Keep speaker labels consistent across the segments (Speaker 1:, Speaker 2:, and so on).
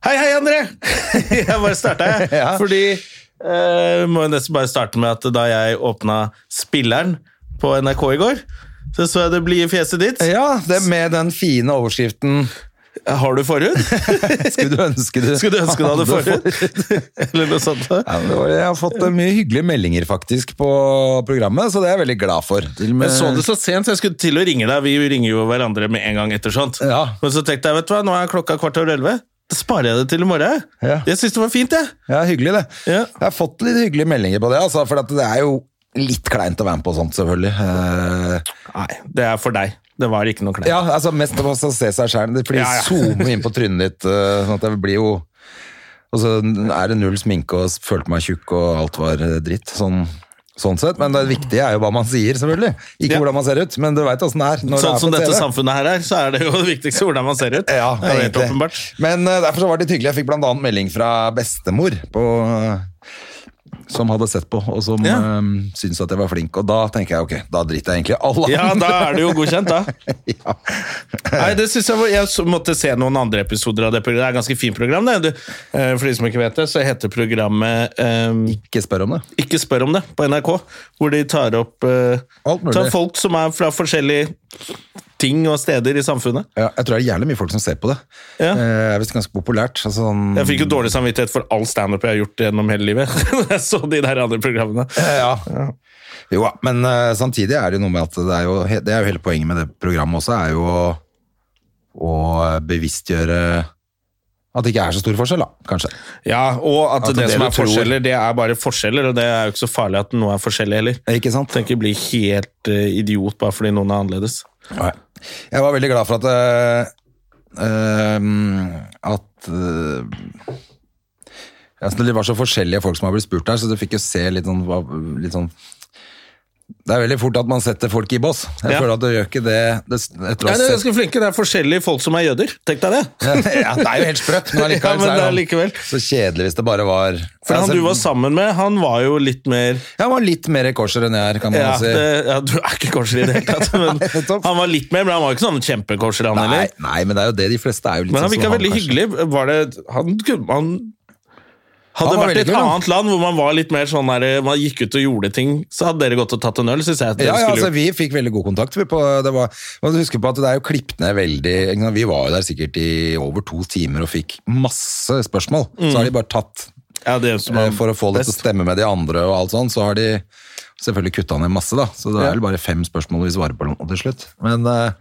Speaker 1: Hei, hei, André! jeg bare starta, jeg.
Speaker 2: Ja.
Speaker 1: Fordi eh, Må jeg nesten bare starte med at da jeg åpna Spilleren på NRK i går, så så jeg det blide fjeset ditt.
Speaker 2: Ja, det med den fine overskriften
Speaker 1: Har du forhud?
Speaker 2: Skulle du ønske du
Speaker 1: Skulle du ønske du hadde forhud? Eller noe sånt.
Speaker 2: Ja, men det var, jeg har fått eh, mye hyggelige meldinger faktisk på programmet, så det er jeg veldig glad for. Til og med-
Speaker 1: Jeg så det så sent, så jeg skulle til å ringe deg. Vi ringer jo hverandre med en gang etter sånt.
Speaker 2: Ja.
Speaker 1: Men så tenkte jeg, vet du hva, nå er klokka kvart over elleve. Da sparer jeg det til i morgen.
Speaker 2: Ja.
Speaker 1: Jeg syns det var fint, jeg.
Speaker 2: Ja, hyggelig det.
Speaker 1: Ja.
Speaker 2: Jeg har fått litt hyggelige meldinger på det, altså, for at det er jo litt kleint å være med på sånt, selvfølgelig. Eh,
Speaker 1: Nei, det er for deg. Det var ikke noe kleint.
Speaker 2: ja, altså mest av oss å se seg selv, det blir
Speaker 1: Ja, ja.
Speaker 2: zoomer inn på trynet ditt, eh, sånn at det blir jo... Og så er det null sminke, og følte meg tjukk, og alt var eh, dritt, sånn... Sånn sett, men det viktige er jo hva man sier, selvfølgelig. Ikke
Speaker 1: Ja.
Speaker 2: hvordan man ser ut, men du vet hvordan det er. når det er
Speaker 1: Sånn som
Speaker 2: på
Speaker 1: dette
Speaker 2: TV.
Speaker 1: samfunnet her er, så er det jo det viktigste hvordan man ser ut.
Speaker 2: Ja,
Speaker 1: det er helt
Speaker 2: egentlig.
Speaker 1: åpenbart.
Speaker 2: Men eh, derfor så var det litt hyggelig. Jeg fikk blant annet melding fra bestemor på, eh, som hadde sett på, og som
Speaker 1: Ja.
Speaker 2: eh, syntes at jeg var flink. Og da tenker jeg ok, da driter jeg egentlig i alle
Speaker 1: Ja, da
Speaker 2: andre.
Speaker 1: er du jo godkjent, da.
Speaker 2: Ja.
Speaker 1: Nei, det synes Jeg var, jeg så- måtte se noen andre episoder av det programmet. Det er et ganske fint program. Det. Du, eh, for de som ikke vet det, så heter programmet eh,
Speaker 2: Ikke spør om det.
Speaker 1: Ikke spør om det på NRK, hvor de tar opp eh,
Speaker 2: Alt mulig.
Speaker 1: tar folk som er fra forskjellige ting og steder i samfunnet.
Speaker 2: Ja, jeg tror det er jævlig mye folk som ser på det.
Speaker 1: Ja.
Speaker 2: Eh, Det er visst ganske populært. Altså, sånn,
Speaker 1: Jeg fikk jo dårlig samvittighet for all standup jeg har gjort gjennom hele livet. Når jeg så de der andre programmene.
Speaker 2: ja. Jo, ja, men eh, samtidig er det jo noe med at det er jo, he- det er jo hele poenget med det programmet også, er jo å, å bevisstgjøre at det ikke er så stor forskjell, da, kanskje.
Speaker 1: Ja, Og at,
Speaker 2: At
Speaker 1: det,
Speaker 2: det
Speaker 1: som
Speaker 2: du
Speaker 1: er
Speaker 2: tror-
Speaker 1: forskjeller, det er bare forskjeller, og det er jo ikke så farlig at noe er forskjellig heller.
Speaker 2: Ikke sant?
Speaker 1: Tenk ikke bli helt eh, idiot bare fordi noen er annerledes.
Speaker 2: Nei. Jeg var veldig glad for at eh, eh, At eh, altså, Det var så forskjellige folk som har blitt spurt her, så du fikk jo se litt sånn, hva- litt sånn Det er veldig fort at man setter folk i bås. Jeg
Speaker 1: Ja.
Speaker 2: føler at du gjør ikke det, det etter å
Speaker 1: Ja,
Speaker 2: ha
Speaker 1: det er
Speaker 2: sett
Speaker 1: ganske flinke. Det er forskjellige folk som er jøder. Tenk deg det.
Speaker 2: ja, Det er jo helt sprøtt, men
Speaker 1: Ja,
Speaker 2: allikevel så
Speaker 1: men det
Speaker 2: er
Speaker 1: er
Speaker 2: det sånn,
Speaker 1: likevel.
Speaker 2: så kjedelig hvis det bare var
Speaker 1: For
Speaker 2: Ja, altså,
Speaker 1: han
Speaker 2: så-
Speaker 1: du var sammen med, han var jo litt mer
Speaker 2: Jeg var litt mer korser enn jeg er, kan man
Speaker 1: ja,
Speaker 2: si.
Speaker 1: det, ja, Du er ikke korser i det hele tatt. Men
Speaker 2: Nei, nettopp.
Speaker 1: han var litt mer, men han var ikke sånn kjempekorser, han
Speaker 2: Nei,
Speaker 1: heller.
Speaker 2: nei, men det er jo det de fleste er jo litt
Speaker 1: Men han
Speaker 2: sånn som
Speaker 1: virka veldig
Speaker 2: kanskje.
Speaker 1: hyggelig. Var det, han, han hadde
Speaker 2: Han var
Speaker 1: vært i
Speaker 2: veldig
Speaker 1: et
Speaker 2: kul, han.
Speaker 1: annet land hvor man var litt mer sånn der, man gikk ut og gjorde ting, så hadde dere gått og tatt en øl. Synes jeg at dere
Speaker 2: Ja, ja
Speaker 1: skulle
Speaker 2: altså,
Speaker 1: gjort.
Speaker 2: vi fikk veldig god kontakt. Vi på, det var, man må huske på at det er jo klippet ned veldig ikke sant, Vi var jo der sikkert i over to timer og fikk masse spørsmål. Så har de bare tatt
Speaker 1: ja, det som
Speaker 2: eh,
Speaker 1: er
Speaker 2: For å få det til å
Speaker 1: Mm. best.
Speaker 2: stemme med de andre og alt sånn, så har de selvfølgelig kutta ned masse, da. Så det er vel bare fem spørsmål vi svarer på nå til slutt. Men, eh,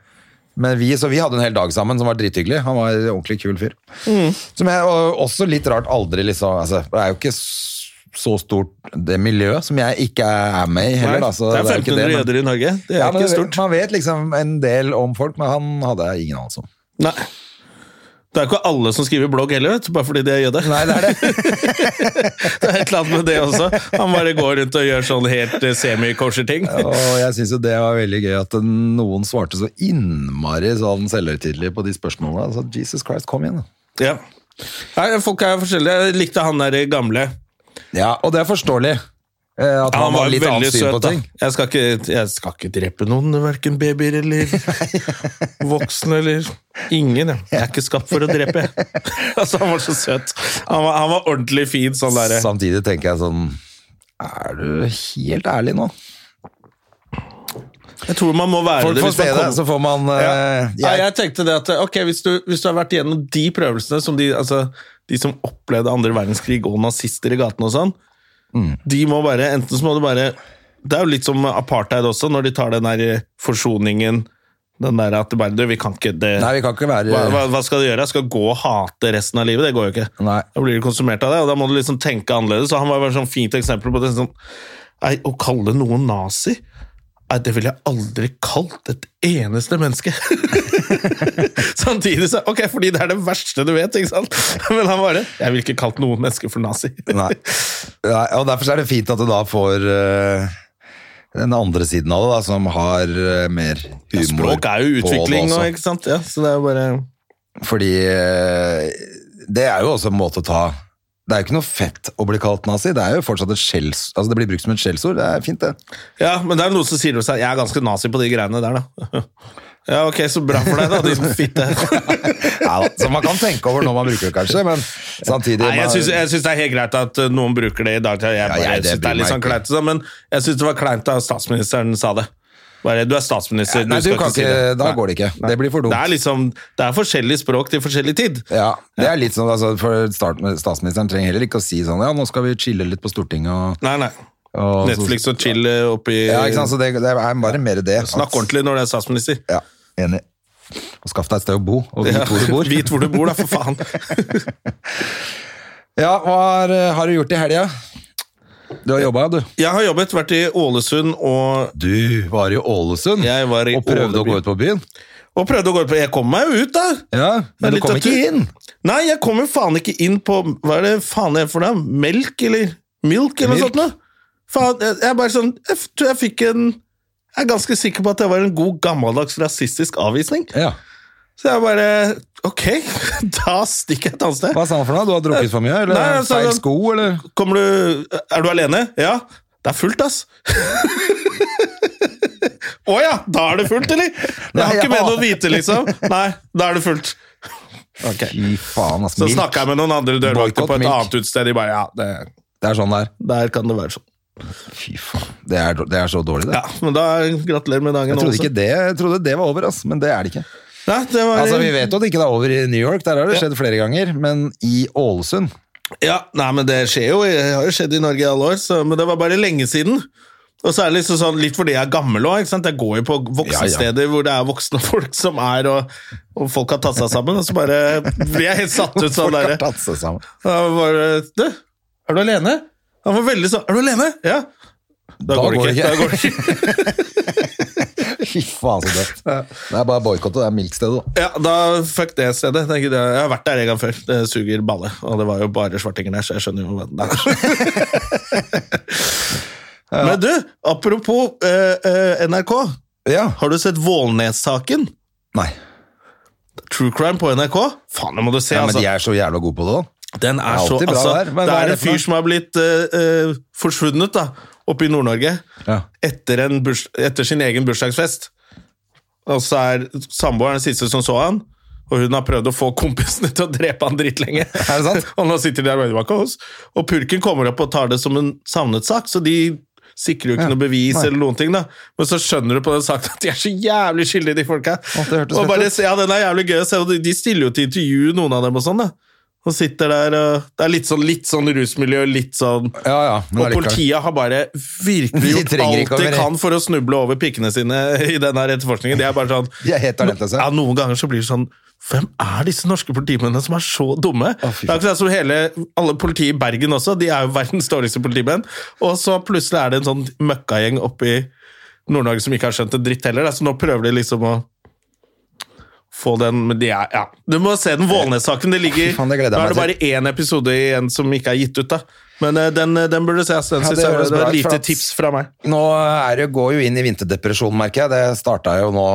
Speaker 2: men vi, så vi hadde en hel dag sammen som var drithyggelig. Han var en ordentlig kul fyr.
Speaker 1: Mm.
Speaker 2: Som jeg, og også litt rart aldri liksom altså, Det er jo ikke s- så stort det miljøet som jeg ikke er med i heller. Da, så
Speaker 1: det
Speaker 2: jo
Speaker 1: er
Speaker 2: ikke
Speaker 1: 1500
Speaker 2: men-
Speaker 1: jøder i Norge. Det er
Speaker 2: ja, men
Speaker 1: ikke
Speaker 2: det-
Speaker 1: stort.
Speaker 2: Man vet liksom en del om folk, men han hadde jeg ingen anelse om.
Speaker 1: Nei. Det er ikke alle som skriver blogg heller, vet du, bare fordi de er jøder.
Speaker 2: Nei, det er det.
Speaker 1: Det er et eller annet med det også. Han bare går rundt og gjør sånn helt eh, semikorser-ting.
Speaker 2: Og jeg syns jo det var veldig gøy at noen svarte så innmari sånn selvhøytidelig på de spørsmålene. Altså, Jesus Christ, kom igjen. da.
Speaker 1: Ja. Nei, folk er forskjellige. Jeg likte han der gamle.
Speaker 2: Ja, og det er forståelig. eh, At
Speaker 1: Ja,
Speaker 2: han, har litt annet syn på
Speaker 1: da.
Speaker 2: ting.
Speaker 1: Jeg skal, ikke, jeg skal ikke drepe noen, verken babyer eller voksne eller Ingen, jeg. Jeg er ikke skapt for å drepe. jeg. altså, han var så søt. Han var, han var ordentlig fin sånn derre
Speaker 2: Samtidig tenker jeg sånn Er du helt ærlig nå?
Speaker 1: Jeg tror man må være
Speaker 2: Folk
Speaker 1: det.
Speaker 2: får
Speaker 1: hvis man
Speaker 2: se det,
Speaker 1: kommer-
Speaker 2: så får man eh,
Speaker 1: Nei,
Speaker 2: jeg,
Speaker 1: jeg tenkte det at ok, hvis du, hvis du har vært igjennom de prøvelsene som de, altså, de som opplevde andre verdenskrig og nazister i gatene og sånn,
Speaker 2: Mm.
Speaker 1: de må bare, enten så må du bare Det er jo litt som apartheid også, når de tar den der forsoningen Den der at det bare Du, vi kan ikke det
Speaker 2: Nei, vi kan ikke
Speaker 1: hva, hva,
Speaker 2: være
Speaker 1: hva skal du gjøre? Jeg skal gå og hate resten av livet? Det går jo ikke.
Speaker 2: Nei.
Speaker 1: Da blir du konsumert av det, og da må du liksom tenke annerledes. Og han var bare sånn fint eksempel på det. Sånn, nei, å kalle noen nazi Nei, det ville jeg aldri kalt et eneste menneske. Samtidig så Ok, fordi det er det verste du vet, ikke sant? Men han bare Jeg ville ikke kalt noen mennesker for nazi.
Speaker 2: Nei. Nei, og derfor så er det fint at du da får eh, den andre siden av det, da, som har eh, mer humor.
Speaker 1: Språk er jo
Speaker 2: på det altså.
Speaker 1: utvikling nå,
Speaker 2: også.
Speaker 1: ikke sant? Ja, så det er jo bare
Speaker 2: Fordi eh, det er jo også en måte å ta Det er jo ikke noe fett å bli kalt nazi, det er jo fortsatt et skjells... Altså, det blir brukt som et skjellsord, det er fint, det.
Speaker 1: Ja, men det er noen som sier til seg Jeg er ganske nazi på de greiene der, da. Ja, ok, så bra for deg, da, din fitte.
Speaker 2: Ja, da, så man kan tenke over når man bruker det, kanskje, men samtidig
Speaker 1: Nei, jeg
Speaker 2: man-
Speaker 1: syns, jeg syns det er helt greit at uh, noen bruker det i dag. Jeg, bare,
Speaker 2: jeg- det
Speaker 1: syns det
Speaker 2: bryr
Speaker 1: er litt
Speaker 2: meg
Speaker 1: sånn
Speaker 2: ikke.
Speaker 1: kleint, og sånn, men jeg syns det var kleint da statsministeren sa det. Bare, du er statsminister,
Speaker 2: Nei, du
Speaker 1: skal
Speaker 2: kan
Speaker 1: ikke si
Speaker 2: ikke,
Speaker 1: det.
Speaker 2: da
Speaker 1: Nei.
Speaker 2: går det ikke. Det blir for dumt.
Speaker 1: Det er liksom, det er forskjellig språk til forskjellig tid.
Speaker 2: Ja, det er litt sånn, altså, for start, statsministeren trenger heller ikke å si sånn, ja, nå skal vi chille litt på Stortinget og...
Speaker 1: Nei, nei.
Speaker 2: og så-
Speaker 1: Netflix og chill oppi
Speaker 2: Ja, ikke sant, så det, det er bare mer det.
Speaker 1: Eh, Snakk ordentlig når det er statsminister.
Speaker 2: Ja, enig. Og skaff deg et sted å bo, og vit hvor du bor.
Speaker 1: Vit hvor du bor, da, for faen.
Speaker 2: Ja, hva har,
Speaker 1: eh,
Speaker 2: har du gjort i helga? Du har jobba, du.
Speaker 1: Jeg har jobbet, vært i Ålesund og,
Speaker 2: Du var i Ålesund
Speaker 1: Jeg var i
Speaker 2: og prøvde å
Speaker 1: Åleby.
Speaker 2: gå ut på byen.
Speaker 1: og prøvde å gå ut på Jeg kom meg jo ut, da!
Speaker 2: Ja,
Speaker 1: Med
Speaker 2: Men du
Speaker 1: litt
Speaker 2: kom
Speaker 1: av
Speaker 2: ikke
Speaker 1: tur.
Speaker 2: inn.
Speaker 1: Nei, jeg kom jo faen ikke inn på Hva er det faen er for noe? Melk, eller? Milk, eller noe
Speaker 2: Milk.
Speaker 1: sånt noe? Faen, jeg, jeg er bare sånn Jeg f- tror jeg fikk en Jeg er ganske sikker på at det var en god, gammeldags rasistisk avvisning.
Speaker 2: Ja.
Speaker 1: Så jeg bare Ok, da stikker jeg et annet sted.
Speaker 2: Hva sa han for noe? Du har drukket for mye? Eller
Speaker 1: Nei, han sa
Speaker 2: feil
Speaker 1: sånn-
Speaker 2: sko, eller?
Speaker 1: Kommer du Er du alene? Ja. Det er fullt, ass. Å ja! Da er det fullt, eller? Jeg har
Speaker 2: Nei,
Speaker 1: ikke
Speaker 2: ja.
Speaker 1: med noe å vite, liksom. Nei, da er det fullt. Ok.
Speaker 2: Fy faen, altså.
Speaker 1: Så
Speaker 2: milk.
Speaker 1: snakka jeg med noen andre dørvakter
Speaker 2: Boykott
Speaker 1: på et
Speaker 2: milk.
Speaker 1: annet utested. De bare ja, det,
Speaker 2: Det er sånn det er.
Speaker 1: der kan det være sånn.
Speaker 2: Fy faen. Det er, det er så dårlig, det.
Speaker 1: Ja, men da gratulerer med dagen.
Speaker 2: Jeg trodde,
Speaker 1: også.
Speaker 2: ikke det, jeg trodde det var over, ass, men det er det ikke.
Speaker 1: Nei, det var,
Speaker 2: Altså, Vi vet jo at det ikke er over i New York, der har det skjedd flere ganger, men i Ålesund
Speaker 1: Ja, nei, men det skjer jo. Det har jo skjedd i Norge i alle år, så, men det var bare lenge siden. Og så er det liksom sånn, litt fordi jeg er gammel òg. Jeg går jo
Speaker 2: Ja,
Speaker 1: på
Speaker 2: ja.
Speaker 1: voksne steder hvor det er voksne folk som er, og, og folk har tatt seg sammen. Og så bare blir jeg helt satt ut sånn
Speaker 2: Folk har
Speaker 1: derre
Speaker 2: tatt seg sammen.
Speaker 1: Du, er du alene? Han var veldig sånn Er du alene? Ja. Da, går det ikke. Da går det ikke.
Speaker 2: Fy faen, så dødt. Det er bare boikott og det er milkstedet, da.
Speaker 1: Ja, da fuck det stedet. Det er ikke det. Jeg har vært der en gang før. Det suger balle. Og det var jo bare svartinger der, så jeg skjønner jo hva det er. Men du, apropos eh, eh, NRK.
Speaker 2: Ja.
Speaker 1: Har du sett Vålnes-saken?
Speaker 2: Nei.
Speaker 1: True crime på NRK? Faen, det må du se,
Speaker 2: Ja, men
Speaker 1: altså.
Speaker 2: de er så jævla gode på det, da.
Speaker 1: Den er,
Speaker 2: Det er
Speaker 1: så
Speaker 2: alltid bra
Speaker 1: altså,
Speaker 2: der, men
Speaker 1: Det
Speaker 2: hva er
Speaker 1: er
Speaker 2: det
Speaker 1: en
Speaker 2: for noe?
Speaker 1: fyr som har blitt eh, eh, forsvunnet, da. Oppe i Nord-Norge.
Speaker 2: Ja.
Speaker 1: etter, en burs, etter sin egen bursdagsfest. Og så er samboeren den siste som så han, og hun har prøvd å få kompisene til å drepe han dritlenge.
Speaker 2: Er det sant?
Speaker 1: og nå sitter de der bak oss. Og purken kommer opp og tar det som en savnet sak, så de sikrer jo ikke noe bevis
Speaker 2: Nei.
Speaker 1: eller noen ting, da. Men så skjønner du på den saken at de er så jævlig skyldige, de folka.
Speaker 2: det hørtes
Speaker 1: og
Speaker 2: fett
Speaker 1: bare,
Speaker 2: ut.
Speaker 1: se- ja, den er jævlig gøy å se, og de- de stiller jo til intervju, noen av dem og sånn, da. Og sitter der og Det er litt sånn, litt sånn rusmiljø, litt sånn
Speaker 2: Ja, ja, men
Speaker 1: og
Speaker 2: allikevel.
Speaker 1: politiet har bare virkelig
Speaker 2: De
Speaker 1: gjort
Speaker 2: trenger
Speaker 1: alt
Speaker 2: ikke å
Speaker 1: de
Speaker 2: være-
Speaker 1: kan for å snuble over pikkene sine i denne her etterforskningen. De er bare sånn
Speaker 2: De er helt talentløse.
Speaker 1: Ja, Noen ganger så blir det sånn Hvem er disse norske politimennene som er så dumme?
Speaker 2: fy
Speaker 1: det er akkurat som hele, alle politiet i Bergen også, de er jo verdens dårligste politimenn. Og så plutselig er det en sånn møkkagjeng oppe i Nord-Norge som ikke har skjønt en dritt heller, da. så nå prøver de liksom å få den Men de er Ja. Du må se den Vålnes-saken. Det ligger
Speaker 2: Fy faen, det gleder jeg
Speaker 1: Da er det
Speaker 2: meg
Speaker 1: bare én episode igjen som ikke er gitt ut, da. Men eh, den, den burde ses. Den
Speaker 2: Ja, det
Speaker 1: synes jeg var-
Speaker 2: høres
Speaker 1: det var
Speaker 2: bra ut,
Speaker 1: et
Speaker 2: for
Speaker 1: lite
Speaker 2: at-
Speaker 1: tips fra meg.
Speaker 2: Nå er det, går jo inn i vinterdepresjon, merker jeg. Det starta jo nå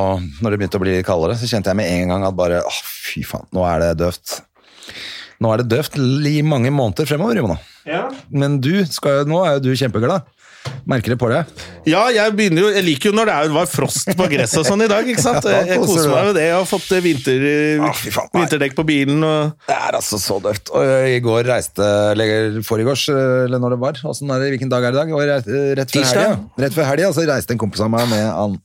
Speaker 2: når det begynte å bli litt kaldere. Så kjente jeg med en gang at bare åh, fy faen, nå er det døvt. Nå er det døvt i mange måneder fremover, Jona. Men du skal jo, nå er jo du kjempeglad. Merker det på deg.
Speaker 1: Ja, jeg begynner jo Jeg liker jo når det er, var frost på gresset og sånn i dag, ikke sant?
Speaker 2: Ja, da
Speaker 1: Jeg, jeg
Speaker 2: koser du
Speaker 1: koser meg
Speaker 2: deg.
Speaker 1: med det. Jeg har fått eh, vinter,
Speaker 2: Ah, fy faen, nei.
Speaker 1: vinterdekk på bilen og
Speaker 2: Det er altså så døvt. Og i går reiste Eller forgårs, eh, eller når det var. Hvordan er det, hvilken dag er det i dag? Og rett, rett før
Speaker 1: Tirsdag.
Speaker 2: helga. Rett før helga så reiste en kompis av meg med han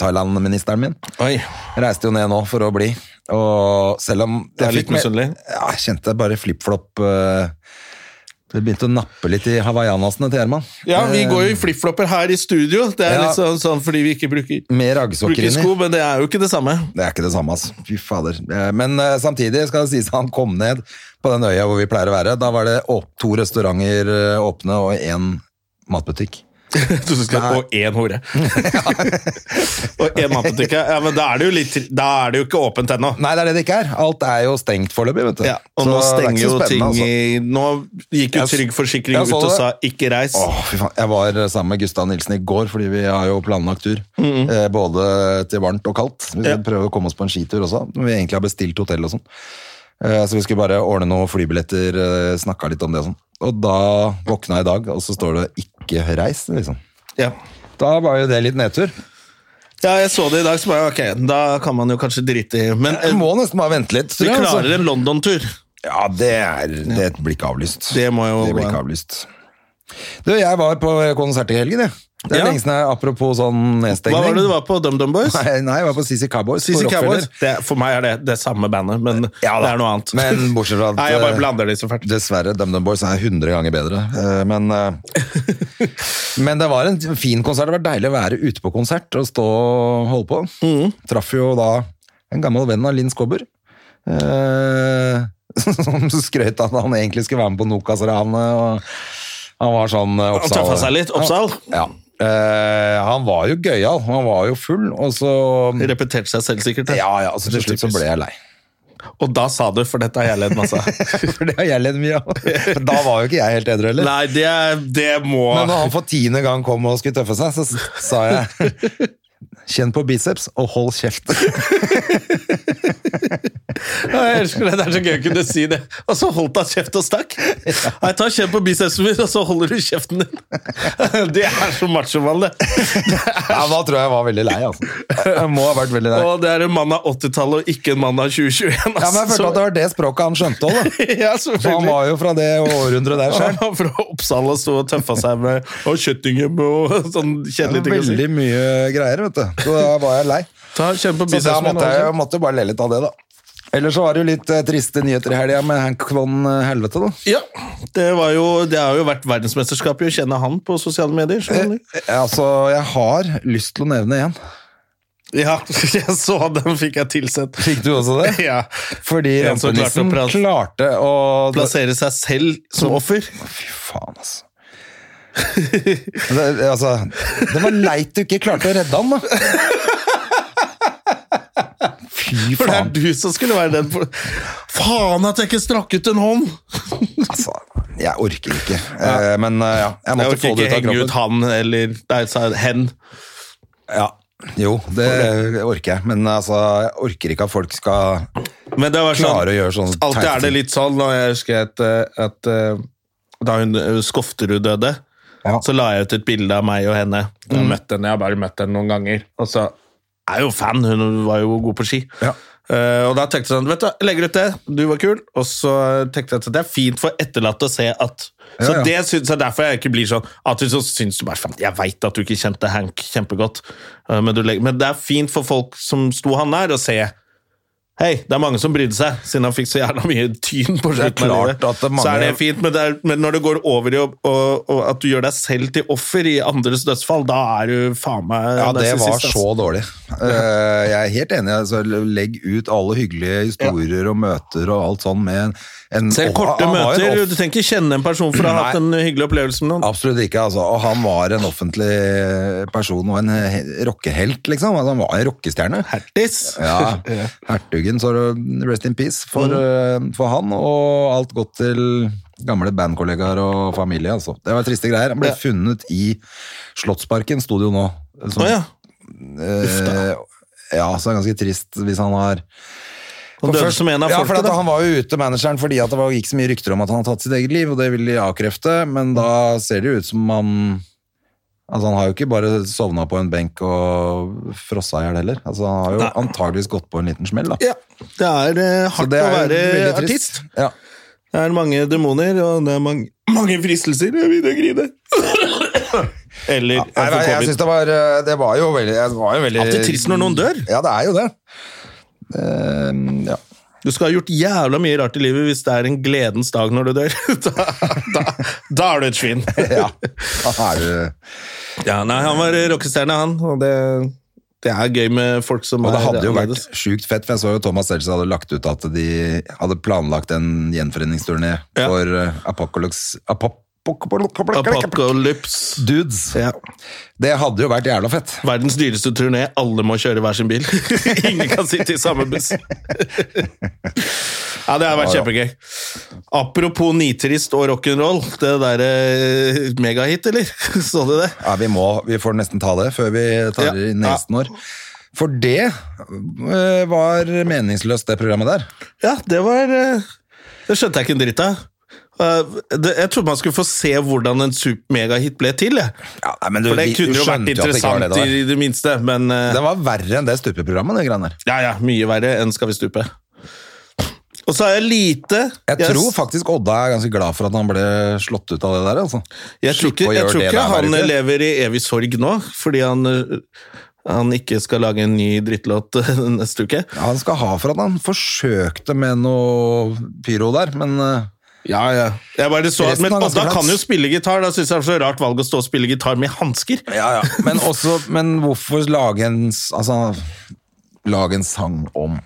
Speaker 2: Thailand-ministeren min.
Speaker 1: Oi.
Speaker 2: Reiste jo ned nå for å bli. Og selv om
Speaker 1: Det er litt
Speaker 2: mer-
Speaker 1: misunnelig.
Speaker 2: Ja, jeg kjente bare flip-flop eh, Det begynte å nappe litt i hawaiianasene til Herman.
Speaker 1: Ja, vi
Speaker 2: Eh,
Speaker 1: går jo i flipflopper her i studio. Det er
Speaker 2: Ja.
Speaker 1: litt sånn, sånn fordi vi ikke bruker,
Speaker 2: Eh, Med raggsokker
Speaker 1: bruker
Speaker 2: inni.
Speaker 1: sko, men det er jo ikke det samme.
Speaker 2: Det er ikke det samme, ass. Fy fader. Eh, Men eh, samtidig skal det sies at han kom ned på den øya hvor vi pleier å være. Da var det åp- to restauranter eh, åpne og én matbutikk.
Speaker 1: Jeg trodde du skulle Og én hore. og én matbutikk. Ja, men da er det jo, litt, da er det jo ikke åpent ennå.
Speaker 2: Nei, det er det det ikke er. Alt er jo stengt foreløpig, vet du.
Speaker 1: Ja, og
Speaker 2: Så
Speaker 1: nå
Speaker 2: det er
Speaker 1: stenger
Speaker 2: ikke så
Speaker 1: jo ting
Speaker 2: spennende, altså.
Speaker 1: i Nå gikk jo
Speaker 2: Jeg s-
Speaker 1: Trygg Forsikring
Speaker 2: jeg
Speaker 1: ut
Speaker 2: så
Speaker 1: og
Speaker 2: det.
Speaker 1: sa 'ikke reis'.
Speaker 2: Åh, fy faen. Jeg var sammen med Gustav Nilsen i går, fordi vi har jo planlagt tur. eh, både til varmt og kaldt. Vi skal
Speaker 1: Ja.
Speaker 2: prøve å komme oss på en skitur også, når vi egentlig har bestilt hotell og sånn. Eh, så vi skulle bare ordne noen flybilletter, eh, snakka litt om det og sånn. Og da våkna jeg i dag, og så står det 'ikke reis', liksom.
Speaker 1: Ja.
Speaker 2: Da var jo det litt nedtur.
Speaker 1: ja, jeg så det i dag, så bare ok, da kan man jo kanskje drite i Men eh,
Speaker 2: Jeg må nesten bare vente litt. tror
Speaker 1: vi
Speaker 2: jeg, altså.
Speaker 1: klarer en London-tur.
Speaker 2: Ja, det, er, det blir ikke avlyst.
Speaker 1: Det må jo
Speaker 2: det blir
Speaker 1: gå an.
Speaker 2: ikke avlyst. Du, jeg var på konsert i helgen, jeg. Det er
Speaker 1: Ja.
Speaker 2: lenge siden jeg, apropos sånn nedstengning.
Speaker 1: Hva var det du var på? DumDum Boys?
Speaker 2: Nei, nei, jeg var på CC Cowboys.
Speaker 1: CC
Speaker 2: på
Speaker 1: Cowboys?
Speaker 2: Rockefeller.
Speaker 1: Det, for meg er det det samme bandet, men
Speaker 2: Ja da.
Speaker 1: det er noe annet.
Speaker 2: Men bortsett fra at
Speaker 1: Nei,
Speaker 2: eh,
Speaker 1: jeg bare blander de så fælt.
Speaker 2: Dessverre, DumDum Boys er 100 ganger bedre. eh, Men, eh, men det var en fin konsert. Det var deilig å være ute på konsert og stå og holde på.
Speaker 1: Mm.
Speaker 2: Traff jo da en gammel venn av Linn Skåber. eh, Som skrøt at han egentlig skulle være med på Nokas-ranet. og Han var sånn eh,
Speaker 1: Han
Speaker 2: oppsal.
Speaker 1: tøffa seg litt. Oppsal.
Speaker 2: Ja. Eh, han var jo gøyal. Han var jo full, og så
Speaker 1: Repeterte seg selv sikkert. det.
Speaker 2: Ja, ja, så til slutt så ble jeg lei.
Speaker 1: Og da sa du, for dette har jeg ledd masse av.
Speaker 2: For det har jeg ledd mye av. Men Da var jo ikke jeg helt edru heller.
Speaker 1: Nei, det, det må
Speaker 2: Men når han for tiende gang kom og skulle tøffe seg, så s- sa jeg Kjenn på biceps og hold kjeft.
Speaker 1: Ja, Jeg elsker det. Det er så gøy å kunne si det. Og så holdt han kjeft og stakk. Nei, ta kjenn på bicepsen min, og så holder du kjeften din. Det er så machomann, det.
Speaker 2: Ja, da tror jeg jeg var veldig lei, altså. Jeg må ha vært veldig lei.
Speaker 1: Og det er en mann av 80-tallet og ikke en altså. mann av 2021.
Speaker 2: Ja, men jeg følte at det var det språket han skjønte òg, da.
Speaker 1: ja,
Speaker 2: For han
Speaker 1: selvfølgelig.
Speaker 2: var jo fra det århundret der
Speaker 1: Han
Speaker 2: sjøl.
Speaker 1: var fra Oppsal og sto og tøffa seg med og kjøttinger og sånn kjedelige ting. å si.
Speaker 2: Veldig mye greier, vet du. Så da var jeg lei.
Speaker 1: Ta kjenn på
Speaker 2: Så
Speaker 1: altså.
Speaker 2: da
Speaker 1: bicepsen min.
Speaker 2: måtte jeg
Speaker 1: også.
Speaker 2: måtte bare le litt av det, da. Ellers så var det jo litt eh, triste nyheter i helga med Hank von eh, Helvete, da.
Speaker 1: Ja, det, var jo, det har jo vært verdensmesterskap i å kjenne han på sosiale medier. skjønner du?
Speaker 2: Eh, Altså, jeg har lyst til å nevne en.
Speaker 1: Ja, jeg så den fikk jeg tilsendt.
Speaker 2: Eh, Fikk du også det?
Speaker 1: Ja.
Speaker 2: Fordi
Speaker 1: En som klarte å
Speaker 2: rampenissen
Speaker 1: plas-
Speaker 2: klarte å
Speaker 1: Plassere seg selv som offer.
Speaker 2: Fy faen, altså. det, altså. Det var leit du ikke klarte å redde han, da. Fy
Speaker 1: For det er
Speaker 2: faen.
Speaker 1: du som skulle være den for... Faen at jeg ikke strakk ut en hånd!
Speaker 2: Altså, jeg orker ikke. Eh, men eh, ja, jeg
Speaker 1: Jeg
Speaker 2: måtte
Speaker 1: orker
Speaker 2: få det
Speaker 1: ikke
Speaker 2: ut av
Speaker 1: henge ut
Speaker 2: kroppen.
Speaker 1: han eller Nei, sa jeg hen.
Speaker 2: Ja. Jo, det orker jeg. Men altså, jeg orker ikke at folk skal
Speaker 1: Men det var sånn
Speaker 2: klare å gjøre sånne
Speaker 1: Alltid
Speaker 2: teite
Speaker 1: er det
Speaker 2: ting.
Speaker 1: litt sånn, og jeg husker at, eh, at eh, da hun eh, Skofterud døde,
Speaker 2: Ja. Mm.
Speaker 1: så la jeg ut et bilde av meg og henne. Jeg har møtt henne, jeg har bare møtt henne noen ganger. Og så jeg er jo fan, hun var jo god på ski.
Speaker 2: Ja.
Speaker 1: Eh, og da tenkte jeg sånn, vet du, hva, jeg legger ut det, du var kul. Og så tenkte jeg at det er fint for etterlatte å se at Så
Speaker 2: Ja, ja.
Speaker 1: det synes jeg derfor jeg ikke blir sånn at du så syns du bare faen, Jeg veit at du ikke kjente Hank kjempegodt, eh, men, du legger, men det er fint for folk som sto han nær, å se. Hei, det er mange som brydde seg, siden han fikk så jævla mye tyn på
Speaker 2: Det er
Speaker 1: slutten. av
Speaker 2: klart
Speaker 1: livet.
Speaker 2: at det er mange-
Speaker 1: Så er det fint, men, det er, men når det går over i å- å- å- at du gjør deg selv til offer i andres dødsfall, da er du faen meg
Speaker 2: Ja, det var
Speaker 1: narsissist, ass.
Speaker 2: så dårlig. Eh, Jeg er helt enig. Altså, legg ut alle hyggelige historier og møter og alt sånn med en, en
Speaker 1: Selv
Speaker 2: og-
Speaker 1: korte
Speaker 2: han var jo en
Speaker 1: møter.
Speaker 2: off-
Speaker 1: Du trenger ikke kjenne en person for å ha
Speaker 2: Nei.
Speaker 1: hatt en hyggelig opplevelse med noen.
Speaker 2: Absolutt ikke, altså. Og han var en offentlig person og en he- rockehelt, liksom. Altså, han var en rockestjerne.
Speaker 1: Hertis!
Speaker 2: Ja, hertugen, så rest in peace for,
Speaker 1: Mm.
Speaker 2: eh, for han, og alt godt til gamle bandkollegaer og familie, altså. Det var triste greier. Han ble
Speaker 1: Ja.
Speaker 2: funnet i Slottsparken, sto det jo nå. Som,
Speaker 1: Å ja.
Speaker 2: Eh, ja, så er det ganske trist hvis han har
Speaker 1: Han døde som en av
Speaker 2: ja, for
Speaker 1: folket,
Speaker 2: at
Speaker 1: da.
Speaker 2: Han var jo ute, manageren, fordi at det var, gikk så mye rykter om at han hadde tatt sitt eget liv, og det ville de avkrefte, men da ser det jo ut som han Altså, han har jo ikke bare sovna på en benk og frossa i hjel heller. Altså, han har jo antageligvis gått på en liten smell, da.
Speaker 1: Ja. Det er
Speaker 2: Så
Speaker 1: eh, hardt
Speaker 2: det
Speaker 1: å
Speaker 2: er
Speaker 1: være
Speaker 2: veldig trist.
Speaker 1: artist.
Speaker 2: Ja.
Speaker 1: Det er mange demoner, og det er mange, mange fristelser. Jeg begynner å grine. Eller
Speaker 2: Nei,
Speaker 1: jeg får
Speaker 2: nei, jeg
Speaker 1: covid.
Speaker 2: syns det var eh, Det var jo veldig, det var jo veldig
Speaker 1: Alltid trist når noen dør.
Speaker 2: Ja, det er jo det. Eh, ja.
Speaker 1: Du skal ha gjort jævla mye rart i livet hvis det er en gledens dag når du dør. Da, da, da er du et svin.
Speaker 2: ja. Da er det
Speaker 1: Ja, nei, han var rockestjerne, han. Og det, det er gøy med folk som
Speaker 2: Og det
Speaker 1: er
Speaker 2: hadde jo vært
Speaker 1: annerledes.
Speaker 2: sjukt fett, for jeg så jo Thomas Seltzer hadde lagt ut at de hadde planlagt en gjenforeningsturné
Speaker 1: Ja.
Speaker 2: for eh, Apocalypse, Apop-
Speaker 1: Apocalypse.
Speaker 2: Dudes.
Speaker 1: Ja.
Speaker 2: Det hadde jo vært jævla fett.
Speaker 1: Verdens dyreste turné. Alle må kjøre hver sin bil. Ingen kan sitte i samme buss. ja, det har vært kjempegøy. Apropos nitrist og rock'n'roll. Det derre eh, megahit, eller? Så du det?
Speaker 2: Ja, vi må, vi får nesten ta det før vi tar
Speaker 1: Ja,
Speaker 2: inn nesten år. For det eh, var meningsløst, det programmet der.
Speaker 1: Ja, det var eh, Det skjønte jeg ikke en dritt av. Eh, det- Jeg trodde man skulle få se hvordan en super- megahit ble til. jeg.
Speaker 2: Ja, nei, men du,
Speaker 1: For det
Speaker 2: vi-
Speaker 1: kunne
Speaker 2: vi
Speaker 1: jo vært
Speaker 2: skjønte at det ikke var
Speaker 1: interessant
Speaker 2: det det var.
Speaker 1: i det minste, men eh,
Speaker 2: Det var verre enn det stupeprogrammet, det greiene der.
Speaker 1: Ja, ja, mye verre enn Skal vi stupe. Og så har jeg lite
Speaker 2: Jeg
Speaker 1: Yes.
Speaker 2: tror faktisk Odda er ganske glad for at han ble slått ut av det der, altså.
Speaker 1: Jeg tror
Speaker 2: Slippe
Speaker 1: ikke,
Speaker 2: å
Speaker 1: jeg
Speaker 2: gjøre
Speaker 1: tror
Speaker 2: det
Speaker 1: ikke
Speaker 2: hver
Speaker 1: han eh,
Speaker 2: uke.
Speaker 1: lever i evig sorg nå, fordi han, øh, han ikke skal lage en ny drittlåt øh, neste uke.
Speaker 2: Han skal ha for at han forsøkte med noe pyro der, men eh,
Speaker 1: Ja, ja. Jeg bare så at,
Speaker 2: Resten
Speaker 1: men
Speaker 2: har ganske
Speaker 1: Odda
Speaker 2: plass.
Speaker 1: kan jo spille gitar, da syns jeg det er så rart valg å stå og spille gitar med hansker.
Speaker 2: Ja, ja. Men, også, men hvorfor lage en s- altså, Lage en sang om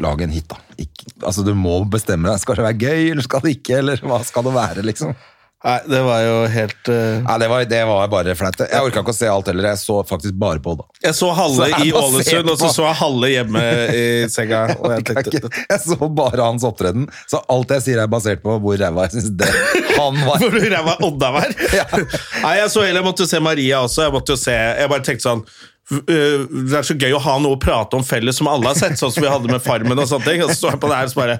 Speaker 2: Lage en hit, da. Ikke, altså, du må bestemme deg. Skal det være gøy, eller skal det ikke? Eller hva skal det være, liksom?
Speaker 1: Nei, det var jo helt øh,
Speaker 2: Nei, det var, det var bare flaut. Jeg orka ikke å se alt heller. Jeg så faktisk bare på, da.
Speaker 1: Jeg så halve
Speaker 2: Så er det
Speaker 1: i
Speaker 2: å se
Speaker 1: Ålesund, og så
Speaker 2: på.
Speaker 1: så jeg halve hjemme i senga. Og jeg
Speaker 2: Jeg, kan
Speaker 1: tenkte,
Speaker 2: ikke, jeg så bare hans opptreden, så alt jeg sier er basert på hvor ræva jeg syns det han var.
Speaker 1: Hvor ræva Odda var?
Speaker 2: Ja.
Speaker 1: Nei, jeg så heller jeg måtte se Maria også. Jeg måtte jo se, jeg bare tenkte sånn v- øh, det er så gøy å ha noe å prate om felles som alle har sett, sånn som vi hadde med Farmen. Og sånne ting, og så står jeg på det her og så bare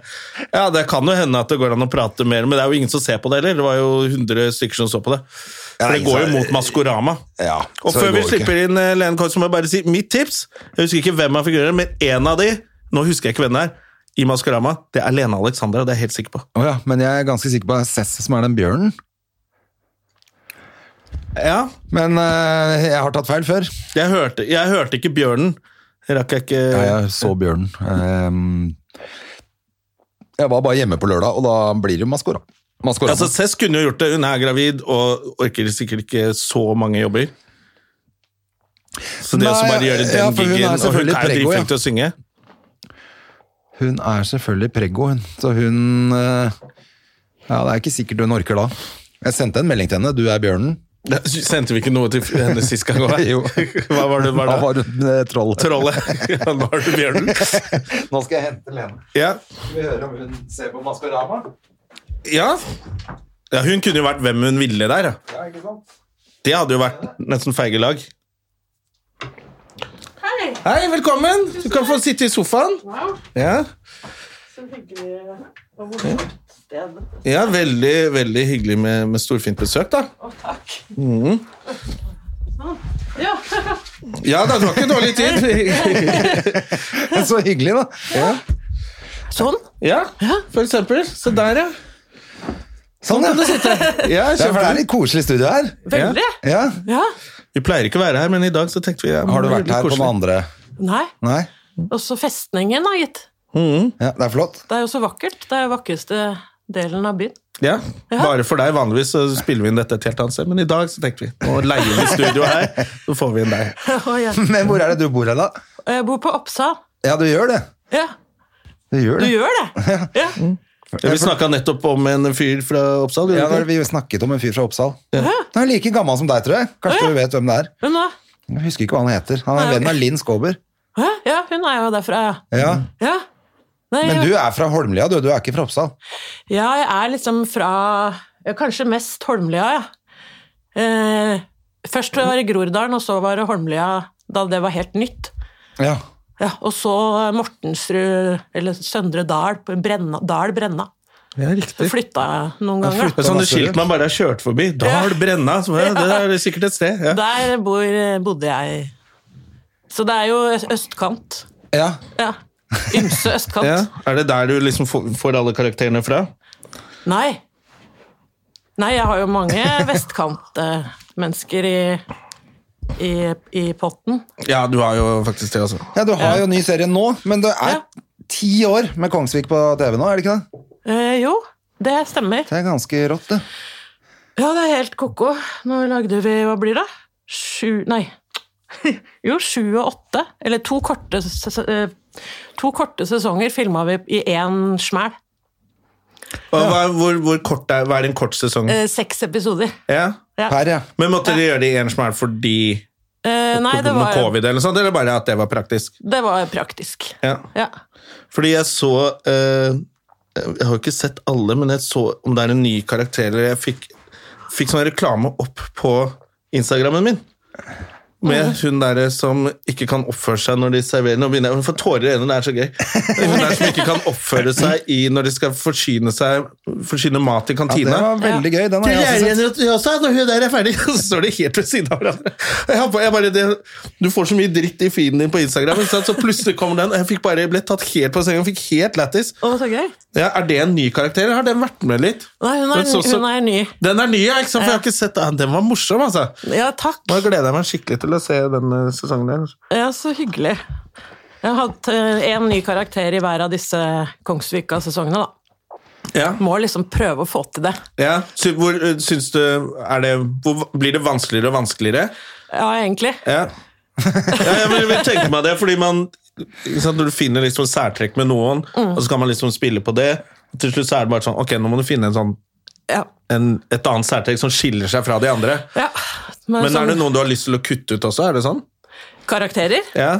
Speaker 1: Ja, det kan jo hende at det går an å prate mer, men det er jo ingen som ser på det heller. Det var jo 100 stykker som så på det. For det
Speaker 2: Nei,
Speaker 1: går
Speaker 2: så-
Speaker 1: jo mot Maskorama.
Speaker 2: Ja, så
Speaker 1: og
Speaker 2: det
Speaker 1: før vi
Speaker 2: går
Speaker 1: slipper inn eh, Lene Kors, må jeg bare si mitt tips. Jeg husker ikke hvem av figurene, men en av de, nå husker jeg ikke hvem det er, i Maskorama, det er Lene Alexandra. Det er jeg helt sikker på.
Speaker 2: Å ja, men jeg er ganske sikker på at det er Sess som er den bjørnen.
Speaker 1: Ja,
Speaker 2: Men eh, jeg har tatt feil før.
Speaker 1: Jeg hørte, jeg hørte ikke bjørnen. Jeg rakk jeg ikke
Speaker 2: Ja, jeg så bjørnen. Ehm, jeg var bare hjemme på lørdag, og da blir det maskora. Maskorama.
Speaker 1: Altså, Cess kunne jo gjort det. Hun er gravid og orker sikkert ikke så mange jobber. Så det å
Speaker 2: Nei,
Speaker 1: så bare gjøre den
Speaker 2: ja, for hun er
Speaker 1: giggen Og hun er
Speaker 2: selvfølgelig
Speaker 1: jo
Speaker 2: prego, ja.
Speaker 1: dritflink til å synge.
Speaker 2: hun er selvfølgelig preggo, hun. Så hun eh, Ja, det er ikke sikkert hun orker da. Jeg sendte en melding til henne. Du er bjørnen.
Speaker 1: Da Sendte vi ikke noe til henne sist gang? hva?
Speaker 2: Jo.
Speaker 1: Hva var det? Var
Speaker 2: Da
Speaker 1: det?
Speaker 2: var hun eh, troll.
Speaker 1: Trollet. Ja, nå er det bjørnen.
Speaker 2: Nå skal jeg hente Lene.
Speaker 1: Ja.
Speaker 2: Skal vi høre om hun ser på Maskorama?
Speaker 1: ja. ja hun kunne jo vært hvem hun ville der. ja.
Speaker 2: Ja, ikke sant?
Speaker 1: Det hadde jo vært nesten feige lag. Hei. velkommen. Du kan få sitte i sofaen. Ja. Ja, veldig, veldig hyggelig med, med storfint besøk, da. Mhm. takk. Ja. da, det var ikke dårlig tid.
Speaker 2: Så hyggelig, da.
Speaker 1: Ja, for eksempel. Se der, ja.
Speaker 2: Sånn, ja. Det er,
Speaker 1: ja
Speaker 2: for det er
Speaker 1: kjempe-
Speaker 2: litt koselig studio her.
Speaker 1: Ja.
Speaker 3: Veldig.
Speaker 2: Ja.
Speaker 1: Vi pleier ikke å være her, men i dag så tenkte vi ja,
Speaker 2: Har du
Speaker 1: det var
Speaker 2: vært her på
Speaker 1: koselig.
Speaker 2: den andre?
Speaker 3: Nei.
Speaker 2: Nei?
Speaker 3: Også festningen, da, gitt.
Speaker 2: Ja, det er flott.
Speaker 3: Det er jo så vakkert. Det er jo vakreste delen av byen.
Speaker 1: Ja, bare for deg. Vanligvis så spiller vi inn dette et helt annet sted, men i dag så tenkte vi nå leier vi studio her, så får vi inn deg.
Speaker 3: Og jeg,
Speaker 2: Men hvor er det du bor hen, da?
Speaker 3: jeg bor på Oppsal.
Speaker 2: Ja, du gjør det.
Speaker 3: Ja,
Speaker 2: Du gjør
Speaker 3: du
Speaker 2: det.
Speaker 3: gjør det! Ja.
Speaker 1: Ja, vi snakka nettopp om en fyr fra Oppsal.
Speaker 2: Ja,
Speaker 1: gjorde vi
Speaker 2: da,
Speaker 1: ikke?
Speaker 2: vi snakket om en fyr fra Oppsal. Han er like gammel som deg, tror jeg. Kanskje du vet hvem det er.
Speaker 3: Hun er,
Speaker 2: Jeg husker ikke hva han heter. Han er
Speaker 3: Nei,
Speaker 2: venn av Linn Skåber.
Speaker 3: Hæ? ja, hun er jo derfra, ja.
Speaker 2: Ja.
Speaker 3: ja. Nei,
Speaker 2: Men
Speaker 3: jeg-
Speaker 2: du er fra Holmlia, du. Du er ikke fra Oppsal.
Speaker 3: Ja, jeg er liksom fra ja, Kanskje mest Holmlia, ja. Eh, først var det Groruddalen, og så var det Holmlia da det var helt nytt.
Speaker 2: Ja.
Speaker 3: Ja, og så Mortensrud, eller Søndre Dal, på Brenna, Dal Brenna.
Speaker 1: Ja, riktig.
Speaker 3: Så flytta jeg noen
Speaker 2: Ja,
Speaker 3: ganger.
Speaker 2: flytta.
Speaker 1: Det er sånne skilt man bare har kjørt forbi. Dal
Speaker 3: Ja.
Speaker 1: Brenna. Så, ja, det er sikkert et sted. Ja.
Speaker 3: Der bor, eh, bodde jeg. Så det er jo ø- østkant.
Speaker 2: ja.
Speaker 3: Ja. Ymse østkant.
Speaker 1: Ja. Er det der du liksom får får alle karakterene fra?
Speaker 3: Nei. Nei, jeg har jo mange vestkantmennesker i, i, i potten.
Speaker 1: Ja, du har jo faktisk det, altså.
Speaker 2: ja du har jo ny serie nå, men det er ti år med Kongsvik på TV nå, er det ikke det?
Speaker 3: Eh, jo, det stemmer.
Speaker 2: Det er ganske rått, det.
Speaker 3: Ja, det er helt ko-ko. Nå lagde vi Hva blir det? Sju Nei. Jo, sju og åtte. Eller to korte, ses- eh, to korte sesonger filma vi i én smæl.
Speaker 1: Hva, hva, hvor, hvor kort er, hva er det en kort sesong?
Speaker 3: Eh, seks episoder.
Speaker 1: Ja.
Speaker 3: Ja.
Speaker 2: Per, ja.
Speaker 1: Men måtte dere gjøre det i en som er fordi
Speaker 3: Eh, nei, det
Speaker 1: med
Speaker 3: var,
Speaker 1: covid, eller, sånt, eller bare at det var praktisk?
Speaker 3: det var praktisk.
Speaker 1: Ja.
Speaker 3: Ja.
Speaker 1: Fordi jeg så eh, Jeg har jo ikke sett alle, men jeg så om det er en ny karakter eller Jeg fikk, fikk sånn reklame opp på Instagrammen min. Med hun derre som ikke kan oppføre seg når de serverer Nå begynner jeg å få tårer i øynene, det er så gøy. Hun der som ikke kan oppføre seg i når de skal forsyne, seg, forsyne
Speaker 2: ja,
Speaker 1: mat i
Speaker 2: det
Speaker 1: kantina.
Speaker 2: var veldig gøy. Den
Speaker 1: Til
Speaker 2: har jeg også sett.
Speaker 1: læreren også, når hun der er ferdig, så står de helt ved siden av hverandre. Og Jeg bare, jeg bare, det, du får så mye dritt i feeden din på Instagram, ikke sant? så plutselig kommer den. og Jeg fikk bare ble tatt helt på senga, fikk helt lættis.
Speaker 3: Å, så gøy.
Speaker 1: Ja, er det en ny karakter, eller har den vært med litt?
Speaker 3: Nei, hun
Speaker 1: Men
Speaker 3: er,
Speaker 1: så- så-
Speaker 3: hun er ny.
Speaker 1: Den er ny, ja, ikke sant? for jeg har ikke sett den. Den var morsom, altså.
Speaker 3: Ja, takk.
Speaker 1: Nå gleder jeg meg skikkelig til å se den eh, sesongen der.
Speaker 3: Ja, så hyggelig. Jeg har hatt én ny karakter i hver av disse Kongsvika-sesongene, da.
Speaker 1: Ja,
Speaker 3: Må liksom prøve å få til det.
Speaker 1: ja. Sy hvor, eh, syns du, er det, hvor, blir det vanskeligere og vanskeligere?
Speaker 3: Ja, egentlig.
Speaker 1: Ja. ja jeg vil, vil tenke meg det, fordi man ikke sant, Når du finner liksom særtrekk med noen, og så kan man liksom spille på det og Til slutt så er det bare sånn Ok, nå må du finne en sånn,
Speaker 3: Ja.
Speaker 1: en, et annet særtrekk som skiller seg fra de andre.
Speaker 3: ja. Men,
Speaker 1: Men
Speaker 3: sånn,
Speaker 1: er det noen du har lyst til å kutte ut også? Er det sånn?
Speaker 3: karakterer
Speaker 1: Ja.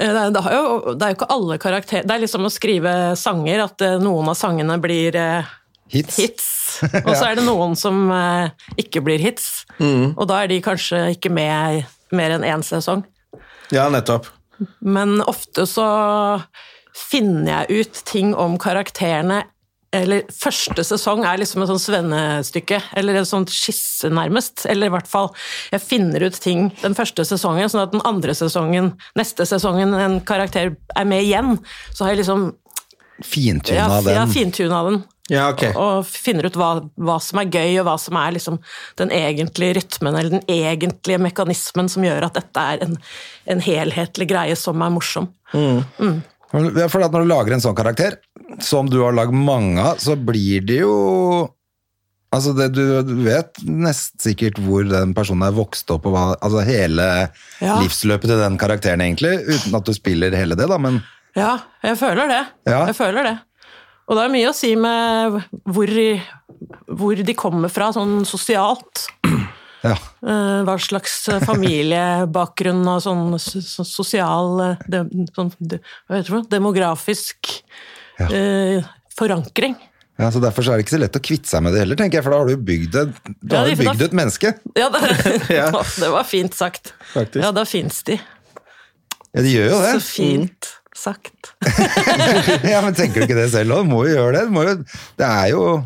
Speaker 3: eh, det, er- det, har jo, det er jo ikke alle karakterer Det er liksom å skrive sanger, at eh, noen av sangene blir eh,
Speaker 2: Hits.
Speaker 3: hits. Og så er det noen som eh, ikke blir hits.
Speaker 1: Mm.
Speaker 3: Og da er de kanskje ikke med i mer enn én sesong.
Speaker 1: ja, nettopp.
Speaker 3: Men ofte så finner jeg ut ting om karakterene eller Første sesong er liksom et sånt svennestykke, eller en sånn skisse, nærmest. Eller i hvert fall Jeg finner ut ting den første sesongen, sånn at den andre sesongen, neste sesongen, en karakter er med igjen. Så har jeg liksom Jeg
Speaker 2: Fintuna
Speaker 3: har, jeg har
Speaker 2: den.
Speaker 3: fintuna den.
Speaker 1: Ja, ok.
Speaker 3: Og finner ut hva, hva som er gøy, og hva som er liksom den egentlige rytmen eller den egentlige mekanismen som gjør at dette er en, en helhetlig greie som er morsom.
Speaker 2: Ja, For at når du lager en sånn karakter, som du har lagd mange av, så blir det jo Altså, det, du, du vet nest sikkert hvor den personen er vokst opp, og hva Altså hele
Speaker 3: Ja.
Speaker 2: livsløpet til den karakteren, egentlig. Uten at du spiller hele det, da, men
Speaker 3: Ja, jeg føler det.
Speaker 2: Ja.
Speaker 3: Jeg føler det. Og det er mye å si med hvor, i- hvor de kommer fra, sånn sosialt.
Speaker 2: ja.
Speaker 3: Eh, Hva slags familiebakgrunn og sånn s- s- sosial eh, dem- sånn, de- Hva heter det? for noe? Demografisk eh, forankring.
Speaker 2: Ja, så Derfor så er det ikke så lett å kvitte seg med det heller, tenker jeg, for da har du jo bygd, et- da
Speaker 3: Ja,
Speaker 2: har du
Speaker 3: de- da-
Speaker 2: bygd et menneske.
Speaker 3: Ja, det, det var fint sagt.
Speaker 1: Faktisk.
Speaker 3: Ja, da fins de.
Speaker 2: Ja, Mm. De gjør jo
Speaker 3: Så
Speaker 2: det.
Speaker 3: fint sagt.
Speaker 2: Ja, Men tenker du ikke det selv òg? Du må jo gjøre det. Du må jo, det er jo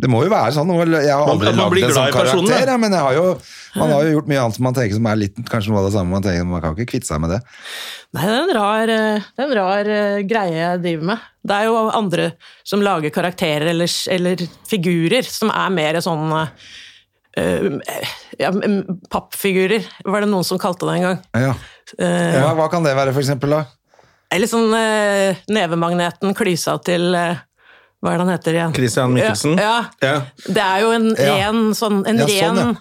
Speaker 2: Det må jo være sånn. og Jeg har
Speaker 1: Man-
Speaker 2: aldri
Speaker 1: man blir
Speaker 2: lagd en sånn
Speaker 1: glad i personen, da.
Speaker 2: karakter, ja, men jeg har jo, man har jo gjort mye annet som man tenker som er litt, kanskje noe av det samme. Man tenker man kan ikke kvitte seg med det.
Speaker 3: Nei, det er en rar, eh, det er en rar eh, greie jeg driver med. Det er jo andre som lager karakterer eller, eller figurer som er mer sånn eh, eh, ja, mm, pappfigurer, var det noen som kalte det en gang.
Speaker 2: Ja.
Speaker 3: Eh,
Speaker 2: Hva, hva kan det være, for eksempel? Da?
Speaker 3: Eller sånn eh, nevemagneten klysa til eh, Hva er det han heter igjen?
Speaker 1: Christian Michelsen.
Speaker 3: Ja, ja.
Speaker 1: Ja.
Speaker 3: Det er jo en
Speaker 2: Ja.
Speaker 3: ren, sånn, en
Speaker 2: Ja, sånn,
Speaker 3: ren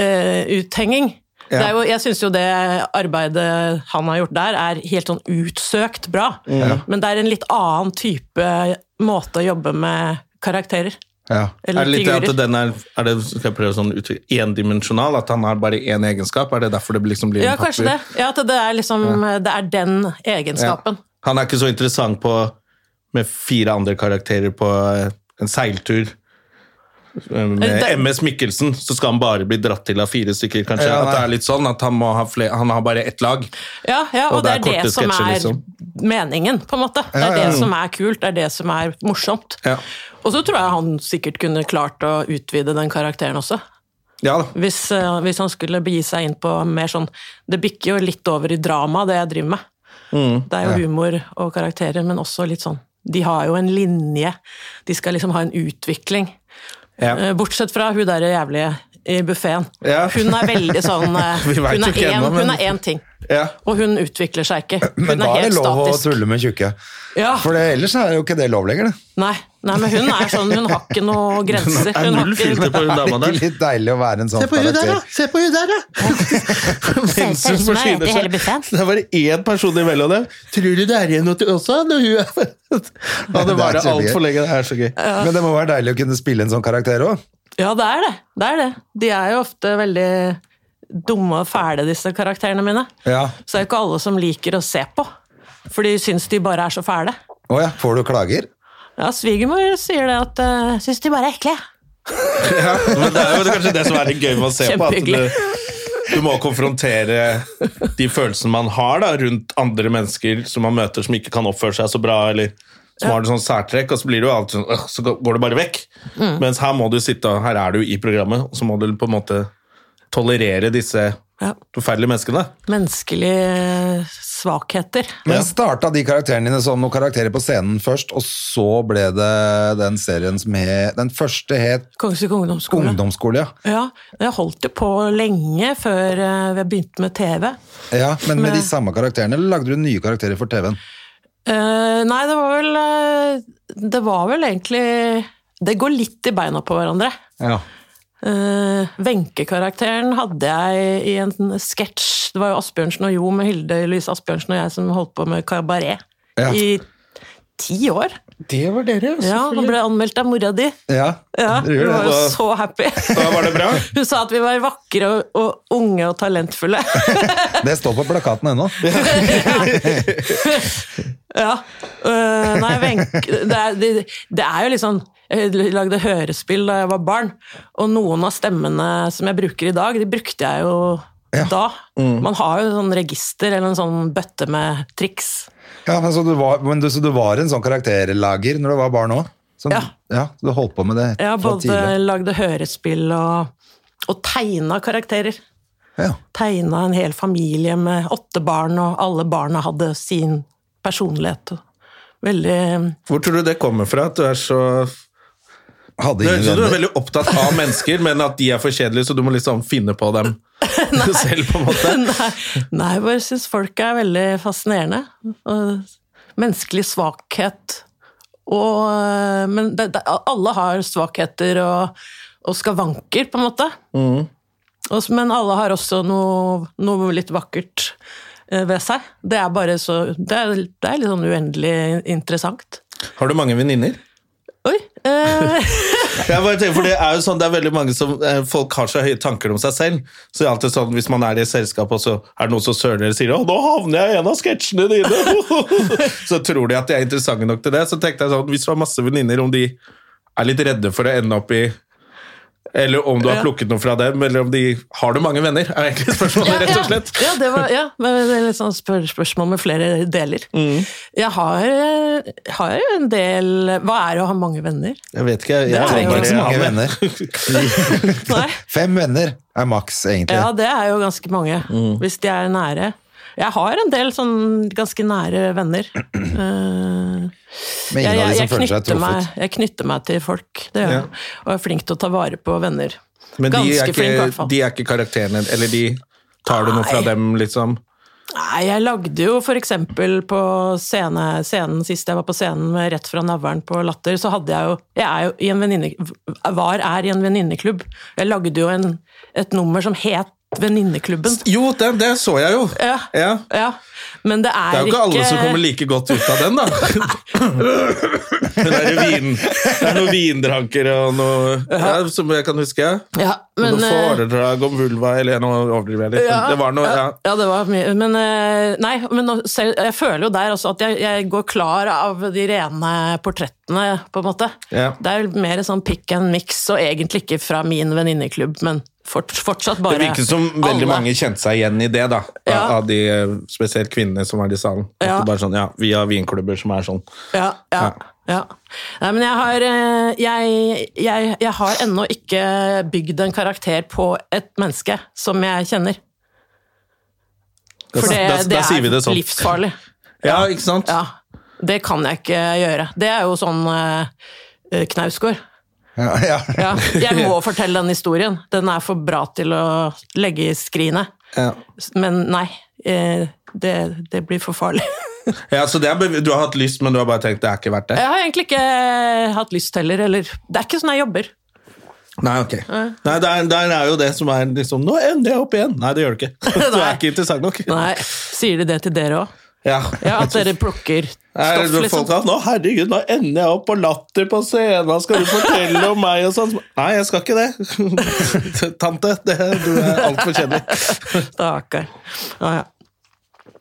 Speaker 3: eh, uthenging. Det er jo, jeg syns jo det arbeidet han har gjort der, er helt sånn utsøkt bra. Men det er en litt annen type måte å jobbe med karakterer.
Speaker 2: Ja.
Speaker 1: Er
Speaker 3: Eller
Speaker 1: det litt det at
Speaker 3: figurer.
Speaker 1: den er, er det, skal jeg prøve sånn uttrykk, endimensjonal? At han har bare én egenskap? Er det derfor det blir- liksom blir en
Speaker 3: Ja, kanskje det.
Speaker 1: papir?
Speaker 3: Ja, at det er liksom Det er den egenskapen.
Speaker 1: Han er ikke så interessant på med fire andre karakterer på eh, en seiltur. Med
Speaker 3: Det-
Speaker 1: MS Mikkelsen så skal han bare bli dratt til av fire stykker, kanskje.
Speaker 2: Ja, nei.
Speaker 1: at det er litt sånn at han, må ha fle- han har bare ett lag.
Speaker 3: Ja, ja og, det er det,
Speaker 1: korte
Speaker 3: som
Speaker 1: sketsjer,
Speaker 3: er
Speaker 1: liksom.
Speaker 3: meningen, på en måte. Det
Speaker 2: Ja, ja,
Speaker 3: er
Speaker 2: ja.
Speaker 3: det som er kult, det er det som er morsomt.
Speaker 1: Ja.
Speaker 3: Og så tror jeg han sikkert kunne klart å utvide den karakteren også.
Speaker 1: Ja da.
Speaker 3: Hvis, eh, hvis han skulle begi seg inn på mer sånn Det bikker jo litt over i drama, det jeg driver med.
Speaker 1: Mm,
Speaker 3: Det er jo humor og karakterer, men også litt sånn De har jo en linje. De skal liksom ha en utvikling.
Speaker 1: Ja.
Speaker 3: Eh, Bortsett fra hun derre jævlige i buffeen.
Speaker 1: Ja.
Speaker 3: Hun er veldig sånn eh,
Speaker 1: Vi vet
Speaker 3: Hun
Speaker 1: jo
Speaker 3: er
Speaker 1: ikke
Speaker 3: én-
Speaker 1: ennå, men-
Speaker 3: hun er én ting.
Speaker 1: Ja.
Speaker 3: Og hun utvikler seg ikke. Hun
Speaker 2: Men da
Speaker 3: er
Speaker 2: er det
Speaker 3: helt
Speaker 2: lov å
Speaker 3: statisk. Ah.
Speaker 2: tulle med tjukke.
Speaker 3: Ja.
Speaker 2: For det, ellers er jo ikke det lov lenger, det.
Speaker 3: Nei, Nei, men hun er sånn, hun har ikke noen grenser.
Speaker 1: er
Speaker 3: Hun har
Speaker 1: null
Speaker 3: ikke-
Speaker 1: filter på hun dama
Speaker 2: Det er
Speaker 1: der.
Speaker 2: litt deilig å være en sånn
Speaker 1: Se på hun der, da!
Speaker 2: karakter.
Speaker 1: Se på hun der, da! Mens hun
Speaker 3: som er
Speaker 1: forsyner
Speaker 3: ute i hele buffeten.
Speaker 1: seg. Det er bare én person imellom dem. Tror du det er igjen noe til også? Når hun er ja,
Speaker 2: Det er
Speaker 1: det varer
Speaker 2: kjempegøy.
Speaker 1: altfor lenge. Det er så gøy.
Speaker 2: Men det må være deilig å kunne spille en sånn karakter òg.
Speaker 3: Ja, det er det. det er det. De er jo ofte veldig dumme og fæle, disse karakterene mine.
Speaker 2: Ja.
Speaker 3: Så det er jo ikke alle som liker å se på. For de syns de bare er så fæle.
Speaker 2: Å ja, får du klager?
Speaker 3: Ja, svigermor sier det at uh, syns de bare er ekle.
Speaker 1: Men det er jo kanskje det som er litt gøy med å se på. At
Speaker 3: Kjempehyggelig.
Speaker 1: du, du må konfrontere de følelsene man har da, rundt andre mennesker som man møter som ikke kan oppføre seg så bra, eller som har noen sånn særtrekk, og så blir det jo alltid sånn, «Åh», så går det bare vekk. Mens her må du sitte, og her er du i programmet, og så må du på en måte tolerere disse
Speaker 3: Ja.
Speaker 1: forferdelige menneskene.
Speaker 3: Menneskelige svakheter.
Speaker 2: Men starta de karakterene dine som noen karakterer på scenen først, og så ble det den serien som het Den første het
Speaker 3: Kongsvik ungdomsskole.
Speaker 2: Ungdomsskole, ja.
Speaker 3: Ja, Jeg holdt jo på lenge før eh, vi begynte med TV.
Speaker 2: ja. Men med
Speaker 3: Med-
Speaker 2: de samme karakterene eller lagde du nye karakterer for TV-en?
Speaker 3: Eh, nei, det var vel eh, Det var vel egentlig Det går litt i beina på hverandre.
Speaker 2: Ja.
Speaker 3: Eh, Wenche-karakteren hadde jeg i en sånn sketsj. Det var jo Asbjørnsen og Jo med Hilde Louise Asbjørnsen og jeg som holdt på med kabaret
Speaker 2: Ja.
Speaker 3: i ti år.
Speaker 1: Det var dere,
Speaker 3: Ja, Han ble anmeldt av mora di.
Speaker 2: ja.
Speaker 3: Ja,
Speaker 2: det
Speaker 3: Hun
Speaker 2: gjør
Speaker 3: var
Speaker 2: det.
Speaker 3: jo så happy.
Speaker 1: Da var det bra.
Speaker 3: Hun sa at vi var vakre og, og unge og talentfulle.
Speaker 2: Det står på plakaten ennå.
Speaker 3: ja. Øh, nei, Wenche det, er- det, det er jo litt sånn Jeg lagde hørespill da jeg var barn, og noen av stemmene som jeg bruker i dag, de brukte jeg jo
Speaker 2: Ja.
Speaker 3: da. Man har jo sånn register eller en sånn bøtte med triks.
Speaker 2: Ja, men så, du var, men du, så du var en sånn karakterlager når du var barn òg? Sånn, ja.
Speaker 3: Ja.
Speaker 2: så Du holdt på med det
Speaker 3: Jeg har
Speaker 2: fra
Speaker 3: både
Speaker 2: tidlig?
Speaker 3: lagde hørespill og, og tegna karakterer.
Speaker 2: Ja.
Speaker 3: Tegna en hel familie med åtte barn, og alle barna hadde sin personlighet. og Veldig
Speaker 1: Hvor tror du det kommer fra, at du er så...
Speaker 2: Hadde
Speaker 1: Det høres ut
Speaker 2: ingen
Speaker 1: som du er
Speaker 2: venner.
Speaker 1: veldig opptatt av mennesker, men at de er for kjedelige, så du må liksom finne på dem selv på en måte.
Speaker 3: Nei, nei, jeg bare syns folk er veldig fascinerende. Og menneskelig svakhet og øh, Men det, det, alle har svakheter og, og skavanker, på en måte. Og s- men alle har også noe, noe litt vakkert eh, ved seg. Det er bare så Det er, det er litt sånn uendelig interessant.
Speaker 1: Har du mange venninner?
Speaker 3: Oi! Eh,
Speaker 1: Jeg bare tenker, for Det er jo sånn, det er veldig mange som eh, folk har så høye tanker om seg selv. Så det er alltid sånn, Hvis man er i et selskap, og så er det noen som søler eller sier 'Å, nå havner jeg i en av sketsjene dine', så tror de at de er interessante nok til det. Så tenkte jeg sånn, Hvis du har masse venninner, om de er litt redde for å ende opp i Eller om du har
Speaker 3: Ja.
Speaker 1: plukket noe fra dem, eller om de Har du mange venner? er egentlig spørsmålet, rett og slett.
Speaker 3: Ja, ja, det var, ja men det er litt sånn spør spørsmål med flere deler.
Speaker 1: Mm.
Speaker 3: Jeg har, eh, har jo en del Hva er det å ha mange venner?
Speaker 1: Jeg vet ikke. Jeg, jeg,
Speaker 3: Det er jo
Speaker 1: trenger
Speaker 2: Ikke så mange
Speaker 1: alle.
Speaker 2: venner.
Speaker 3: Nei,
Speaker 2: Fem venner er maks, egentlig.
Speaker 3: ja, det er jo ganske mange,
Speaker 1: Mm.
Speaker 3: hvis de er nære. Jeg har en del sånn ganske nære venner. Eh,
Speaker 2: Men ingen av de som føler seg
Speaker 3: knytter meg,
Speaker 2: truffet.
Speaker 3: jeg knytter meg til folk, det gjør
Speaker 1: Ja.
Speaker 3: jeg. Og er flink til å ta vare på venner.
Speaker 1: Men de
Speaker 3: ganske
Speaker 1: er,
Speaker 3: flink, i hvert
Speaker 1: ikke,
Speaker 3: fall.
Speaker 1: de er ikke karakterene Eller de Tar du noe fra
Speaker 3: Nei.
Speaker 1: dem, liksom?
Speaker 3: Nei, jeg lagde jo for eksempel på scene, scenen sist jeg var på scenen med Rett fra navlen på Latter, så hadde jeg jo Jeg er jo i en venninne... Var er i en venninneklubb. Jeg lagde jo en, et nummer som het Venninneklubben.
Speaker 1: Jo, det, det så jeg jo!
Speaker 3: Ja.
Speaker 1: Ja.
Speaker 3: Ja, men det
Speaker 1: Det
Speaker 3: er,
Speaker 1: er jo ikke alle som kommer like godt ut av den, da. det, er jo vin, det er noen vindranker og noe ja, Som jeg kan huske.
Speaker 3: ja, men,
Speaker 1: noe
Speaker 3: eh,
Speaker 1: foredrag om vulva, eller nå overdriver jeg litt. men Det var noe, ja.
Speaker 3: ja, det var mye. Men, eh, nei, men nå- selv, jeg føler jo der også at jeg, jeg går klar av de rene portrettene, på en måte.
Speaker 1: Ja.
Speaker 3: Det er jo mer sånn pick and mix, og egentlig ikke fra min venninneklubb, men fort, fortsatt
Speaker 1: Det
Speaker 3: bare
Speaker 1: virket som veldig
Speaker 3: alle.
Speaker 1: mange kjente seg igjen i det, da.
Speaker 3: Ja.
Speaker 1: Av de eh, spesielt kvinnene som var i salen. At
Speaker 3: Ja.
Speaker 1: det bare sånn, ja, Vi har vinklubber som er sånn.
Speaker 3: Ja, ja, ja. Nei, men jeg har, eh, jeg, jeg, jeg har ennå ikke bygd en karakter på et menneske som jeg kjenner.
Speaker 1: Da,
Speaker 3: For det,
Speaker 1: da, da,
Speaker 3: det
Speaker 1: sier vi
Speaker 3: er
Speaker 1: det sånn.
Speaker 3: livsfarlig.
Speaker 1: Ja, ikke sant?
Speaker 3: Ja, det kan jeg ikke gjøre. Det er jo sånn eh, eh, Knausgård.
Speaker 2: Ja, ja.
Speaker 3: Ja, jeg må fortelle den historien. Den er for bra til å legge i skrinet.
Speaker 1: Ja.
Speaker 3: Men nei, eh, det, det blir for farlig.
Speaker 1: Ja, så det er, bev- du har hatt lyst, men du har bare tenkt det er ikke verdt det?
Speaker 3: Jeg har egentlig ikke eh, hatt lyst heller, eller Det er ikke sånn jeg jobber.
Speaker 1: Nei, ok. Nei, der, der er jo det som er liksom Nå ender jeg opp igjen! Nei, det gjør det ikke. Du er
Speaker 3: Nei.
Speaker 1: ikke interessant nok.
Speaker 3: Nei, Sier de det til dere òg?
Speaker 1: Ja.
Speaker 3: Ja, at dere plukker
Speaker 1: Er
Speaker 3: stoff,
Speaker 1: det
Speaker 3: liksom.
Speaker 1: folk har, nå, herregud, nå ender jeg opp på latter på scenen, skal du fortelle om meg og sånn? Nei, jeg skal ikke det. Tante, det, du er altfor kjedelig.
Speaker 3: Stakkar. Ja, ja.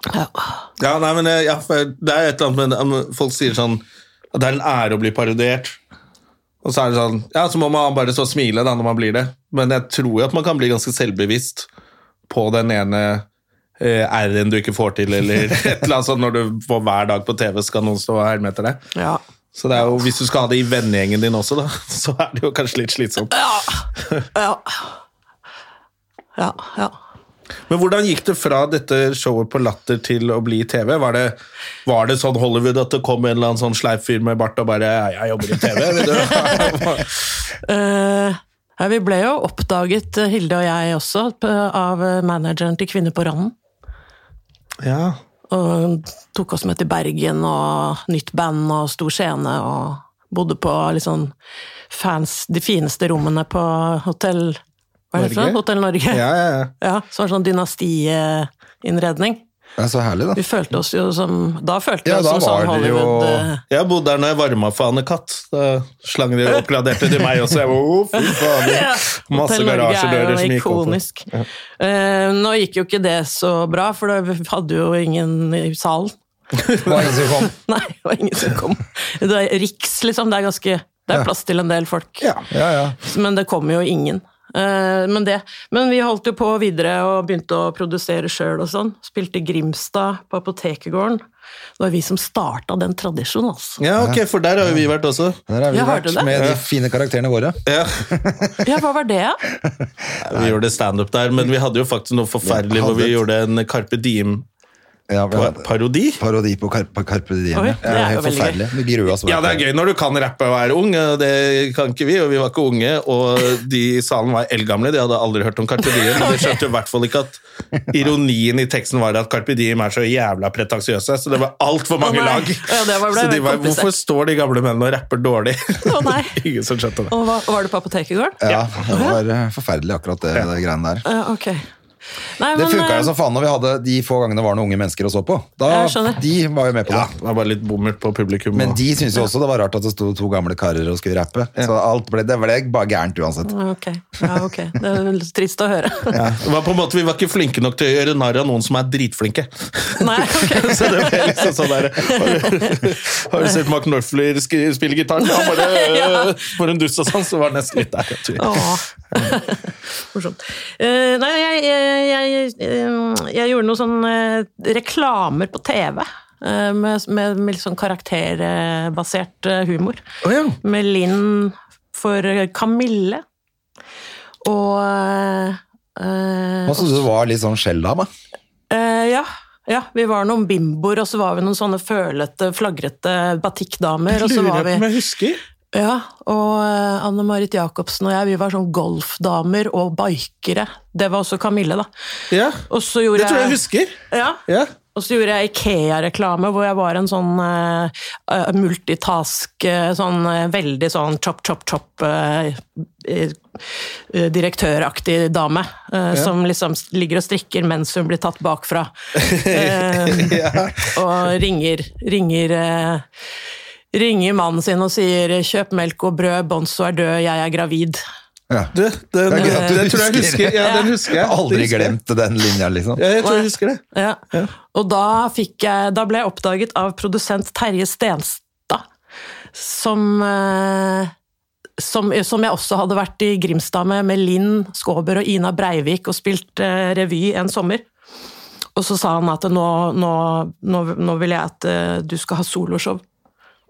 Speaker 1: Ja, nei, men eh, ja, for det er et eller annet med om Folk sier sånn at det er en ære å bli parodiert. Og så er det sånn Ja, så må man bare så smile da når man blir det. Men jeg tror jo at man kan bli ganske selvbevisst på den ene eh, R-en du ikke får til, eller et eller annet sånt når du på hver dag på TV skal noen stå og herme etter deg.
Speaker 3: ja.
Speaker 1: Så det er jo, hvis du skal ha det i vennegjengen din også, da, så er det jo kanskje litt slitsomt.
Speaker 3: Ja. Ja, ja.
Speaker 1: Men hvordan gikk det fra dette showet på Latter til å bli TV? Var det, var det sånn Hollywood at det kom en eller annen sånn sleip fyr med bart og bare «Ja, 'Jeg jobber i TV', vil du?
Speaker 3: Eh, ja, vi ble jo oppdaget, eh, Hilde og jeg også, p- av eh, manageren til Kvinner på randen.
Speaker 1: ja.
Speaker 3: Og tok oss med til Bergen og nytt band og stor scene og bodde på liksom fans, de fineste rommene på hotell Hva er det for
Speaker 1: Norge?
Speaker 3: noe? Hotell Norge.
Speaker 1: Ja, ja, ja.
Speaker 3: Ja, så var det sånn dynastiinnredning.
Speaker 2: Det er så herlig,
Speaker 3: Vi
Speaker 2: da.
Speaker 3: følte oss jo som Da følte vi
Speaker 2: Ja,
Speaker 3: oss
Speaker 2: da
Speaker 3: som sånn
Speaker 2: var det jo-
Speaker 3: Hollywood eh,
Speaker 1: Jeg bodde der når jeg varma for Anne-Kat. Da slang de og oppgraderte til meg også. Jeg var, «Å, fy
Speaker 3: Ja.
Speaker 1: faen. Masse
Speaker 3: Hotell
Speaker 1: garasjedører
Speaker 3: Norge er
Speaker 1: som
Speaker 3: jo
Speaker 1: gikk opp.
Speaker 3: ikonisk. Eh, nå gikk jo ikke det så bra, for da vi hadde jo ingen i salen.
Speaker 2: Det var en som kom.
Speaker 3: Nei, det var ingen som kom. Det er Riks, liksom. Det er ganske Det er plass til en del folk.
Speaker 2: Ja, ja.
Speaker 3: Men det kom jo ingen. Eh, Men, det, men vi holdt jo på videre og begynte å produsere sjøl og sånn. Spilte Grimstad på Apotekegården. Det var vi som starta den tradisjonen, altså.
Speaker 1: Ja, ok, for der har jo vi vært også.
Speaker 2: Der har vi
Speaker 3: Ja, har du
Speaker 2: vært
Speaker 3: det?
Speaker 2: med de fine karakterene våre.
Speaker 1: Ja.
Speaker 3: Ja, hva var det?
Speaker 1: Vi gjorde standup der, men vi hadde jo faktisk noe forferdelig hvor vi
Speaker 2: Hadde.
Speaker 1: gjorde en Carpe
Speaker 2: Ja, vi hadde
Speaker 1: Diem-parodi.
Speaker 2: Parodi på Carpe, Carpe Diem.
Speaker 3: Oi,
Speaker 2: ja.
Speaker 3: det
Speaker 2: Det er
Speaker 3: er jo
Speaker 2: helt
Speaker 3: veldig gøy.
Speaker 2: forferdelig. Vi grua oss.
Speaker 1: Ja, det er gøy når du kan rappe og er ung. og Det kan ikke vi, og vi var ikke unge. Og de i salen var eldgamle, de hadde aldri hørt om Carpe Diem. Men de skjønte jo i hvert fall ikke at ironien i teksten var at Carpe Diem er så jævla pretensiøse. Så det var altfor mange
Speaker 3: Å, nei.
Speaker 1: lag.
Speaker 3: Ja, det
Speaker 1: så
Speaker 3: var- ble
Speaker 1: de
Speaker 3: veldig
Speaker 1: var,
Speaker 3: komplisert.
Speaker 1: hvorfor står de gamle mennene og rapper dårlig?
Speaker 3: Å, nei.
Speaker 1: Ingen som skjønte det.
Speaker 3: Og hva, var det på Apotekegården?
Speaker 2: Ja, det var eh, forferdelig akkurat det, det greiene der.
Speaker 3: Ja, Eh, ok. Nei,
Speaker 2: Det
Speaker 3: men,
Speaker 2: funka
Speaker 3: eh,
Speaker 2: jo som faen når vi hadde de få gangene det var noen unge mennesker å så på. Da,
Speaker 3: Jeg skjønner.
Speaker 2: de var jo med på
Speaker 1: Ja,
Speaker 2: det.
Speaker 1: det var bare litt bommert på publikum.
Speaker 2: Men
Speaker 1: og-
Speaker 2: de syntes jo også det var rart at det sto to gamle karer og skulle rappe. Så alt ble, det ble bare gærent uansett.
Speaker 3: Ah, Ok, ja, ok. Det er vel trist å høre.
Speaker 1: ja. det var på en måte, Vi var ikke flinke nok til å gjøre narr av noen som er dritflinke.
Speaker 3: Nei, ok.
Speaker 1: Så det ble liksom sånn der Har du, har du sett Mark Knopfler sk- spille gitar? Han bare
Speaker 3: Ja.
Speaker 1: For en dust og sånn, så var det nesten litt der. jeg tror.
Speaker 3: Åh. Morsomt. Eh, nei, jeg, jeg, jeg, eh, jeg gjorde noen sånne eh, reklamer på TV. eh, Med, med, med litt sånn karakterbasert eh, humor.
Speaker 1: Å ja.
Speaker 3: Med Linn for eh, Kamille. Og eh, eh,
Speaker 2: Nå syntes du det var litt sånn skjelldame.
Speaker 3: Eh, ja. ja. Vi var noen bimboer, og så var vi noen sånne følete, flagrete batikkdamer. Og så
Speaker 1: Lurer
Speaker 3: var
Speaker 1: på om
Speaker 3: vi
Speaker 1: jeg husker.
Speaker 3: ja, Og eh, Anne Marit Jacobsen og jeg, vi var sånn golfdamer og bikere. Det var også Kamille, da.
Speaker 1: Ja.
Speaker 3: Og så gjorde
Speaker 1: Det tror jeg jeg husker.
Speaker 3: Ja.
Speaker 1: Ja.
Speaker 3: Og så gjorde jeg Ikea-reklame, hvor jeg var en sånn eh, eh, multitask, eh, sånn eh, veldig sånn chop, chop, chop eh, eh, eh, direktøraktig dame, eh, som liksom s- ligger og strikker mens hun blir tatt bakfra. Eh, Og ringer, ringer eh, Ringer mannen sin og sier 'kjøp melk og brød, Bonzo er død, jeg er gravid'.
Speaker 2: Ja.
Speaker 1: Du, den,
Speaker 2: Det er gøy at du
Speaker 1: den tror jeg jeg
Speaker 2: husker.
Speaker 1: husker. Ja, den husker
Speaker 2: Jeg
Speaker 1: jeg.
Speaker 2: har
Speaker 1: Den
Speaker 2: aldri
Speaker 1: husker jeg.
Speaker 2: glemt den linja, liksom.
Speaker 1: Ja, jeg tror jeg husker det.
Speaker 3: Ja. Og da, fikk jeg, da ble jeg oppdaget av produsent Terje Stenstad, som, eh, som, som jeg også hadde vært i Grimstad med, med Linn Skåber og Ina Breivik og spilt eh, revy en sommer. Og så sa han at nå, nå, nå, nå vil jeg at eh, du skal ha soloshow,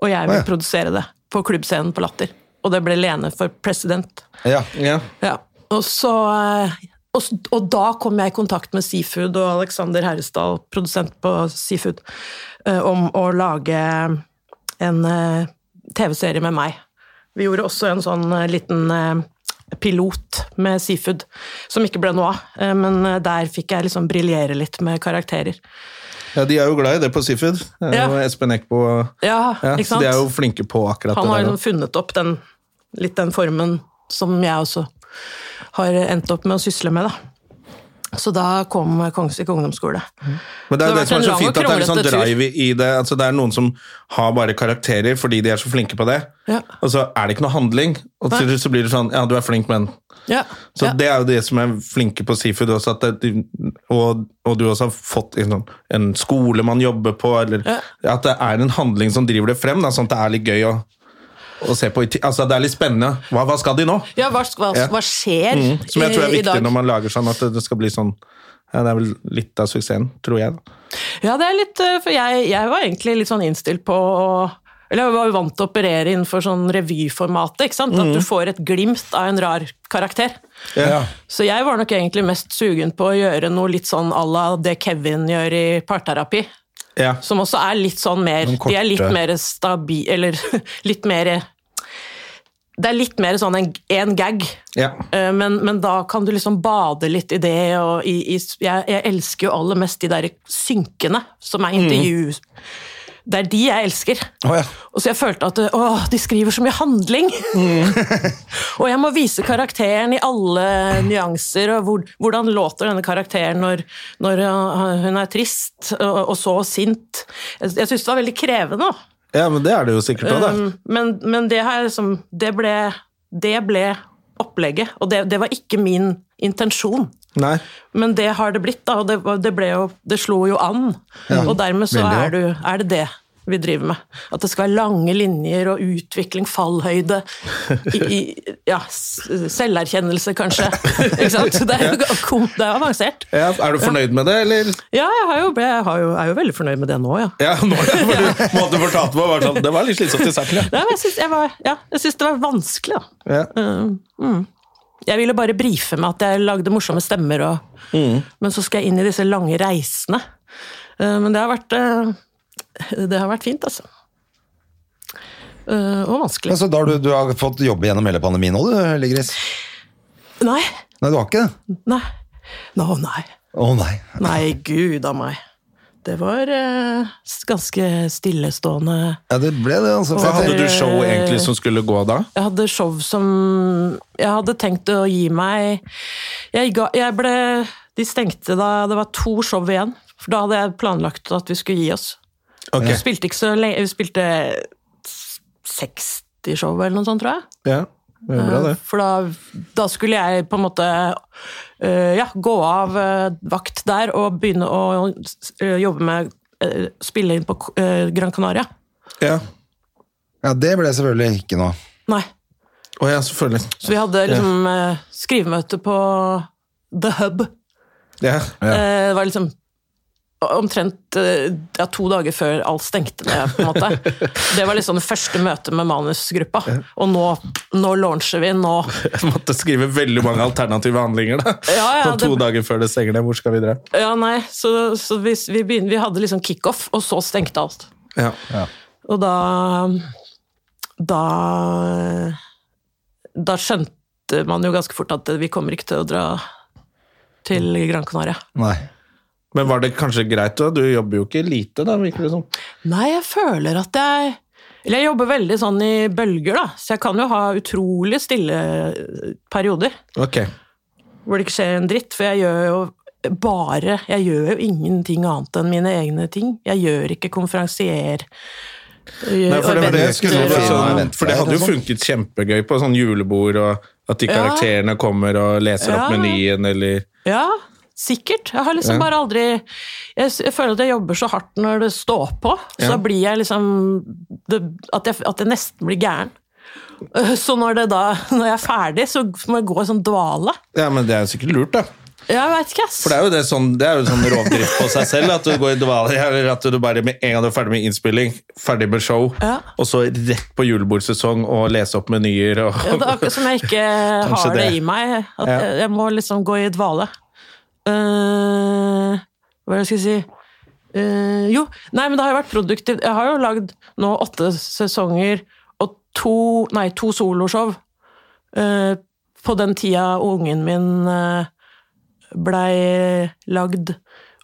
Speaker 3: og jeg vil
Speaker 2: Å, ja.
Speaker 3: produsere det på klubbscenen på Latter. Og det ble Lene for president.
Speaker 2: Ja.
Speaker 1: Ja.
Speaker 3: Ja, og så eh, og, s- og da kom jeg i kontakt med Seafood og Alexander Herresdal, produsent på Seafood, eh, om å lage en eh, TV-serie med meg. Vi gjorde også en sånn eh, liten eh, pilot med Seafood, som ikke ble noe av. eh, Men eh, der fikk jeg liksom briljere litt med karakterer.
Speaker 1: Ja, De er jo glad i det på Seafood. Det er
Speaker 3: Ja.
Speaker 1: jo Espen Eckbo
Speaker 3: Ja,
Speaker 1: ja,
Speaker 3: ikke
Speaker 1: så
Speaker 3: sant?
Speaker 1: De er jo flinke på akkurat
Speaker 3: Han har
Speaker 1: det.
Speaker 3: liksom
Speaker 1: der.
Speaker 3: funnet opp den, litt den formen som jeg også har endt opp med å sysle med, da. Så da kom Kongsvik ungdomsskole.
Speaker 1: Men det er jo
Speaker 3: det
Speaker 1: det
Speaker 3: har
Speaker 1: som
Speaker 3: vært
Speaker 1: er
Speaker 3: en
Speaker 1: så
Speaker 3: lang
Speaker 1: fint,
Speaker 3: og
Speaker 1: at det er litt sånn
Speaker 3: kronglete tur.
Speaker 1: drive i i det. Altså, det er noen som har bare karakterer fordi de er så flinke på det,
Speaker 3: Ja.
Speaker 1: og så er det ikke noe handling. Og
Speaker 3: Nei.
Speaker 1: til slutt så blir det sånn Ja, du er flink, men
Speaker 3: Ja,
Speaker 1: Så
Speaker 3: ja.
Speaker 1: det er jo det som er flinke på Seafood også, at det, og, og du også har fått liksom, en skole man jobber på, eller at det er en handling som driver det frem, da, sånn at det er litt gøy å, å se på. i ti- Altså, det er litt spennende. Hva, hva skal de nå?
Speaker 3: ja hva, hva,
Speaker 1: Ja.
Speaker 3: hva skjer
Speaker 1: Mm, som jeg tror er
Speaker 3: Eh, i, i
Speaker 1: viktig
Speaker 3: dag?
Speaker 1: når man lager sånn, at det, det skal bli sånn ja, Det er vel litt av suksessen, tror jeg. da.
Speaker 3: Ja, det er litt eh, For jeg, jeg var egentlig litt sånn innstilt på å eller jeg var jo vant til å operere innenfor sånn revyformatet. ikke sant? At du
Speaker 1: Mhm.
Speaker 3: får et glimt av en rar karakter.
Speaker 2: Ja.
Speaker 3: Så jeg var nok egentlig mest sugen på å gjøre noe litt sånn à la det Kevin gjør i parterapi.
Speaker 1: Ja.
Speaker 3: Som også er litt sånn mer
Speaker 2: Noen korte-
Speaker 3: De er litt mer stabi... Eller litt mer Det er litt mer sånn en, en gag.
Speaker 1: Ja.
Speaker 3: Eh, Men, men da kan du liksom bade litt i det. Og i, i, jeg, jeg elsker jo aller mest de der synkene som er intervju. Det er de jeg elsker.
Speaker 2: Å, ja.
Speaker 3: Og så jeg følte at å, de skriver så mye handling!
Speaker 1: Mm.
Speaker 3: og jeg må vise karakteren i alle nyanser, og hvor, hvordan låter denne karakteren når, når uh, hun er trist og, og så sint. Jeg, jeg syns det var veldig krevende. da.
Speaker 1: ja, men det er det jo sikkert òg, da.
Speaker 3: Um, men, men det her liksom Det ble, det ble opplegget, og det, det var ikke min intensjon.
Speaker 1: Nei.
Speaker 3: Men det har det blitt, da, og det, var- det, ble jo, det slo jo an. og dermed så
Speaker 2: veldig, ja.
Speaker 3: er, du, er det det vi driver med. At det skal være lange linjer og utvikling, fallhøyde i, i, Ja, s- selverkjennelse, kanskje. Ikke sant? Det er jo kom- det er avansert.
Speaker 1: Ja, er du fornøyd med det, eller?
Speaker 3: Ja, jeg, har jo, jeg har jo, er jo veldig fornøyd med det nå, ja.
Speaker 1: Ja, nå, for du, måten du fortalte meg, var sånn Det var litt slitsomt i starten, ja.
Speaker 3: Ja, men jeg syns jeg var- ja, jeg syns det var vanskelig, da.
Speaker 1: ja.
Speaker 3: Jeg ville bare brife med at jeg lagde morsomme stemmer, og, men så skal jeg inn i disse lange reisene. Eh, Men det har vært, eh, det har vært fint, altså. Eh, Og
Speaker 2: Ja,
Speaker 3: vanskelig.
Speaker 2: så da har du, du har fått jobbe gjennom hele pandemien nå, du, Ligris?
Speaker 3: Nei,
Speaker 2: Nei, du har ikke det?
Speaker 3: nei. Nå, nei.
Speaker 2: Å nei.
Speaker 3: Nei, gud a meg. Det var eh, s- ganske stillestående.
Speaker 2: Ja, det ble det, altså.
Speaker 1: Så
Speaker 2: For
Speaker 1: hadde
Speaker 2: jeg,
Speaker 1: du show egentlig som skulle gå da?
Speaker 3: Jeg hadde show som Jeg hadde tenkt å gi meg jeg, ga, jeg ble De stengte da det var to show igjen. For da hadde jeg planlagt at vi skulle gi oss.
Speaker 1: Ok.
Speaker 3: Vi spilte ikke så lenge Vi spilte 60 show eller noe sånt, tror jeg.
Speaker 1: Ja, det er bra det.
Speaker 3: For da, da skulle jeg på en måte øh, ja, gå av øh, vakt der og begynne å øh, jobbe med øh, Spille inn på øh, Gran Canaria.
Speaker 1: Ja.
Speaker 2: ja, det ble selvfølgelig ikke noe.
Speaker 3: Nei.
Speaker 1: Å ja, selvfølgelig.
Speaker 3: Så vi hadde liksom øh, skrivemøte på The Hub.
Speaker 1: Ja.
Speaker 3: Eh, Det var liksom omtrent eh, ja, to dager før alt stengte ned, på en måte. Det var liksom det første møtet med manusgruppa. Og nå, nå launcher vi, nå
Speaker 1: Jeg måtte skrive veldig mange alternative handlinger da.
Speaker 3: Ja, ja,
Speaker 1: Sånn to
Speaker 3: det-
Speaker 1: dager før det stenger ned. Hvor skal vi dra?
Speaker 3: Ja, nei, så, så vi, vi, begynner, vi hadde liksom kickoff, og så stengte alt.
Speaker 1: Ja.
Speaker 3: Og da Da Da skjønte man jo ganske fort at vi kommer ikke til å dra til Gran Canaria.
Speaker 2: Nei.
Speaker 1: Men var det kanskje greit da? Du jobber jo ikke lite da, virker det som.
Speaker 3: Nei, jeg føler at jeg Eller jeg jobber veldig sånn i bølger, da. Så jeg kan jo ha utrolig stille eh, perioder
Speaker 1: Ok.
Speaker 3: hvor det ikke skjer en dritt. For jeg gjør jo bare Jeg gjør jo ingenting annet enn mine egne ting. Jeg gjør ikke konferansier.
Speaker 1: Nei, for det, var det, jeg skulle
Speaker 2: Eventer.
Speaker 1: si,
Speaker 2: Ja,
Speaker 1: sånn,
Speaker 2: eventer,
Speaker 1: for det hadde jo
Speaker 2: sånn.
Speaker 1: funket kjempegøy på sånn julebord, og at de
Speaker 3: Ja.
Speaker 1: karakterene kommer og leser opp
Speaker 3: Ja.
Speaker 1: menyen, eller...
Speaker 3: Ja, sikkert. Jeg har liksom
Speaker 1: Ja.
Speaker 3: bare aldri jeg, s- jeg føler at jeg jobber så hardt når det står på, så
Speaker 1: Ja.
Speaker 3: da blir jeg liksom det, at, jeg, at jeg nesten blir gæren. Øh, Så når, det da, når jeg er ferdig, så må jeg gå i sånn dvale.
Speaker 1: Ja, men det er jo sikkert lurt da.
Speaker 3: Jeg veit ikke, ass.
Speaker 1: For det er jo det sånn, det er jo sånn rovdrift på seg selv, at du går i dvale, eller at du bare med en gang du er ferdig med innspilling, ferdig med show,
Speaker 3: Ja.
Speaker 1: og så rett på julebordsesong og lese opp menyer. Og,
Speaker 3: Ja, det er akkurat som jeg ikke
Speaker 1: Kanskje
Speaker 3: har det.
Speaker 1: det.
Speaker 3: i meg. At
Speaker 1: Ja.
Speaker 3: jeg, jeg må liksom gå i dvale. Eh, hva er det jeg skal si Eh, Jo, nei, men det har jo vært produktivt. Jeg har jo lagd nå åtte sesonger og to, nei, to soloshow eh, på den tida ungen min eh, blei lagd.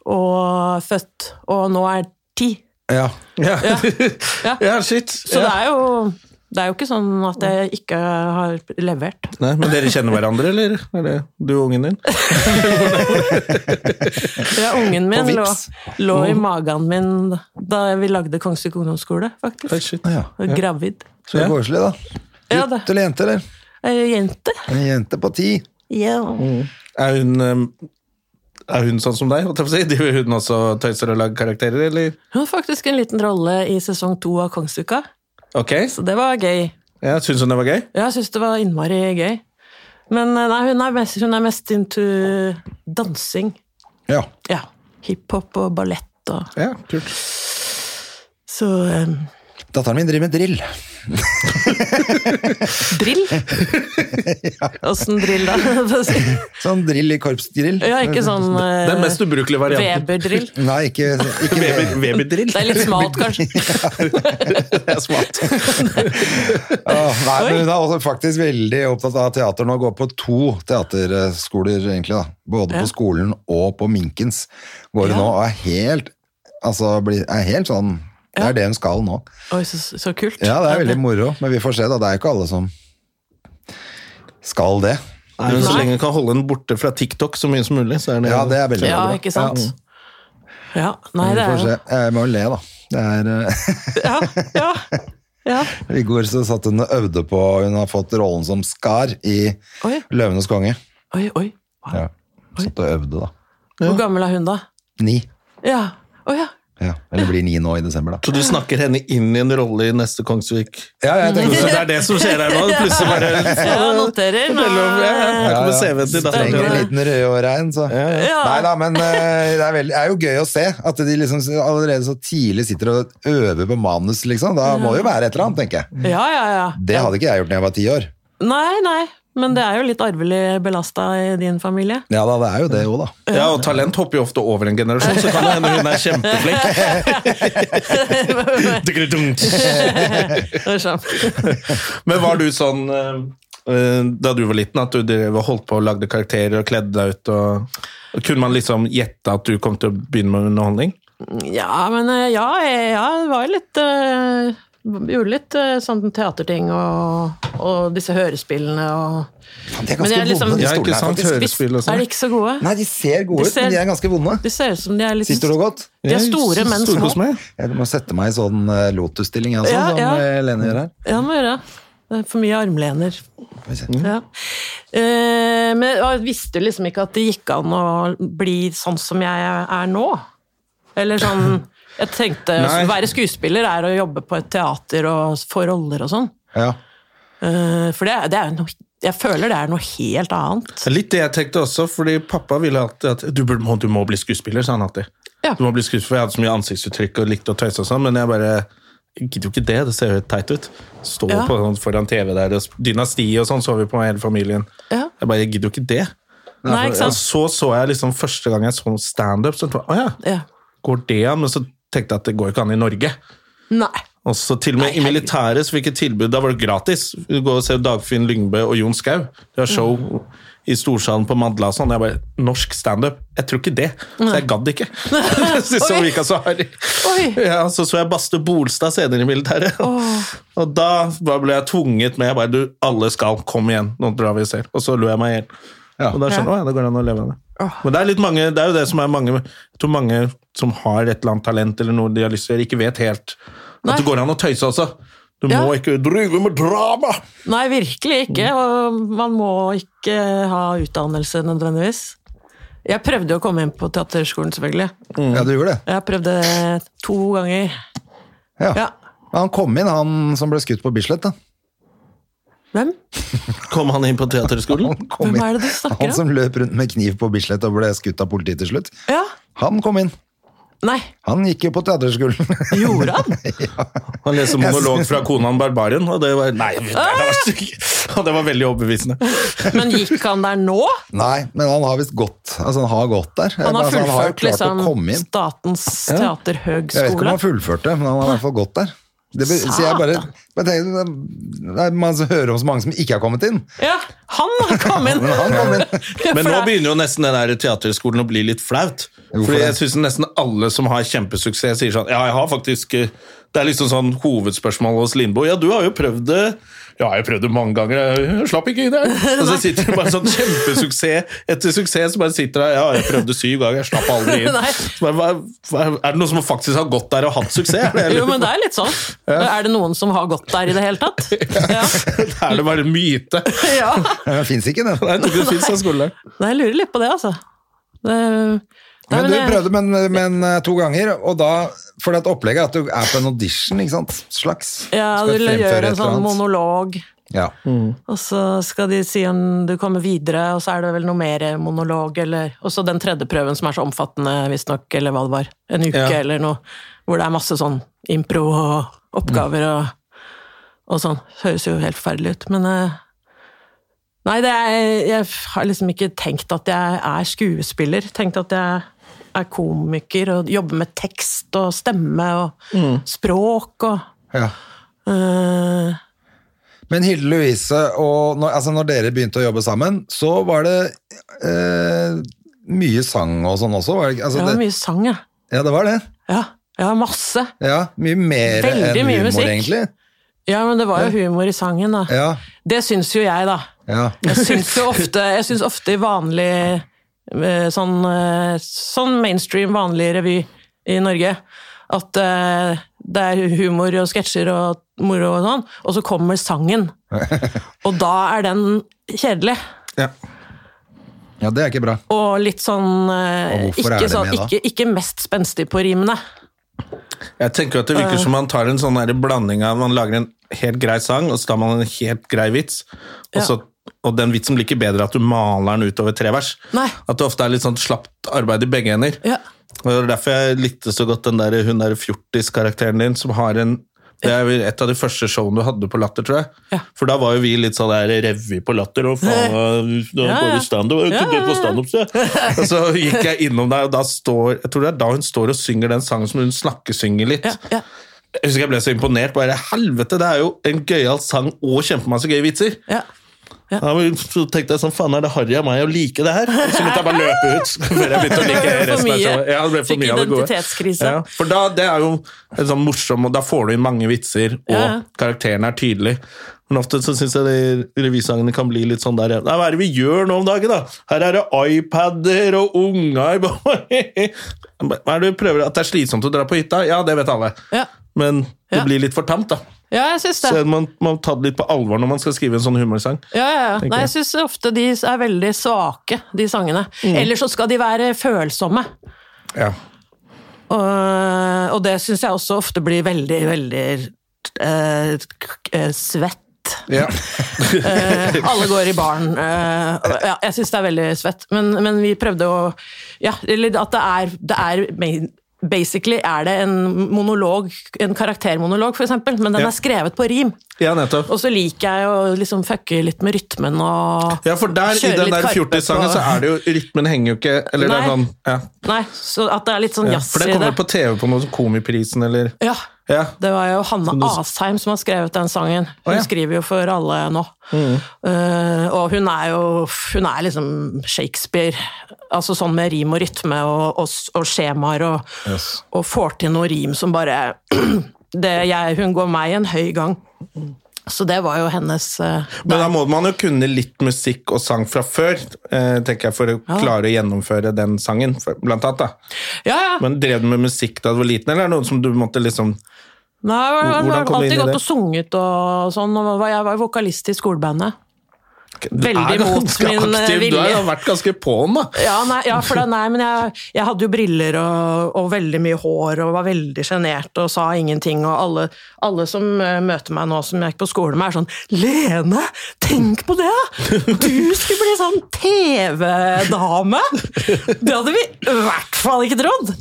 Speaker 3: og født, og nå er ti.
Speaker 2: Ja.
Speaker 1: Ja,
Speaker 3: Ja.
Speaker 1: ja shit.
Speaker 3: Så det
Speaker 1: ja.
Speaker 3: er jo det er jo ikke sånn at jeg ikke har levert.
Speaker 1: Nei, men dere kjenner hverandre, eller? Er det du og ungen din?
Speaker 3: Ja, ungen min
Speaker 2: Og
Speaker 3: lå,
Speaker 2: vips.
Speaker 3: lå i magen min da vi lagde Kongsvik ungdomsskole,
Speaker 1: Oi,
Speaker 3: faktisk.
Speaker 1: shit.
Speaker 2: ja.
Speaker 3: Og Gravid.
Speaker 2: Så
Speaker 1: Ja.
Speaker 2: koselig, da.
Speaker 3: Ja,
Speaker 2: Gutt
Speaker 3: det.
Speaker 2: eller jente, eller?
Speaker 3: Eh, Jente.
Speaker 2: En jente på ti.
Speaker 3: Ja.
Speaker 1: Er hun um, er hun sånn som deg? holdt jeg på å si? Driver hun også tøyser og lager karakterer, eller?
Speaker 3: Hun har faktisk en liten rolle i sesong to av Kongsuka,
Speaker 1: Ok,
Speaker 3: så det var gøy.
Speaker 1: ja, Syns hun det var gøy?
Speaker 3: Ja, jeg syns det var innmari gøy. Men eh, nei, hun er mest, hun er mest into dansing.
Speaker 2: Ja.
Speaker 3: Ja. Hiphop og ballett og
Speaker 1: Ja, kult.
Speaker 3: Så eh,
Speaker 2: Datteren min driver med drill.
Speaker 3: drill. Åssen drill, da?
Speaker 2: Sånn drill i korpsdrill.
Speaker 3: ja, ikke sånn eh,
Speaker 1: Det er mest ubrukelige varianten.
Speaker 3: Weber-drill.
Speaker 2: Nei, ikke, ikke
Speaker 1: Weber- Weber-drill.
Speaker 3: Det er litt smalt, kanskje.
Speaker 1: Det er smart.
Speaker 2: Åh, nei, men hun er også faktisk veldig opptatt av teater nå. Går på to teaterskoler, egentlig. da. Både
Speaker 3: Ja.
Speaker 2: på skolen og på Minkens. Går hun
Speaker 3: Ja.
Speaker 2: nå og er helt Altså, blir- er helt sånn Det er det hun skal nå.
Speaker 3: Oi, så, så kult.
Speaker 2: Ja, det er veldig moro, men vi får se, da. Det er jo ikke alle som skal det.
Speaker 1: Nei, men Så lenge hun kan holde den borte fra TikTok så mye som mulig, så er det
Speaker 2: Ja, det er veldig
Speaker 3: Ja,
Speaker 2: bra.
Speaker 3: ikke sant? Ja, nei,
Speaker 2: Vi
Speaker 3: det
Speaker 2: får
Speaker 3: er
Speaker 2: se. Jeg må le, da. Det er eh,
Speaker 3: Ja, ja, ja.
Speaker 2: I går så satt hun og øvde på Hun har fått rollen som Skar i
Speaker 3: Oi,
Speaker 2: 'Løvenes konge'.
Speaker 3: oi, oi. Wow.
Speaker 2: Ja. Satt og øvde, da.
Speaker 3: Hvor gammel er hun, da?
Speaker 2: Ni.
Speaker 3: Ja. Å ja.
Speaker 2: Ja. Eller blir ni nå i desember, da.
Speaker 1: Så du snakker henne inn i en rolle i neste Kongsvik?
Speaker 2: Ja, jeg
Speaker 1: Så
Speaker 2: tenkte
Speaker 1: det er det som skjer her nå? Plutselig bare
Speaker 3: Ja, noterer.
Speaker 1: Fortell om det.
Speaker 3: Nei.
Speaker 1: Her kommer CV-en til datteren
Speaker 2: Trenger en
Speaker 1: din.
Speaker 2: liten rødårein, så.
Speaker 3: ja.
Speaker 2: Nei da, men eh, det er, veldig, det er jo gøy å se at de liksom allerede så tidlig sitter og øver på manus, liksom. Da må det jo være et eller annet, tenker jeg.
Speaker 3: Ja, ja, ja.
Speaker 2: Det hadde ikke jeg gjort da jeg var ti år.
Speaker 3: Nei, nei. Men det er jo litt arvelig belasta i din familie.
Speaker 2: Ja da, det er jo det òg, da.
Speaker 1: Ja, og talent hopper jo ofte over en generasjon, så kan det hende hun er kjempeflink.
Speaker 3: Det er sånn.
Speaker 1: Men var du sånn eh, eh, da du var liten, at du drev og holdt på og lagde karakterer og kledde deg ut? Og, og kunne man liksom gjette at du kom til å begynne med underholdning?
Speaker 3: Ja, men eh, ja, jeg, ja, det var jo litt eh, Gjorde litt eh, sånn teaterting og, og disse hørespillene og
Speaker 2: De er
Speaker 3: Men
Speaker 2: ganske
Speaker 3: jeg er liksom-
Speaker 2: vonde, de
Speaker 3: Ja,
Speaker 1: ikke
Speaker 2: stolene her,
Speaker 1: sant?
Speaker 2: faktisk.
Speaker 1: Hørespill og sånn.
Speaker 3: Er de ikke så gode?
Speaker 2: Nei, de ser gode ut, men
Speaker 3: De
Speaker 2: de
Speaker 3: ser-
Speaker 2: er ganske vonde.
Speaker 3: De ser ut som de er litt
Speaker 2: Sitter du godt?
Speaker 3: De er store, men
Speaker 1: Storkos
Speaker 3: små.
Speaker 1: meg.
Speaker 2: Jeg må sette meg i sånn eh, lotus-stilling, jeg også,
Speaker 3: Ja,
Speaker 2: som
Speaker 3: ja.
Speaker 2: eh, Lene gjør her.
Speaker 3: Ja, det må gjøre. Det er for mye armlener.
Speaker 2: Skal vi se.
Speaker 3: Ja. Eh, men jeg visste liksom ikke at det gikk an å bli sånn som jeg er nå. Eller sånn Jeg tenkte å
Speaker 1: Nei.
Speaker 3: være skuespiller er å jobbe på et teater og få roller og sånn.
Speaker 2: Ja.
Speaker 3: Eh, for det, er- det er jo noe Jeg føler det er noe helt annet.
Speaker 1: Det er Litt det jeg tenkte også, fordi pappa ville alltid at du, burde, må, du må bli skuespiller, sa han alltid.
Speaker 3: Ja.
Speaker 1: Du må bli skuespiller, for Jeg hadde så mye ansiktsuttrykk og likte å tøyse og sånn, men jeg bare jeg gidder jo ikke det, det ser jo helt teit ut. Stå
Speaker 3: Ja.
Speaker 1: på, sånn foran TV der, og dynasti og sånn, så vi på hele familien.
Speaker 3: Ja.
Speaker 1: Jeg bare, jeg gidder jo ikke det.
Speaker 3: Nei, ikke
Speaker 1: Ja,
Speaker 3: sant?
Speaker 1: så så jeg liksom første gang jeg så standup, så tenkte jeg, å ja,
Speaker 3: Ja.
Speaker 1: går det an? Men så tenkte jeg at det går jo ikke an i Norge.
Speaker 3: Nei.
Speaker 1: Og så til og med i militæret så fikk jeg tilbud, da var det gratis. Du går og ser Dagfinn Lyngbø og Jon Skau. De har show i Storsalen på Madla og sånn. Jeg bare Norsk standup? Jeg tror ikke det. Så jeg gadd ikke. så så
Speaker 3: Oi.
Speaker 1: virka så harry.
Speaker 3: Oi.
Speaker 1: Ja, så så jeg Baste Bolstad senere i militæret. Og da bare ble jeg tvunget med jeg bare, du, alle skal, kom igjen, nå drar vi og ser. Og så lo jeg meg i hjel.
Speaker 2: Ja.
Speaker 1: Og da skjønner jeg, «Å ja, det går an å leve av det.
Speaker 3: Åh.
Speaker 1: Men det er, litt mange, det er jo det som er mange Jeg tror mange som har et eller annet talent eller noe de har lyst til å gjøre, ikke vet helt at
Speaker 3: Nei.
Speaker 1: det går an å tøyse også. Du
Speaker 3: Ja.
Speaker 1: må ikke drive med drama!
Speaker 3: Nei, virkelig ikke. Og man må ikke ha utdannelse nødvendigvis. Jeg prøvde jo å komme inn på teaterskolen, selvfølgelig.
Speaker 2: ja, du gjorde det.
Speaker 3: Jeg prøvde to ganger.
Speaker 2: Ja.
Speaker 3: Ja.
Speaker 2: Han kom inn, han som ble skutt på Bislett. da.
Speaker 3: Hvem?
Speaker 1: Kom han inn på teaterskolen?
Speaker 2: Han kom
Speaker 3: Hvem
Speaker 2: inn.
Speaker 3: er det du snakker om?
Speaker 2: Han som løp rundt med kniv på Bislett og ble skutt av politiet til slutt.
Speaker 3: Ja.
Speaker 2: Han kom inn.
Speaker 3: Nei,
Speaker 2: Han gikk jo på teaterskolen.
Speaker 3: gjorde han?
Speaker 1: Han leste monolog fra konaen Barbarian, og det var, nei, det var, og det var veldig overbevisende.
Speaker 3: Men gikk han der nå?
Speaker 2: Nei, men han har visst gått. Altså, han har gått der.
Speaker 3: Han har
Speaker 2: altså, han har jo
Speaker 3: fullført
Speaker 2: klart
Speaker 3: liksom
Speaker 2: å komme inn.
Speaker 3: Statens
Speaker 2: Jeg vet ikke om
Speaker 3: teaterhøgskole.
Speaker 2: han fullførte, men han har i hvert fall gått der. Det be, så jeg bare,
Speaker 3: Satan.
Speaker 2: bare tenker, det er- Man hører om så mange som ikke har kommet inn.
Speaker 3: Ja, Han kom inn!
Speaker 2: Han kom inn.
Speaker 1: Men
Speaker 3: For
Speaker 1: nå
Speaker 3: det-
Speaker 1: begynner jo nesten den der teaterskolen å bli litt flaut. Fordi
Speaker 2: det?
Speaker 1: jeg synes nesten alle som har kjempesuksess, sier sånn Ja, jeg har faktisk eh, Det er liksom sånn hovedspørsmål hos Lindboe. Ja, du har jo prøvd det. Ja, jeg har prøvd det mange ganger. Jeg slapp ikke inn, jeg. Og så sitter det bare sånn kjempesuksess etter suksess, så bare sitter der Ja, jeg prøvde syv ganger, jeg slapp aldri inn.
Speaker 3: Nei.
Speaker 1: Så bare, hva, hva, er det noen som faktisk har gått der og hatt suksess? Er det,
Speaker 3: Jo, men det er litt sånn. Er det noen som har gått der i det hele tatt? Ja.
Speaker 1: er det bare en myte?
Speaker 3: ja.
Speaker 2: Det fins ikke, det.
Speaker 1: Nei, jeg tror ikke det finnes en skole der.
Speaker 3: Nei, jeg lurer litt på det, altså. Det, Nei,
Speaker 2: Men du
Speaker 3: det-
Speaker 2: prøvde men, men eh, to ganger, og da For det at opplegget er at du er på en audition, ikke sant? Slags.
Speaker 3: Ja,
Speaker 2: Skal
Speaker 3: du
Speaker 2: fremføre et
Speaker 3: gjør en
Speaker 2: eller
Speaker 3: sånn
Speaker 2: annet.
Speaker 3: monolog,
Speaker 2: Ja.
Speaker 3: og så skal de si om du kommer videre, og så er det vel noe mer monolog, eller Og så den tredje prøven som er så omfattende, visstnok, eller hva det var. En uke
Speaker 1: Ja.
Speaker 3: eller noe. Hvor det er masse sånn impro og oppgaver og, og sånn. Høres jo helt forferdelig ut, men eh, Nei, det er, jeg har liksom ikke tenkt at jeg er skuespiller. Tenkt at jeg er komiker og jobber med tekst og stemme og språk og
Speaker 2: ja.
Speaker 3: eh,
Speaker 2: Men Hilde Louise, og når, altså når dere begynte å jobbe sammen, så var det eh, mye sang og sånn også? Var det, ikke?
Speaker 3: Det
Speaker 2: altså,
Speaker 3: var
Speaker 2: det,
Speaker 3: mye sang, ja.
Speaker 2: ja, det var det.
Speaker 3: Ja, ja masse.
Speaker 2: Ja, Mye mer enn
Speaker 3: Veldig mye
Speaker 2: humor,
Speaker 3: musikk.
Speaker 2: egentlig.
Speaker 3: Ja, men det var jo humor i sangen, da.
Speaker 2: Ja,
Speaker 3: Det syns jo jeg, da.
Speaker 2: ja.
Speaker 3: Jeg syns jo ofte, jeg syns ofte i vanlig eh, sånn, eh, sånn mainstream, vanlig revy i Norge at eh, det er humor og sketsjer og moro og sånn, og så kommer sangen. Og da er den kjedelig.
Speaker 2: Ja, det er ikke bra.
Speaker 3: Og litt sånn, eh,
Speaker 2: Og hvorfor er
Speaker 3: ikke,
Speaker 2: det
Speaker 3: sånn
Speaker 2: med, da?
Speaker 3: ikke, ikke mest spenstig på rimene.
Speaker 1: Jeg tenker at det
Speaker 3: Eh.
Speaker 1: virker som man tar en sånn der blanding av Man lager en helt grei sang, og så tar man en helt grei vits. Og, så, og den vitsen blir ikke bedre at du maler den utover tre vers.
Speaker 3: Nei.
Speaker 1: At det ofte er litt sånn slapt arbeid i begge hender.
Speaker 3: Ja.
Speaker 1: Og det er derfor jeg likte så godt den der, hun der fjortiskarakteren din, som har en det er vel et av de første showene du hadde på Latter, tror jeg.
Speaker 3: Ja.
Speaker 1: For da var jo vi litt sånn der revy på Latter, og faen, da
Speaker 3: Eh. Ja,
Speaker 1: går
Speaker 3: ja.
Speaker 1: vi standup. Jeg kunne ikke på standup, så jeg. Og så gikk jeg innom der, og da står Jeg tror det er da hun står og synger den sangen som hun snakkesynger litt.
Speaker 3: Ja, ja.
Speaker 1: Jeg husker jeg ble så imponert. Bare helvete, det er jo en gøyal sang og kjempemasse gøye vitser.
Speaker 3: ja.
Speaker 1: Ja, men så tenkte jeg sånn, faen er det harry av meg å like det her? Så måtte jeg bare løpe ut før jeg begynte å like
Speaker 3: Det ble for
Speaker 1: resten av
Speaker 3: mye.
Speaker 1: showet. Ja, det ble for
Speaker 3: Fikk
Speaker 1: mye av det gode.
Speaker 3: identitetskrise.
Speaker 1: Ja, for da, det er jo en sånn morsom, og da får du inn mange vitser, og
Speaker 3: Ja, ja.
Speaker 1: karakteren er tydelig. Men ofte så synes jeg de revysangene kan bli litt sånn der, nei, hva er det vi gjør nå om dagen da? Her er det iPadder og unger. Hva er det du prøver? At det er slitsomt å dra på hytta? Ja, det vet alle.
Speaker 3: Ja.
Speaker 1: Men det
Speaker 3: Ja.
Speaker 1: blir litt for tamt da.
Speaker 3: Ja, jeg syns det.
Speaker 1: Så man må ta det litt på alvor når man skal skrive en sånn humorsang.
Speaker 3: Ja, ja, ja.
Speaker 1: tenker
Speaker 3: Nei,
Speaker 1: jeg.
Speaker 3: jeg syns ofte de er veldig svake, de sangene.
Speaker 1: Mm.
Speaker 3: Eller så skal de være følsomme.
Speaker 1: Ja.
Speaker 3: Og, og det syns jeg også ofte blir veldig, veldig eh, k- eh, svett.
Speaker 2: Ja.
Speaker 3: Eh, alle går i baren. eh, og- ja, jeg syns det er veldig svett, men, men vi prøvde å Ja, eller at det er, det er main- Basically er det en monolog, en karaktermonolog, for eksempel, men den
Speaker 1: Ja.
Speaker 3: er skrevet på rim.
Speaker 1: Ja, nettopp.
Speaker 3: Og så liker jeg å liksom fucke litt med rytmen og
Speaker 1: Ja, for der, i
Speaker 3: Kjøre
Speaker 1: den
Speaker 3: litt
Speaker 1: der
Speaker 3: Karpe
Speaker 1: 40-sangen
Speaker 3: på-
Speaker 1: så er det jo Rytmen henger jo ikke Eller det
Speaker 3: Nei.
Speaker 1: er sånn ja,
Speaker 3: Nei, så at det er litt sånn
Speaker 1: ja.
Speaker 3: jazz
Speaker 1: For det
Speaker 3: i
Speaker 1: kommer
Speaker 3: det.
Speaker 1: på TV på noe sånn Komiprisen eller
Speaker 3: Ja.
Speaker 1: Ja.
Speaker 3: Det var jo Hanne
Speaker 1: Som du-
Speaker 3: Asheim som har skrevet den sangen. Hun
Speaker 1: Å, ja. Mm.
Speaker 3: skriver jo for alle nå. Eh, og hun er jo Hun er liksom Shakespeare. Altså sånn med rim og rytme og, og, s- og skjemaer, og, og får til noe rim som bare det jeg, Hun går meg en høy gang. Så det var jo hennes eh,
Speaker 1: Men da må man jo kunne litt musikk og sang fra før, eh, tenker jeg, for å klare å gjennomføre den sangen, for- blant annet. da.
Speaker 3: Ja, ja!
Speaker 1: Men drev du med musikk da du var liten, eller er det noe som du måtte liksom
Speaker 3: Nei, jeg har-
Speaker 1: Hvordan
Speaker 3: jeg
Speaker 1: kom
Speaker 3: har
Speaker 1: du inn
Speaker 3: alltid
Speaker 1: i
Speaker 3: gått
Speaker 1: det?
Speaker 3: og sunget og sånn. og var- Jeg var vokalist i skolebandet.
Speaker 1: Du er
Speaker 3: Veldig mot
Speaker 1: ganske
Speaker 3: min, eh,
Speaker 1: aktiv, Du har jo
Speaker 3: vilje.
Speaker 1: vært ganske på'n, da.
Speaker 3: Ja, nei, ja for det, nei, men jeg, jeg hadde jo briller og, og veldig mye hår og var veldig sjenert og sa ingenting. Og alle, alle som eh, møter meg nå som jeg gikk på skole med, er sånn Lene, tenk på det! da! Du skulle bli sånn TV-dame! Det hadde vi i hvert fall ikke trodd!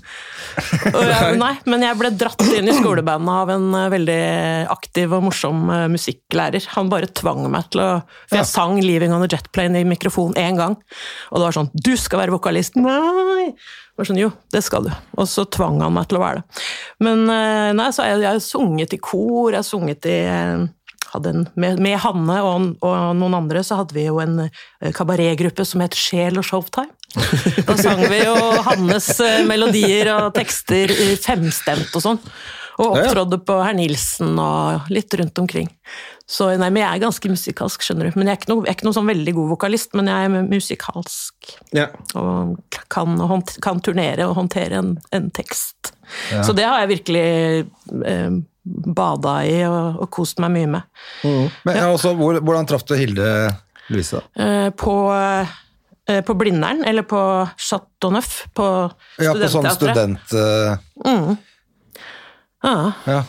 Speaker 3: Og jeg, nei, men jeg ble dratt inn i skolebandet av en eh, veldig aktiv og morsom eh, musikklærer. Han bare tvang meg til å For jeg sang 'Leaving on a Jet Plane' i mikrofon én gang. Og det var sånn 'Du skal være vokalist'. Nei! Jeg var sånn, jo, det skal du. Og så tvang han meg til å være det. Men eh, nei, så har jeg, jeg har sunget i kor, jeg har sunget i eh, hadde en, med, med Hanne og, og noen andre så hadde vi jo en eh, kabaretgruppe som het Sjel og Showtime. Da sang vi jo Hannes eh, melodier og tekster i femstemt og sånn. Og
Speaker 1: Ja, ja.
Speaker 3: opptrådde på Herr Nilsen og litt rundt omkring. Så nei, men jeg er ganske musikalsk, skjønner du. Men jeg er ikke noe, jeg er ikke noe sånn veldig god vokalist, men jeg er musikalsk
Speaker 1: Ja.
Speaker 3: og kan, hånd- kan turnere og håndtere en, en tekst. Så det har jeg virkelig eh, bada i og, og kost meg mye med.
Speaker 2: Men ja, også, hvor, hvordan traff du Hilde Louise, da?
Speaker 3: Eh, på, eh, på Blindern, eller på Chateau Neuf, på
Speaker 2: Ja, på sånn
Speaker 3: studentteatret.
Speaker 2: student... eh,
Speaker 3: Ja,
Speaker 2: ja.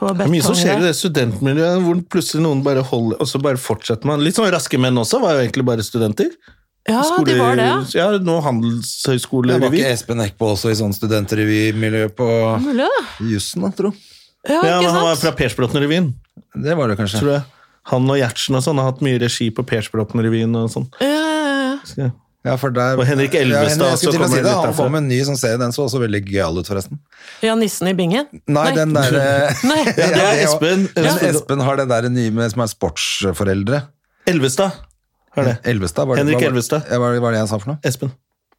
Speaker 3: på
Speaker 1: Det er mye som
Speaker 3: Betong
Speaker 1: skjer i
Speaker 3: der.
Speaker 1: det studentmiljøet, hvor plutselig noen bare holder, og så bare fortsetter man. Litt sånn Raske menn også, var jo egentlig bare studenter.
Speaker 3: Ja, de
Speaker 1: Skole-
Speaker 3: var det, ja.
Speaker 1: ja. nå
Speaker 2: Det var
Speaker 1: handelshøyskolerevy.
Speaker 2: ikke Espen Eckbo også i sånn studentrevy-miljø på
Speaker 3: Mulig, da.
Speaker 2: jussen, da, tro?
Speaker 3: Ja,
Speaker 1: Ja, men
Speaker 3: ikke
Speaker 1: han var
Speaker 3: sant?
Speaker 1: fra Persbråten-revyen,
Speaker 2: Det var det kanskje.
Speaker 1: tror jeg. Han og Gjertsen og sånn har hatt mye regi på Persbråten-revyen og sånn.
Speaker 3: Ja, ja, ja.
Speaker 1: Skal jeg-
Speaker 2: Ja, for der,
Speaker 1: Og Henrik
Speaker 2: Ja,
Speaker 1: Elvestad,
Speaker 2: Henrik, jeg skulle
Speaker 1: så
Speaker 2: til å
Speaker 1: kommer
Speaker 2: si
Speaker 1: det
Speaker 2: det,
Speaker 1: litt
Speaker 2: han
Speaker 1: derfra.
Speaker 2: kom med en ny sånn serie, den så også veldig gøyal ut, forresten.
Speaker 3: ja, nissen i bingen?
Speaker 2: Nei, den derre
Speaker 3: Nei.
Speaker 1: Ja, det er
Speaker 2: det også.
Speaker 1: Espen.
Speaker 2: Men
Speaker 1: Espen.
Speaker 2: Espen har det der nye med, som er sportsforeldre.
Speaker 1: Elvestad. Hva er det?
Speaker 2: Elvestad, var det,
Speaker 1: Henrik
Speaker 2: hva var-
Speaker 1: Elvestad.
Speaker 2: Ja, hva var det jeg sa for noe?
Speaker 1: Espen.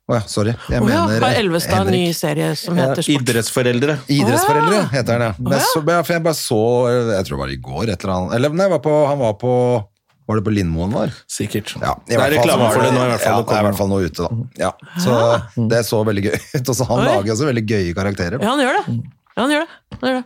Speaker 2: Å ja, sorry. Jeg
Speaker 3: Å ja,
Speaker 2: mener
Speaker 3: har Elvestad en ny
Speaker 2: Henrik.
Speaker 3: serie som heter Sport?
Speaker 1: Idrettsforeldre.
Speaker 2: Idrettsforeldre heter han, ja. Men jeg så, ja, for jeg bare så eh, Jeg tror det var i går, et eller annet Eller nei, jeg var på, han var på Var det på Lindmoen var?
Speaker 1: Sikkert.
Speaker 2: Ja, i
Speaker 1: det
Speaker 2: hvert
Speaker 1: er
Speaker 2: fall så
Speaker 1: reklame
Speaker 2: var
Speaker 1: for det nå, i hvert fall.
Speaker 2: Ja, det er i hvert fall noe ute, da. Ja, så det så veldig gøy ut. Og så han
Speaker 3: Oi.
Speaker 2: lager også veldig gøye karakterer.
Speaker 3: Ja, han gjør det.
Speaker 1: Mm.
Speaker 3: Ja, han gjør det. Han gjør det.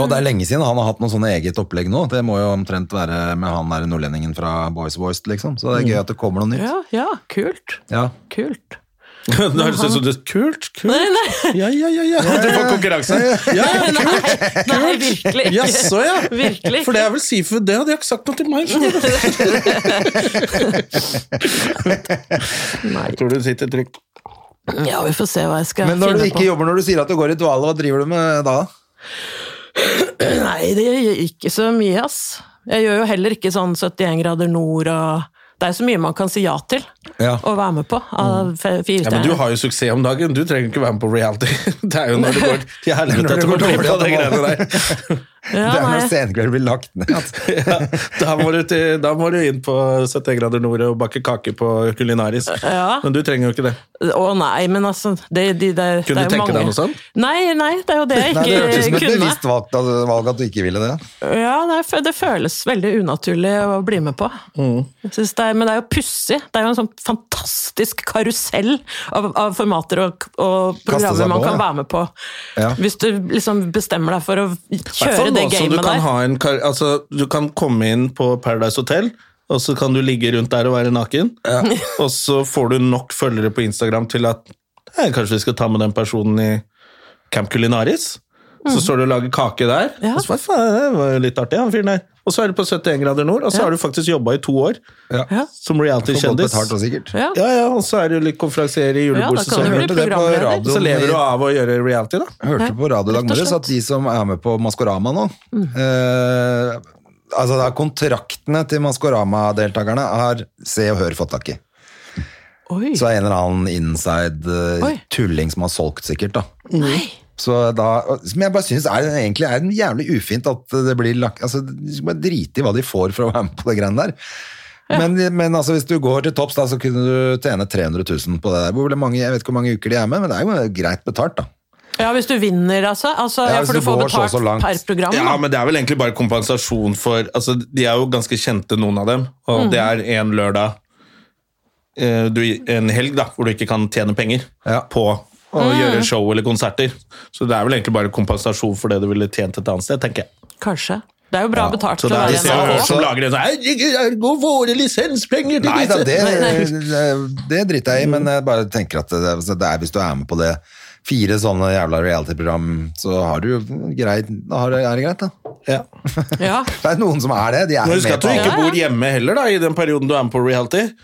Speaker 2: Og
Speaker 3: Mm.
Speaker 2: det er lenge siden han har hatt noe sånn eget opplegg nå. Det må jo omtrent være med han der nordlendingen fra Boys Voice, liksom. Så det er gøy at det kommer noe nytt.
Speaker 3: Mm. Ja, ja, kult.
Speaker 2: Ja.
Speaker 3: Kult.
Speaker 1: Det høres ut som det Kult, kult.
Speaker 3: Nei, nei.
Speaker 1: Ja, ja, ja. ja. Du får konkurransen. Ja, ja, kult.
Speaker 3: Nei, virkelig ikke.
Speaker 1: Jaså, ja.
Speaker 3: Virkelig.
Speaker 1: For det er vel Sifu, det hadde jeg ikke sagt noe til meg. skjønner du. Jeg tror du sitter trygt.
Speaker 3: Ja, vi får se hva jeg skal
Speaker 2: Men når du
Speaker 3: finne
Speaker 2: ikke
Speaker 3: på.
Speaker 2: jobber når du sier at du går i dvale, hva driver du med da?
Speaker 3: Nei, det gjør ikke så mye, ass. Jeg gjør jo heller ikke sånn 71 grader nord og Det er så mye man kan si ja til
Speaker 2: Ja.
Speaker 3: og være med på. Av fe- fire
Speaker 1: Mm. Ja, men Du
Speaker 3: stjerner.
Speaker 1: har jo suksess om dagen, du trenger ikke være med på reality. Det er jo når det går til helvete
Speaker 2: Når det
Speaker 1: at du
Speaker 2: går
Speaker 1: går glipp av de
Speaker 2: dårlig, at
Speaker 1: greiene
Speaker 2: det
Speaker 1: der.
Speaker 3: Ja,
Speaker 2: det er
Speaker 3: nei.
Speaker 2: når senkvelder blir lagt ned.
Speaker 1: Ja, da, må du til, da må du inn på 70 grader nord og bake kake på kulinaris.
Speaker 3: Ja.
Speaker 1: Men du trenger jo ikke det.
Speaker 3: Å nei, men altså det, de, det, det
Speaker 1: Kunne
Speaker 3: er
Speaker 1: du
Speaker 3: jo
Speaker 1: tenke deg
Speaker 3: mange.
Speaker 1: noe sånt?
Speaker 3: Nei, nei, det er jo det jeg
Speaker 2: Nei, det hørtes ut som
Speaker 3: ikke
Speaker 2: et
Speaker 3: kunne.
Speaker 2: bevisst valg, valg at du ikke ville det.
Speaker 3: Ja, det, er- det føles veldig unaturlig å bli med på.
Speaker 2: Mm.
Speaker 3: Jeg synes Det er, men det er jo pussig. Det er jo en sånn fantastisk karusell av, av formater og, og
Speaker 2: Kaste seg
Speaker 3: programmer man
Speaker 2: på,
Speaker 3: kan
Speaker 2: ja.
Speaker 3: være med på.
Speaker 2: Ja.
Speaker 3: Hvis du liksom bestemmer deg for å kjøre det
Speaker 1: som du
Speaker 3: gamet
Speaker 1: kan
Speaker 3: der.
Speaker 1: ha en kar altså, du kan komme inn på Paradise Hotel, og så kan du ligge rundt der og være naken. Og så får du nok følgere på Instagram til at eh, kanskje vi skal ta med den personen i Camp Culinaris. Så står du og lager kake der.
Speaker 3: Mm. Ja.
Speaker 1: Og så, hva faen, det var jo litt artig, han fyren der. Og så er du på 71 grader nord, og så har du faktisk jobba i to år
Speaker 2: Ja. Får
Speaker 1: som
Speaker 2: godt
Speaker 1: reality-kjendis.
Speaker 2: betalt og sikkert.
Speaker 3: Ja.
Speaker 1: Ja, ja, og så er det jo litt konferansier i
Speaker 3: Ja, da kan
Speaker 1: julebordsesongen.
Speaker 3: du bli
Speaker 2: hørte det på
Speaker 3: programleder.
Speaker 2: radio.
Speaker 1: Så lever du av å gjøre reality, da?
Speaker 2: Jeg hørte på radio i dag
Speaker 3: rett og Mm.
Speaker 2: morges at de som er med på Maskorama nå eh, Altså, det er kontraktene til Maskorama-deltakerne har Se og Hør fått tak i.
Speaker 3: Oi.
Speaker 2: Så er en eller annen inside eh,
Speaker 3: Oi.
Speaker 2: tulling som har solgt, sikkert. da.
Speaker 3: Nei.
Speaker 2: Så da, Som jeg bare syns er, egentlig er jævlig ufint at det blir lagt altså, De skal bare drite i hva de får for å være med på det greiene der. Men, men altså, hvis du går til topps, da, så kunne du tjene 300 000 på det der. Hvor mange, jeg vet ikke hvor mange uker de er med, men det er jo greit betalt, da.
Speaker 3: Ja, hvis du vinner, altså. altså
Speaker 2: Ja,
Speaker 3: ja,
Speaker 2: hvis
Speaker 3: for
Speaker 2: du
Speaker 3: du får
Speaker 2: går så og
Speaker 3: betalt
Speaker 2: så langt.
Speaker 3: per program.
Speaker 1: Ja,
Speaker 3: da.
Speaker 1: men det er vel egentlig bare kompensasjon for altså, De er jo ganske kjente, noen av dem. Og det er en lørdag eh, du, En helg da, hvor du ikke kan tjene penger
Speaker 2: Ja.
Speaker 1: på å gjøre show eller konserter. Så det er vel egentlig bare kompensasjon for det du ville tjent et annet sted, tenker jeg.
Speaker 3: Kanskje. Det er jo bra betalt
Speaker 1: Så
Speaker 3: til
Speaker 1: det
Speaker 3: å
Speaker 1: er
Speaker 3: være
Speaker 1: de
Speaker 3: i
Speaker 1: ser og
Speaker 3: NRK.
Speaker 1: hører som lager det sånn Gå våre lisenspenger til
Speaker 2: Nei da,
Speaker 1: disse!
Speaker 2: det, det, det driter jeg i, men jeg bare tenker at det, altså, det er, hvis du er med på det fire sånne jævla reality-program, så har du jo greit, da har, er det greit, da.
Speaker 1: Ja.
Speaker 2: sånn-
Speaker 3: Ja.
Speaker 2: Det er noen som er det. De er
Speaker 1: Men husk
Speaker 2: med
Speaker 1: at du
Speaker 2: på
Speaker 1: ikke
Speaker 2: alt.
Speaker 1: bor hjemme heller da, i den perioden du er med på reality.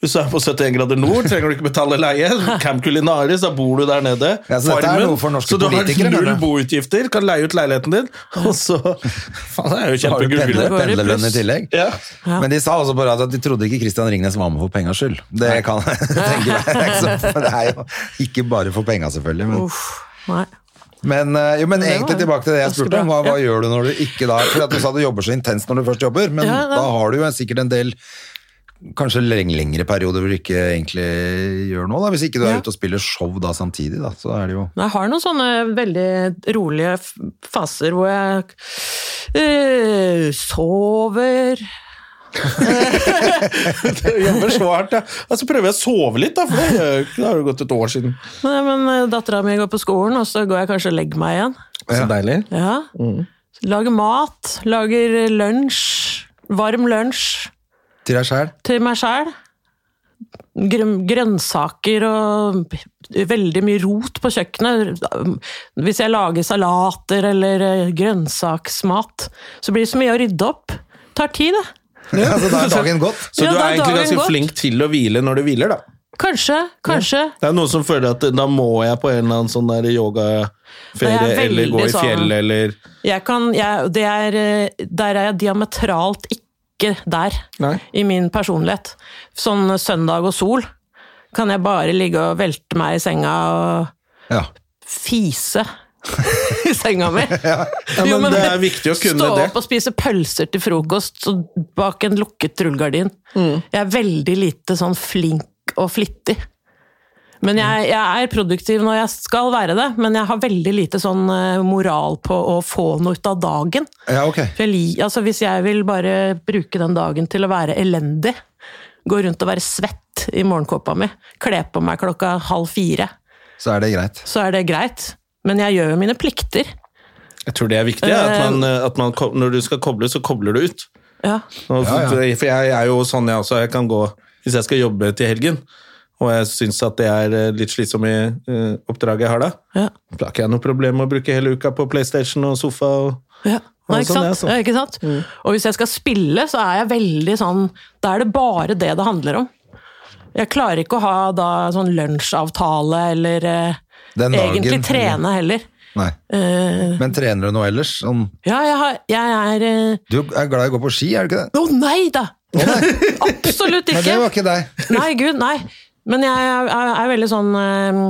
Speaker 1: Hvis du er på 71 grader nord, trenger du ikke betale leie. Camp Culinaris, da bor du der nede.
Speaker 2: Ja, så dette er noe for norske
Speaker 1: så du har
Speaker 2: politikere,
Speaker 1: null
Speaker 2: mener du?
Speaker 1: boutgifter, kan leie ut leiligheten din, og så Faen, det er jo
Speaker 2: Da har du pendler,
Speaker 1: kjempegullet.
Speaker 3: Går i
Speaker 2: pendlerlønn i
Speaker 3: pluss.
Speaker 2: tillegg.
Speaker 1: Ja.
Speaker 2: Men de sa også på radio at de trodde ikke Christian Ringnes var med for pengas skyld. Det kan jeg tenke meg. Så, for det er jo ikke bare for penga, selvfølgelig. Men,
Speaker 3: Uff. Nei.
Speaker 2: Men, eh, jo, men egentlig tilbake til det jeg
Speaker 3: ganske
Speaker 2: spurte om. Hva, hva
Speaker 3: bra.
Speaker 2: gjør du når du ikke da Fordi at du sa du jobber så intenst når du først jobber, men
Speaker 3: Ja, ja.
Speaker 2: da har du jo sikkert en del Kanskje leng- lengre perioder hvor du ikke egentlig gjør noe, da. Hvis ikke du er
Speaker 3: Ja.
Speaker 2: ute og spiller show da samtidig, da. Så er det jo
Speaker 3: Men Jeg har noen sånne veldig rolige f- faser hvor jeg eh, sover
Speaker 1: Jeg jobber så hardt, ja. Og så prøver jeg å sove litt, da, for det, gjør jeg jo ikke. det har jo gått et år siden.
Speaker 3: Nei, men eh, dattera mi går på skolen, og så går jeg kanskje og legger meg igjen.
Speaker 1: Så deilig.
Speaker 3: Ja. Lager mat, lager lunsj. Varm lunsj
Speaker 2: Til deg sjæl.
Speaker 3: til meg sjæl. Grøn- Grønnsaker og veldig mye rot på kjøkkenet. Hvis jeg lager salater eller eh, grønnsaksmat, så blir det så mye å rydde opp. Tar tid, det.
Speaker 2: Ja, så da er dagen gått.
Speaker 1: Så du er
Speaker 3: Ja, da er
Speaker 1: egentlig
Speaker 3: dagen
Speaker 1: ganske
Speaker 3: gått.
Speaker 1: flink til å hvile når du hviler, da.
Speaker 3: Kanskje, kanskje.
Speaker 1: Det er noen som føler at da må jeg på en eller annen sånn der yogaferie
Speaker 3: Det er veldig
Speaker 1: eller gå i
Speaker 3: sånn-
Speaker 1: fjellet eller
Speaker 3: Jeg kan, jeg, det er, eh, der er jeg diametralt ikke der
Speaker 1: Nei.
Speaker 3: i min personlighet. Sånn søndag og sol kan jeg bare ligge og velte meg i senga og
Speaker 2: Ja.
Speaker 3: fise i senga mi.
Speaker 1: men
Speaker 3: Jo,
Speaker 1: det er viktig å kunne
Speaker 3: stå
Speaker 1: det.
Speaker 3: opp og spise pølser til frokost og bak en lukket rullegardin.
Speaker 1: Mm.
Speaker 3: Jeg er veldig lite sånn flink og flittig. Men
Speaker 1: Mm.
Speaker 3: jeg, jeg er produktiv når jeg skal være det, men jeg har veldig lite sånn eh, moral på å få noe ut av dagen.
Speaker 2: ja, ok.
Speaker 3: For jeg, li- altså, hvis jeg vil bare bruke den dagen til å være elendig, gå rundt og være svett i morgenkåpa mi, kle på meg klokka halv fire,
Speaker 2: Så er det greit.
Speaker 3: så er det greit. Men jeg gjør jo mine plikter.
Speaker 1: Jeg tror det er viktig, ja,
Speaker 3: Eh,
Speaker 1: at, man, eh, at man, ko- når du skal koble, så kobler du ut.
Speaker 3: Ja.
Speaker 1: Nå,
Speaker 2: Ja, ja.
Speaker 1: For for jeg er jo sånn jeg også, jeg kan gå hvis jeg skal jobbe til helgen, og jeg syns at det er eh, litt slitsomt i eh, oppdraget jeg har da,
Speaker 3: Ja.
Speaker 1: da har ikke jeg noe problem med å bruke hele uka på PlayStation og sofa og
Speaker 3: Ja.
Speaker 1: Ja,
Speaker 3: Nei, ikke
Speaker 1: sånn er det,
Speaker 3: sant?
Speaker 1: sånn.
Speaker 3: Ja, ikke sant? Og hvis jeg skal spille, så er jeg veldig sånn Da er det bare det det handler om. Jeg klarer ikke å ha da sånn lunsjavtale eller eh,
Speaker 2: Den dagen,
Speaker 3: egentlig
Speaker 2: eller?
Speaker 3: trene heller.
Speaker 2: Nei.
Speaker 3: Eh,
Speaker 2: Men trener du noe ellers? Sånn,
Speaker 3: ja, jeg, har, jeg er eh,
Speaker 2: du er glad i å gå på ski, er du ikke det?
Speaker 3: Å nei da! Absolutt
Speaker 2: Men det
Speaker 3: ikke!
Speaker 2: var ikke deg.
Speaker 3: Nei, gud, nei. Men jeg er, er, er veldig sånn eh,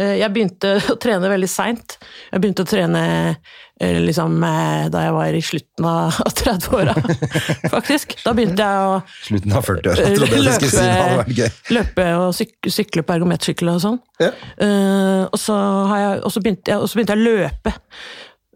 Speaker 3: eh, Jeg begynte å trene veldig seint. Jeg begynte å trene eh, liksom eh, da jeg var i slutten av 30-åra, faktisk. Da begynte jeg å
Speaker 2: Slutten av 40-åra,
Speaker 3: eh,
Speaker 2: trodde jeg du skulle si. Det hadde vært
Speaker 3: løpe,
Speaker 2: gøy.
Speaker 3: løpe og syk, sykle på ergometersykkel og sånn.
Speaker 1: Ja.
Speaker 3: Eh, og, så har jeg, og, så begynte jeg, og så begynte jeg å løpe.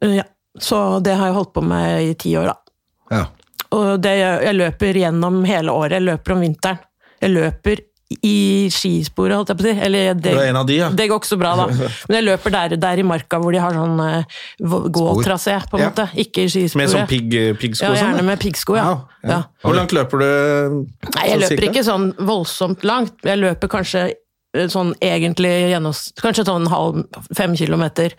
Speaker 3: Eh, ja. Så det har jeg holdt på med i ti år, da.
Speaker 2: Ja.
Speaker 3: Og det, jeg, jeg løper gjennom hele året. Jeg løper om vinteren. Jeg løper i skisporet, holdt jeg på å si. Eller det,
Speaker 1: Du er en av de, ja.
Speaker 3: det går ikke så bra, da. Men jeg løper der, der i marka hvor de har sånn eh, v- gåtrasé, på en
Speaker 1: Ja.
Speaker 3: måte. Ikke i skisporet.
Speaker 1: Med sånn pigg, piggsko
Speaker 3: ja,
Speaker 1: og sånn.
Speaker 3: gjerne
Speaker 1: da.
Speaker 3: med piggsko, ja.
Speaker 1: Wow, ja.
Speaker 3: ja.
Speaker 1: Hvor langt løper du?
Speaker 3: Nei, jeg
Speaker 1: sånn
Speaker 3: løper
Speaker 1: cirka?
Speaker 3: ikke sånn voldsomt langt. Jeg løper kanskje eh, sånn egentlig gjennoms... Kanskje sånn halv, fem kilometer.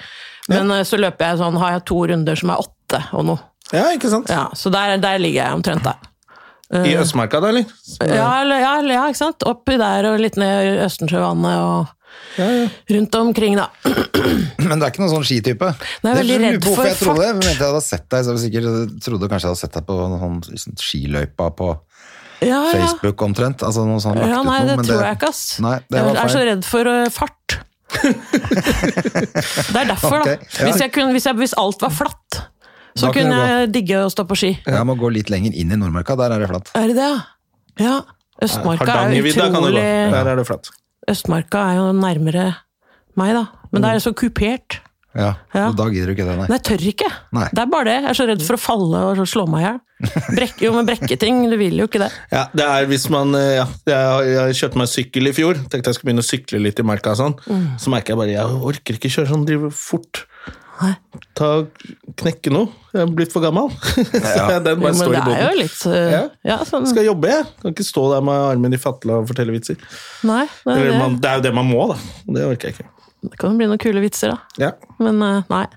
Speaker 3: Men eh, så løper jeg sånn, har jeg to runder som er åtte og noe.
Speaker 1: Ja, ikke sant?
Speaker 3: Ja, så der, der ligger jeg omtrent der.
Speaker 1: I Østmarka, da, eller?
Speaker 3: Ja, eller- ja, eller- ja, ikke sant? Oppi der og litt ned i Østensjøvannet og rundt omkring, da.
Speaker 2: Men det er ikke noen sånn skitype.
Speaker 3: Nei, jeg er veldig
Speaker 2: lurer
Speaker 3: redd
Speaker 2: på hvorfor
Speaker 3: for
Speaker 2: jeg trodde,
Speaker 3: fart.
Speaker 2: det. Jeg mente jeg hadde sett deg, så jeg sikkert eh, trodde kanskje jeg hadde sett deg på noen sånn, sånn skiløypa på
Speaker 3: Ja, ja.
Speaker 2: Facebook omtrent. Altså noe sånn lagt
Speaker 3: Ja,
Speaker 2: ut
Speaker 3: nei,
Speaker 2: noe,
Speaker 3: det
Speaker 2: men
Speaker 3: tror jeg ikke, ass.
Speaker 2: Nei, det
Speaker 3: jeg
Speaker 2: var
Speaker 3: er så
Speaker 2: feil.
Speaker 3: redd for eh, fart. det er derfor,
Speaker 2: Ok,
Speaker 3: da.
Speaker 2: ja.
Speaker 3: Hvis, jeg kunne, hvis, jeg, hvis alt var flatt, så
Speaker 2: Da kunne
Speaker 3: kunne
Speaker 2: det gå.
Speaker 3: jeg digge å stå på ski.
Speaker 2: Jeg må gå litt lenger inn i Nordmarka, der er det flatt.
Speaker 3: Er det det, ja? Ja. Østmarka er jo
Speaker 1: Hardangervidda kan du gå.
Speaker 3: utrolig
Speaker 1: Der er det flatt.
Speaker 3: Østmarka er jo nærmere meg, da.
Speaker 2: Mm.
Speaker 3: Men det er så kupert.
Speaker 2: Ja,
Speaker 3: Ja.
Speaker 2: og da gidder du ikke det, nei.
Speaker 3: Nei, jeg tør ikke.
Speaker 2: Nei.
Speaker 3: Det er bare det. Jeg er så redd for å falle og så slå meg i hjel. Brekke- Jo, men brekketing, du vil jo ikke det.
Speaker 1: Ja, det er hvis man eh, ja, jeg, jeg kjøpte meg sykkel i fjor. Tenkte jeg skulle begynne å sykle litt i marka. og Sånn.
Speaker 3: Mm.
Speaker 1: Så merker jeg bare jeg orker ikke kjøre sånn drive fort.
Speaker 3: Nei.
Speaker 1: Ta, knekke noe. Jeg er blitt for gammel. Så jeg- den
Speaker 3: Jo,
Speaker 1: bare
Speaker 3: men
Speaker 1: står i
Speaker 3: det er jo
Speaker 1: båten.
Speaker 3: litt uh,
Speaker 1: Ja.
Speaker 3: Ja, sånn
Speaker 1: Skal jobbe, jeg. Kan ikke stå der med armen i fatla og fortelle vitser.
Speaker 3: Nei, det, er
Speaker 1: Eller man,
Speaker 3: det.
Speaker 1: det er jo det man må, da. Det orker jeg ikke.
Speaker 3: det kan jo bli noen kule vitser, da.
Speaker 1: Ja.
Speaker 3: Men eh, nei.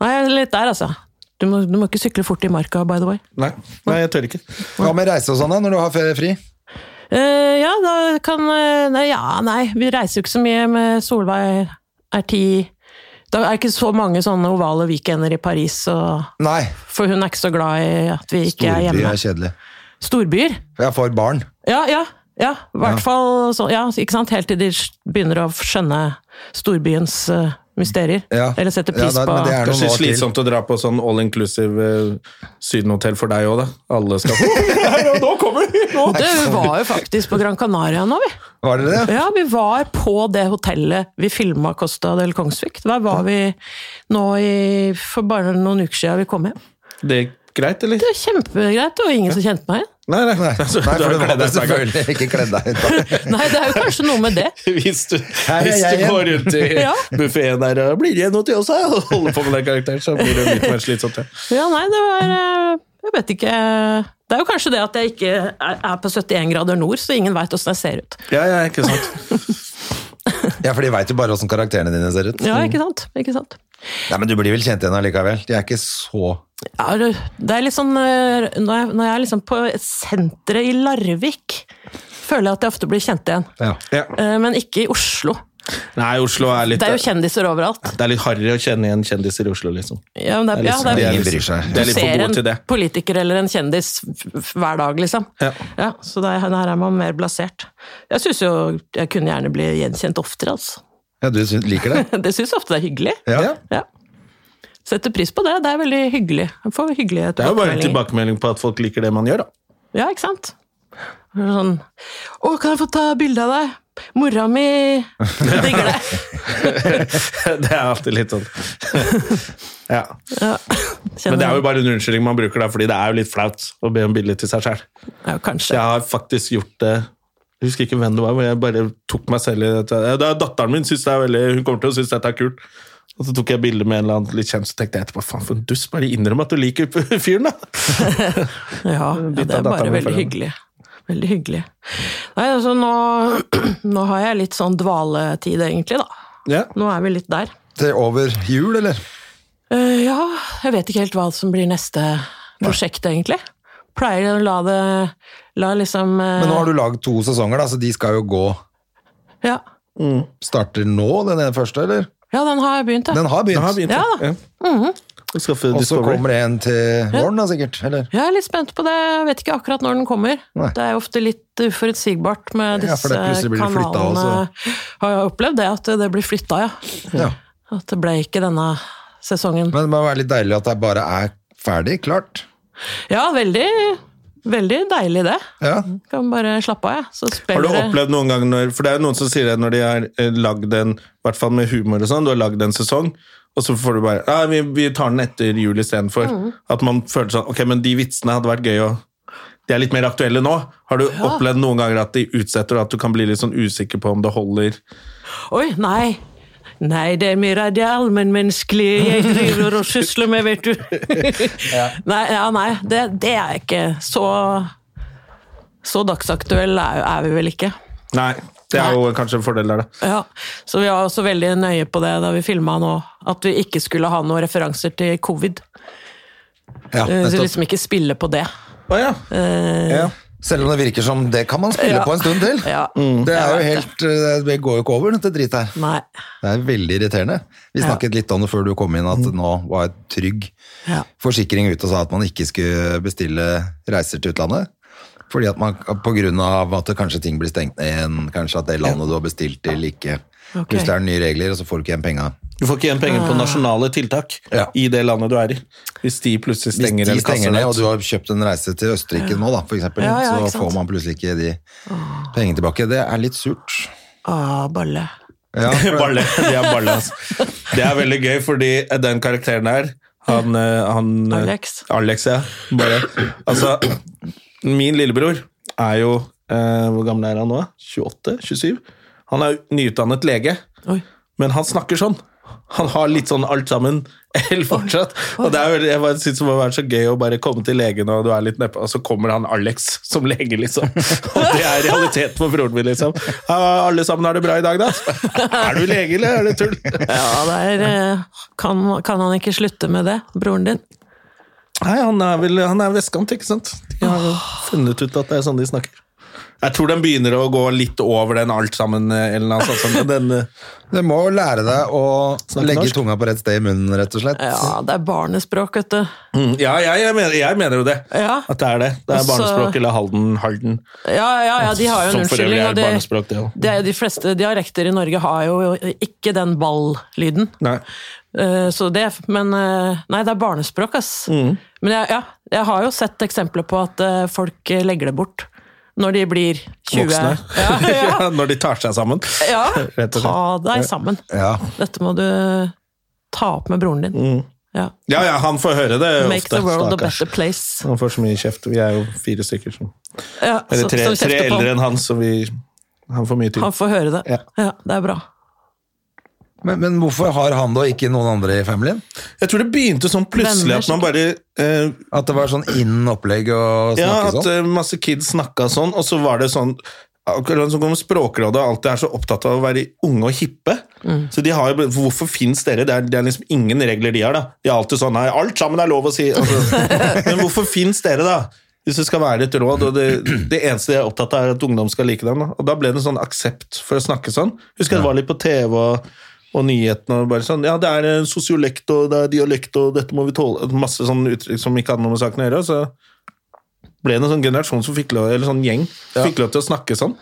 Speaker 3: Nei, jeg er litt der, altså. Du må, du må ikke sykle fort i marka, by the way.
Speaker 1: Nei. Nei, jeg tør ikke.
Speaker 2: Hva med reise og sånn da, når du har fe- fri?
Speaker 3: Eh, ja, da kan eh, Nei, ja, nei. Vi reiser jo ikke så mye med Solveig er ti Da er det ikke så mange sånne ovale weekender i Paris, og,
Speaker 2: Nei,
Speaker 3: for hun er ikke så glad i at vi ikke
Speaker 2: storby
Speaker 3: er hjemme.
Speaker 2: er kjedelig.
Speaker 3: Storbyer?
Speaker 2: Jeg får barn.
Speaker 3: Ja, ja. ja. I hvert
Speaker 2: Ja.
Speaker 3: fall så, ja, ikke sant? helt til de sk- begynner å skjønne storbyens eh, mysterier.
Speaker 2: Ja.
Speaker 3: Eller setter pris
Speaker 2: Ja, da- men
Speaker 3: på
Speaker 2: det er noe
Speaker 1: Kanskje
Speaker 2: nå til.
Speaker 1: slitsomt å dra på sånn all inclusive eh, sydenhotell for deg òg, da. Alle skal få Nå kommer de! Nå.
Speaker 3: Du var jo faktisk på Gran Canaria nå, vi.
Speaker 2: Var det det?
Speaker 3: Ja, vi var på det hotellet vi filma Costa del Kongsvik. Der var vi nå i, for bare noen uker siden vi kom hjem.
Speaker 1: Det er greit, eller?
Speaker 3: Det var kjempegreit, og ingen som kjente meg igjen.
Speaker 1: Nei, nei.
Speaker 2: Nei,
Speaker 1: Altså,
Speaker 2: Nei for du
Speaker 1: du har
Speaker 2: var det
Speaker 1: gledet deg
Speaker 2: selvfølgelig ikke kledd deg ut. da.
Speaker 3: Nei, det er jo kanskje noe med det.
Speaker 1: Hvis du,
Speaker 2: Her er
Speaker 1: hvis
Speaker 2: jeg
Speaker 1: du
Speaker 2: igjen.
Speaker 1: går rundt i
Speaker 3: Ja.
Speaker 1: buffeen der og blir det igjen noe til oss, da?" og holder på med den karakteren, så blir det litt mer slitsomt. Ja.
Speaker 3: Ja, nei, det var eh, Jeg vet ikke Det er jo kanskje det at jeg ikke er er på 71 grader nord, så ingen veit åssen jeg ser ut.
Speaker 1: Ja, ja, ikke sant.
Speaker 2: Ja, for de veit jo bare åssen karakterene dine ser ut.
Speaker 1: Mm.
Speaker 3: Ja, ikke sant? Ikke sant?
Speaker 2: Nei, Men du blir vel kjent igjen allikevel. De er ikke så
Speaker 3: Ja, det det er litt sånn eh, Når jeg, når jeg er liksom på senteret i Larvik, føler jeg at jeg ofte blir kjent igjen.
Speaker 2: ja.
Speaker 1: Ja.
Speaker 3: Eh, Men ikke i Oslo.
Speaker 1: Nei, Oslo er litt
Speaker 3: Det er jo kjendiser overalt.
Speaker 1: Det er litt harry å kjenne igjen kjendiser i Oslo, liksom.
Speaker 3: Ja, men det,
Speaker 1: Det
Speaker 3: er-
Speaker 1: er
Speaker 3: ja,
Speaker 1: liksom-
Speaker 3: det
Speaker 2: Ingen
Speaker 3: er,
Speaker 2: bryr seg.
Speaker 1: Det er
Speaker 3: du
Speaker 1: litt for
Speaker 3: ser
Speaker 1: gode til
Speaker 3: en
Speaker 1: det.
Speaker 3: politiker eller en kjendis f- f- hver dag, liksom.
Speaker 1: Ja.
Speaker 3: så det er, her er man mer blasert. Jeg syns jo jeg kunne gjerne bli gjenkjent oftere, altså.
Speaker 2: ja, du syns- liker det?
Speaker 3: Det syns jeg ofte det er hyggelig.
Speaker 2: Ja.
Speaker 3: Ja. Setter pris på det. Det er veldig hyggelig. Jeg får hyggelige
Speaker 1: Det er jo bare en
Speaker 3: tilbakemeldinger.
Speaker 1: tilbakemelding på at folk liker det man gjør, da.
Speaker 3: Ja, ikke sant? Sånn Å, kan jeg få ta bilde av deg? Mora mi digger det.
Speaker 1: Det er alltid litt sånn Ja.
Speaker 3: Ja.
Speaker 1: Men det er jo bare en unnskyldning man bruker, da, fordi det er jo litt flaut å be om bilde til seg sjøl.
Speaker 3: ja,
Speaker 1: Jeg
Speaker 3: Kanskje.
Speaker 1: har faktisk gjort det Jeg husker ikke hvem det var, men jeg bare tok meg selv i dette. Ja, Det er datteren min synes det er veldig, hun kommer til å synes dette er kult. Og så tok jeg bilde med en eller annen litt kjent, så tenkte jeg etterpå faen for en dust, bare innrøm at du liker fyren, da!
Speaker 3: Ja, ja,
Speaker 1: Bytte
Speaker 3: det er
Speaker 1: datteren
Speaker 3: bare
Speaker 1: min for
Speaker 3: veldig
Speaker 1: den.
Speaker 3: hyggelig. Veldig hyggelig. Nei, altså nå, nå har jeg litt sånn dvaletid, egentlig, da.
Speaker 1: Ja.
Speaker 3: Nå er vi litt der.
Speaker 2: Til over jul, eller?
Speaker 3: Eh, ja, jeg vet ikke helt hva som blir neste prosjekt, egentlig. Pleier å la det La liksom eh,
Speaker 2: Men nå har du lagd to sesonger, da, så de skal jo gå
Speaker 3: eh, ja.
Speaker 2: Starter nå, den ene første, eller?
Speaker 3: ja, den har jeg begynt, ja.
Speaker 2: Den har begynt.
Speaker 1: Jeg har begynt,
Speaker 3: Ja.
Speaker 1: ja. Og skaffe
Speaker 2: Og så
Speaker 1: Discovery.
Speaker 2: kommer det en til våren, da, sikkert? Eller?
Speaker 3: Jeg er litt spent på det. Jeg vet ikke akkurat når den kommer.
Speaker 2: Nei.
Speaker 3: Det er jo ofte litt uforutsigbart med
Speaker 2: Ja,
Speaker 3: disse
Speaker 2: for det plutselig blir det flyttet altså.
Speaker 3: kanalene.
Speaker 2: også.
Speaker 3: Har jeg opplevd det, at det blir flytta, ja.
Speaker 2: Ja.
Speaker 3: At det ble ikke denne sesongen.
Speaker 2: Men det må være litt deilig at det bare er ferdig, klart.
Speaker 3: Ja, veldig, veldig deilig det.
Speaker 2: Ja.
Speaker 3: Kan bare slappe av, jeg. Så
Speaker 1: Har
Speaker 3: spiller
Speaker 1: du opplevd noen gang når For det er jo noen som sier det når de har eh, lagd en I hvert fall med humor og sånn, du har lagd en sesong, og så får du bare Ja, vi, vi tar den etter jul istedenfor. At man føler sånn Ok, men de vitsene hadde vært gøy å De er litt mer aktuelle nå. Har du opplevd noen ganger at de utsetter, og at du kan bli litt sånn usikker på om det holder?
Speaker 3: Oi, nei. Nei, det er mye av det allmennmenneskelige jeg driver og sysler med, vet du. Nei, ja, nei det, det er jeg ikke. Så, så dagsaktuell er, er vi vel ikke.
Speaker 1: Nei. Det er jo kanskje en fordel der, da.
Speaker 3: Ja, Så vi var også veldig nøye på det da vi filma nå, at vi ikke skulle ha noen referanser til covid.
Speaker 2: Ja,
Speaker 3: Eh, Så
Speaker 2: nettopp.
Speaker 3: liksom ikke spille på det.
Speaker 1: Å ja.
Speaker 2: Ja. Selv om det virker som det kan man spille
Speaker 3: Eh, Ja.
Speaker 2: på en stund til. Mm.
Speaker 3: Ja.
Speaker 2: Det er jo helt eh, Det går jo ikke over, dette dritet her.
Speaker 3: Nei.
Speaker 2: Det er veldig irriterende. Vi
Speaker 3: Ja. Mm.
Speaker 2: snakket litt om det før du kom inn, at nå var et trygg
Speaker 3: Ja.
Speaker 2: forsikring ute og sa at man ikke skulle bestille reiser til utlandet. Fordi at man, på grunn av at det kanskje ting blir stengt ned igjen, kanskje at det landet du har bestilt til ikke
Speaker 3: Ok.
Speaker 2: Hvis det er nye regler, og så får du ikke igjen penga.
Speaker 1: Du får ikke igjen penger på nasjonale tiltak
Speaker 2: Ja.
Speaker 1: i det landet du er i. Hvis de plutselig
Speaker 2: Hvis
Speaker 1: stenger
Speaker 2: de
Speaker 1: en kasse
Speaker 2: stenger ned,
Speaker 1: der.
Speaker 2: og du har kjøpt en reise til Østerrike nå, da, for eksempel,
Speaker 3: Ja, ja, ikke
Speaker 2: så
Speaker 3: sant.
Speaker 2: får man plutselig ikke de pengene tilbake. Det er litt surt.
Speaker 3: Ah, balle.
Speaker 2: Ja, for-
Speaker 1: Balle. De er balle, altså. Det er veldig gøy, fordi den karakteren her, han, eh, han eh,
Speaker 3: Alex.
Speaker 1: Alex, ja. Bare, altså, min lillebror er jo eh, Hvor gammel er han nå? 28? 27? Han er jo nyutdannet lege,
Speaker 3: Oi.
Speaker 1: men han snakker sånn. Han har litt sånn alt sammen helt fortsatt. Og det er jo, jeg bare synes det må være så gøy å bare komme til legen, og du er litt nedpå, og så kommer han Alex som lege, liksom. Og det er realiteten for broren min, liksom. Ja, alle sammen har det bra i dag, da? Er du lege, eller er det tull?
Speaker 3: Ja, der eh, kan, kan han ikke slutte med det, broren din.
Speaker 1: Nei, han er vel han er vestkant, ikke sant? De har jo funnet ut at det er sånn de snakker. Det Jeg tror den begynner å gå litt over den alt sammen, eh, Ellen. Altså, sånn, den, eh,
Speaker 2: Du må lære deg å legge
Speaker 1: norsk.
Speaker 2: tunga på rett sted i munnen, rett og slett.
Speaker 3: Ja, det er barnespråk, vet du.
Speaker 1: mm, ja, jeg, jeg, mener, jeg mener jo det.
Speaker 3: Ja.
Speaker 1: At det er det. Det er
Speaker 3: Og så-
Speaker 1: barnespråk eller Halden. Halden.
Speaker 3: Ja, ja, ja de har jo en
Speaker 1: Som Sånn for øvrig
Speaker 3: unnskyldning.
Speaker 1: er
Speaker 3: Og de,
Speaker 1: barnespråk, det òg.
Speaker 3: de, de fleste dialekter i Norge har jo ikke den ball-lyden.
Speaker 1: Nei.
Speaker 3: Eh, Så det, men eh, Nei, det er barnespråk, ass.
Speaker 1: Mm.
Speaker 3: Men jeg, ja, jeg har jo sett eksempler på at eh, folk eh, legger det bort når de blir 20.
Speaker 1: Voksne.
Speaker 3: Ja, ja.
Speaker 1: Ja, Når de tar seg sammen.
Speaker 3: ja.
Speaker 1: Rett og slett.
Speaker 3: Ta deg sammen.
Speaker 2: Ja.
Speaker 3: Dette må du ta opp med broren din. Ja.
Speaker 1: Ja, Mm. ja, han får høre det
Speaker 3: Make
Speaker 1: ofte.
Speaker 3: the world a
Speaker 1: stakkars.
Speaker 3: better place.
Speaker 1: Han får så mye kjeft. Vi er jo fire stykker som
Speaker 3: Ja,
Speaker 1: Eller
Speaker 3: så-
Speaker 1: tre,
Speaker 3: som kjefter
Speaker 1: tre
Speaker 3: på han.
Speaker 1: eldre enn han, så vi Han får mye tid.
Speaker 3: Han får høre det.
Speaker 1: Ja.
Speaker 3: Ja, det er bra.
Speaker 2: Men, men hvorfor har han da ikke noen andre i familien?
Speaker 1: Jeg tror det begynte sånn plutselig
Speaker 3: Venner,
Speaker 1: at man bare eh,
Speaker 2: At det var sånn innen opplegg og
Speaker 1: Ja,
Speaker 2: snakke
Speaker 1: at
Speaker 2: sånn?
Speaker 1: eh, masse kids snakka sånn, og så var det sånn Akkurat som om Språkrådet alltid er så opptatt av å være unge og hippe. Så de har jo, Hvorfor fins dere? Det er, det er liksom ingen regler de har. da. De er alltid sånn Nei, alt sammen er lov å si. Altså, men hvorfor fins dere, da? Hvis det skal være et råd, og det, det eneste de er opptatt av, er at ungdom skal like dem. Da. Og da ble det en sånn aksept for å snakke sånn. Husker jeg det var litt på TV og, og nyhetene og bare sånn Ja, det er eh, sosiolekt og det er dialekt og dette må vi tåle Masse sånne uttrykk som ikke hadde noe med saken å gjøre. så ble det en sånn generasjon som fikk lov, eller sånn gjeng som fikk lov til å snakke sånn.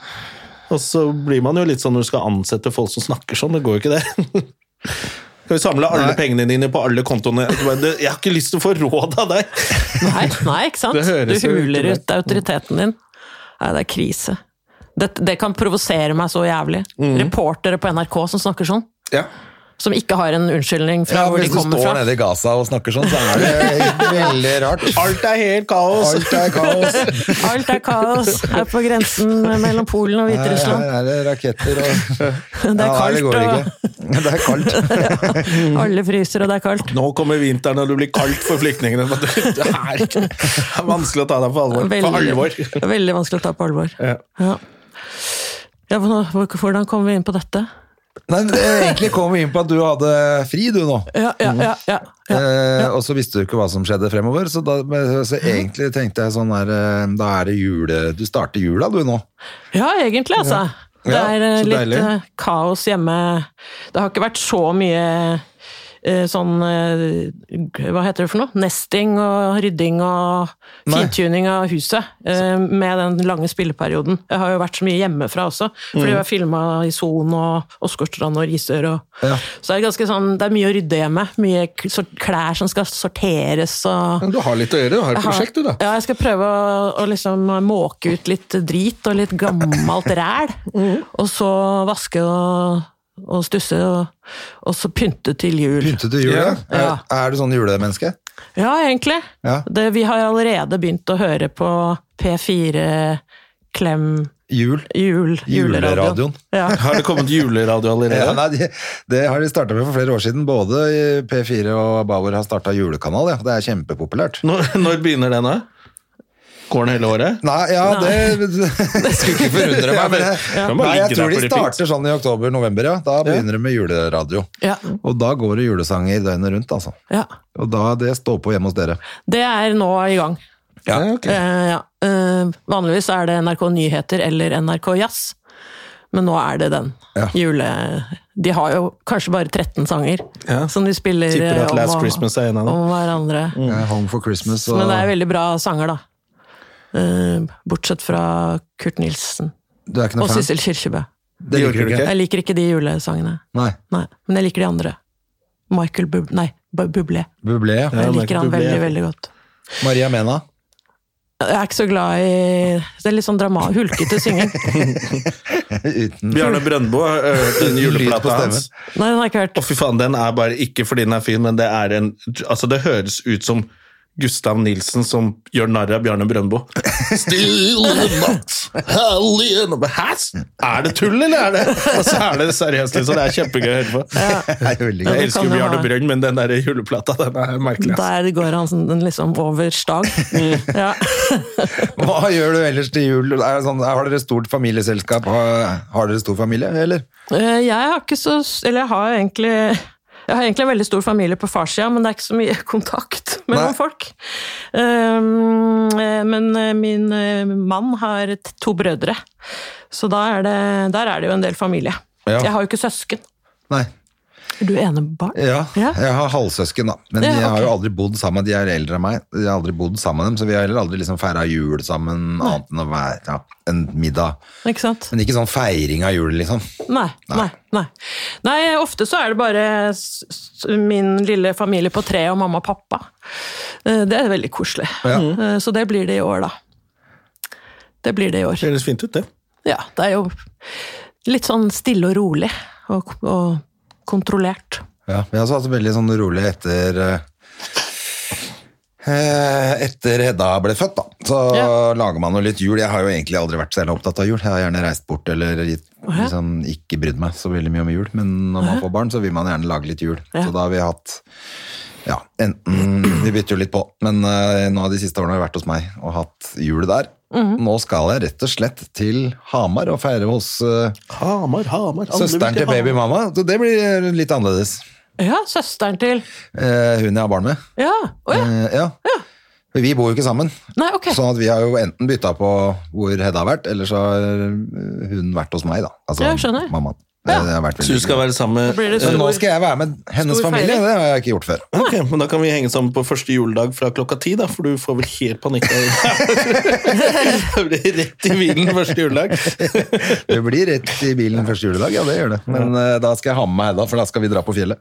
Speaker 1: Og så blir man jo litt sånn når du skal ansette folk som snakker sånn. Det går jo ikke, det. Skal vi samle alle
Speaker 2: Nei.
Speaker 1: pengene dine på alle kontoene? Du bare, «Det- Jeg har ikke lyst til å få råd av deg!
Speaker 3: Nei, nei ikke sant?
Speaker 1: Det høres
Speaker 3: Du
Speaker 1: jo
Speaker 3: huler
Speaker 1: ikke
Speaker 3: ut autoriteten din. Nei, det er krise. Det, det kan provosere meg så jævlig. Reportere på NRK som snakker sånn.
Speaker 1: Mhm. Ja.
Speaker 3: Som ikke har en unnskyldning fra
Speaker 2: Ja,
Speaker 3: hvor de
Speaker 2: hvis du
Speaker 3: kommer
Speaker 2: står
Speaker 3: fra.
Speaker 2: nede i Gaza og snakker sånn, så er det veldig rart.
Speaker 1: Alt er helt kaos!
Speaker 2: Alt er kaos.
Speaker 3: Alt er kaos her på grensen mellom Polen og
Speaker 2: Her
Speaker 3: Hviterussland.
Speaker 2: er det raketter og
Speaker 3: Det
Speaker 2: Ja,
Speaker 3: er
Speaker 2: nei, går
Speaker 3: kaldt,
Speaker 2: ikke. Det er kaldt.
Speaker 3: og alle fryser, og det er kaldt.
Speaker 1: Nå kommer vinteren, og det blir kaldt for flyktningene. Men Det det er, ikke, det er vanskelig å ta deg på alvor. For alvor.
Speaker 3: veldig vanskelig å ta på alvor.
Speaker 1: Ja.
Speaker 3: Ja. Ja, hvor- hvordan kom vi inn på dette?
Speaker 2: Nei, men det- egentlig kom vi inn på at du hadde fri, du nå.
Speaker 3: Ja, ja, ja. ja, ja.
Speaker 2: Eh, og så visste du ikke hva som skjedde fremover, så, da, men- så egentlig tenkte jeg sånn her eh, Da er det jule... Du starter jula, du nå.
Speaker 3: Ja, egentlig, altså. Det
Speaker 2: Ja,
Speaker 3: er eh,
Speaker 2: så
Speaker 3: litt
Speaker 2: deilig.
Speaker 3: eh, kaos hjemme. Det har ikke vært så mye eh, sånn eh, Hva heter det for noe? Nesting og rydding og
Speaker 2: Nei.
Speaker 3: fintuning av huset eh, med den lange spilleperioden. Jeg har jo vært så mye hjemmefra også,
Speaker 2: Mm.
Speaker 3: fordi vi har filma i Son og Åsgårdstrand og Risør. Og,
Speaker 2: Ja.
Speaker 3: Så det er, ganske sånn, det er mye å rydde hjemme. Mye k- sort- klær som skal sorteres og
Speaker 1: Men Du har litt å gjøre. Du har et
Speaker 3: jeg har-
Speaker 1: prosjekt, du, da.
Speaker 3: Ja, jeg skal prøve å, å liksom måke ut litt drit og litt gammelt ræl.
Speaker 1: Mhm.
Speaker 3: Og så vaske og, og stusse, og, og så pynte til jul.
Speaker 2: Begynte du jula?
Speaker 3: Ja.
Speaker 2: Er, er du sånn julemenneske?
Speaker 3: Ja, egentlig.
Speaker 2: Ja.
Speaker 3: Det, vi har allerede begynt å høre på P4 Klem
Speaker 2: Jul?
Speaker 3: jul,
Speaker 2: Juleradioen.
Speaker 3: juleradioen. Ja.
Speaker 1: Har det kommet juleradio allerede?
Speaker 2: Ja, nei, de, det har de starta med for flere år siden. Både i P4 og Bauer har starta julekanal. Ja. Det er kjempepopulært.
Speaker 1: Når, når begynner den, da? Går den hele året?
Speaker 2: Nei, ja, det Det skulle ikke forundre
Speaker 1: meg, men- Kan bare
Speaker 2: Nei, jeg
Speaker 1: ligge der
Speaker 2: tror
Speaker 1: på
Speaker 2: de
Speaker 1: repeat.
Speaker 2: starter sånn i oktober-november, ja. Da begynner de med juleradio.
Speaker 3: Ja.
Speaker 2: Og da går det julesanger døgnet rundt, altså.
Speaker 3: ja.
Speaker 2: Og da det står på hjemme hos dere.
Speaker 3: Det er nå i gang.
Speaker 2: Ja,
Speaker 3: Eh, ja. Eh, vanligvis er det NRK Nyheter eller NRK Jazz, men nå er det den.
Speaker 2: Ja.
Speaker 3: Jule... De har jo kanskje bare 13 sanger
Speaker 1: Ja.
Speaker 3: som de spiller
Speaker 1: Tipper at
Speaker 3: eh,
Speaker 1: Last
Speaker 3: om,
Speaker 1: Christmas er en av dem. Mm,
Speaker 3: om hverandre.
Speaker 2: Eh, Home for Christmas og
Speaker 3: Men det er veldig bra sanger, da. Eh, bortsett fra Kurt Nilsen
Speaker 2: Du er ikke
Speaker 3: og
Speaker 2: noe fan?
Speaker 3: Sissel Kyrkjebø.
Speaker 2: Det liker du ikke?
Speaker 3: Jeg liker ikke de julesangene,
Speaker 2: Nei.
Speaker 3: nei. men jeg liker de andre. Michael Bub... Nei, Bu- Bublé.
Speaker 2: Bublé.
Speaker 1: Ja,
Speaker 3: Jeg
Speaker 1: Michael
Speaker 3: liker han
Speaker 1: Bublé.
Speaker 3: veldig, veldig godt.
Speaker 2: Maria Mena.
Speaker 3: Jeg er ikke så glad i Det er litt sånn drama, hulkete synging.
Speaker 2: Uten
Speaker 1: Bjarne Brøndbo har hørt den
Speaker 2: Lyd på
Speaker 1: juleplata
Speaker 2: stemmen.
Speaker 1: hans.
Speaker 3: Nei, den har jeg ikke hørt.
Speaker 1: Å, fy faen, den er bare ikke fordi den er fin, men det er en Altså, det høres ut som Gustav Nilsen som gjør narr av Bjarne Brøndbo. Stille natt, hellige natt. Hæs? Er det tull, eller er det Og så er det seriøst, liksom. Det er kjempegøy å høre på.
Speaker 2: Det er jo veldig gøy.
Speaker 1: Jeg
Speaker 3: det
Speaker 1: elsker jo
Speaker 3: kan det
Speaker 1: Bjarne
Speaker 3: være.
Speaker 1: Brønd, men den der juleplata, den er merkelig. ass.
Speaker 3: Der går han sånn, liksom over stag. Ja.
Speaker 2: Hva gjør du ellers til jul? Er det sånn, har dere stort familieselskap? Har, har dere stor familie, eller?
Speaker 3: Eh, Jeg har ikke så Eller jeg har egentlig Jeg har egentlig en veldig stor familie på farssida, men det er ikke så mye kontakt mellom
Speaker 2: Nei.
Speaker 3: folk. Um, eh, men eh, min eh, mann har t- to brødre, så da er det, der er det jo en del familie.
Speaker 2: Ja.
Speaker 3: Jeg har jo ikke søsken.
Speaker 2: Nei.
Speaker 3: Er du enebarn?
Speaker 2: Ja,
Speaker 3: Ja.
Speaker 2: jeg har halvsøsken, da. Men
Speaker 3: Ja,
Speaker 2: de har
Speaker 3: ok.
Speaker 2: jo aldri bodd sammen. De er eldre enn meg. Jeg har aldri bodd sammen med dem, så vi har heller aldri liksom feira jul sammen, annet enn å være ja, en middag.
Speaker 3: Ikke sant?
Speaker 2: Men ikke sånn feiring av jul, liksom.
Speaker 3: Nei, nei, nei. Nei, ofte så er det bare s- s- min lille familie på tre og mamma og pappa. Eh, Det er veldig koselig.
Speaker 2: Ja.
Speaker 3: Eh, Så det blir det i år, da. Det blir det i år.
Speaker 1: Det høres fint ut, det.
Speaker 3: Ja, det er jo litt sånn stille og rolig og, k- og kontrollert.
Speaker 2: Ja, vi har også hatt det veldig sånn rolig etter eh, eh, Etter Hedda ble født, da. Så
Speaker 3: Ja.
Speaker 2: lager man jo litt jul. Jeg har jo egentlig aldri vært så jævla opptatt av jul. Jeg har gjerne reist bort eller gitt- liksom, ikke brydd meg så veldig mye om jul. Men når man får barn, så vil man gjerne lage litt jul.
Speaker 3: Ja.
Speaker 2: Så da har vi hatt Ja, enten Vi bytter jo litt på, men eh, nå de siste årene har jeg vært hos meg og hatt jul der. Nå skal jeg rett og slett til Hamar og feire hos eh,
Speaker 1: Hamar, Hamar. alle
Speaker 2: søsteren
Speaker 1: vil
Speaker 2: til
Speaker 1: Hamar.
Speaker 2: babymamma. Så det blir litt annerledes.
Speaker 3: Ja, søsteren til
Speaker 2: Eh, hun jeg har barn med.
Speaker 3: Ja! Å ja!
Speaker 2: Eh, ja. For Vi bor jo ikke sammen,
Speaker 3: Nei, ok.
Speaker 2: sånn at vi har jo enten bytta på hvor Hedda har vært, eller så har eh, hun vært hos meg, da. Altså,
Speaker 3: Ja, jeg skjønner.
Speaker 2: Mammaen.
Speaker 3: Ja.
Speaker 2: Det har vært
Speaker 1: Så
Speaker 2: veldig
Speaker 1: du skal være sammen
Speaker 3: blir
Speaker 1: med
Speaker 3: det
Speaker 2: Men nå
Speaker 3: stor-
Speaker 2: skal jeg være med hennes
Speaker 3: stor
Speaker 2: familie,
Speaker 3: feiring.
Speaker 2: det har jeg ikke gjort før.
Speaker 1: Ok, men Da kan vi henge sammen på første juledag fra klokka ti, da, for du får vel helt panikk av det. blir rett i bilen første juledag.
Speaker 2: Det blir rett i bilen første juledag, ja det gjør det. Men eh, da skal jeg ha med meg Hedda, for da skal vi dra på fjellet.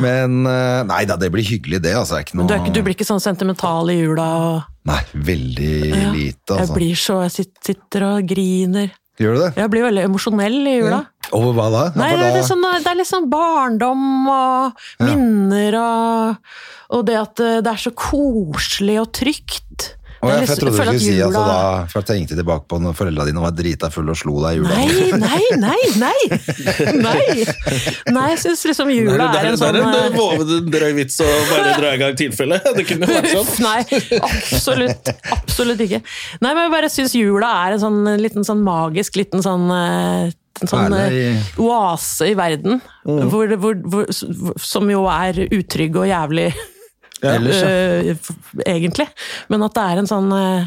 Speaker 2: Men eh, nei da, det blir hyggelig det, altså. Det Er ikke noe...
Speaker 3: Du, er ikke, du blir ikke sånn sentimental i jula og
Speaker 2: Nei, veldig lite,
Speaker 3: Jeg
Speaker 2: altså.
Speaker 3: blir så Jeg sit- sitter og griner.
Speaker 2: Gjør du det?
Speaker 3: Jeg blir veldig emosjonell i jula.
Speaker 2: Over hva da? Ja,
Speaker 3: Nei,
Speaker 2: for
Speaker 3: det er
Speaker 2: da-
Speaker 3: litt sånn, det er litt sånn barndom og minner og, og det at eh, det er så koselig og trygt.
Speaker 2: Å, ja,
Speaker 3: Det er
Speaker 2: for
Speaker 3: litt-
Speaker 2: jeg trodde du
Speaker 3: føler
Speaker 2: skulle
Speaker 3: at
Speaker 2: si at
Speaker 3: jula-
Speaker 2: da, for jeg tenkte tilbake på når foreldrene dine var drita fulle og slo deg i jula.
Speaker 3: Nei, nei, nei, nei! Nei, nei jeg syns liksom
Speaker 1: Der,
Speaker 3: jula er
Speaker 1: der,
Speaker 3: en
Speaker 1: der
Speaker 3: sånn
Speaker 1: er det
Speaker 3: eh,
Speaker 1: våvet en drøy vits å bare dra i gang tilfellet. Det kunne jo vært sånn.
Speaker 3: Uff, nei, absolutt, absolutt ikke. Nei, men jeg bare syns jula er en sånn en liten sånn magisk liten sånn eh, en sånn
Speaker 2: Perle i- Mm.
Speaker 3: eh, oase i verden, hvor, hvor, hvor, som jo er utrygg og jævlig
Speaker 2: Ellers, ja.
Speaker 3: eh, f- egentlig. Men at det er en sånn, eh,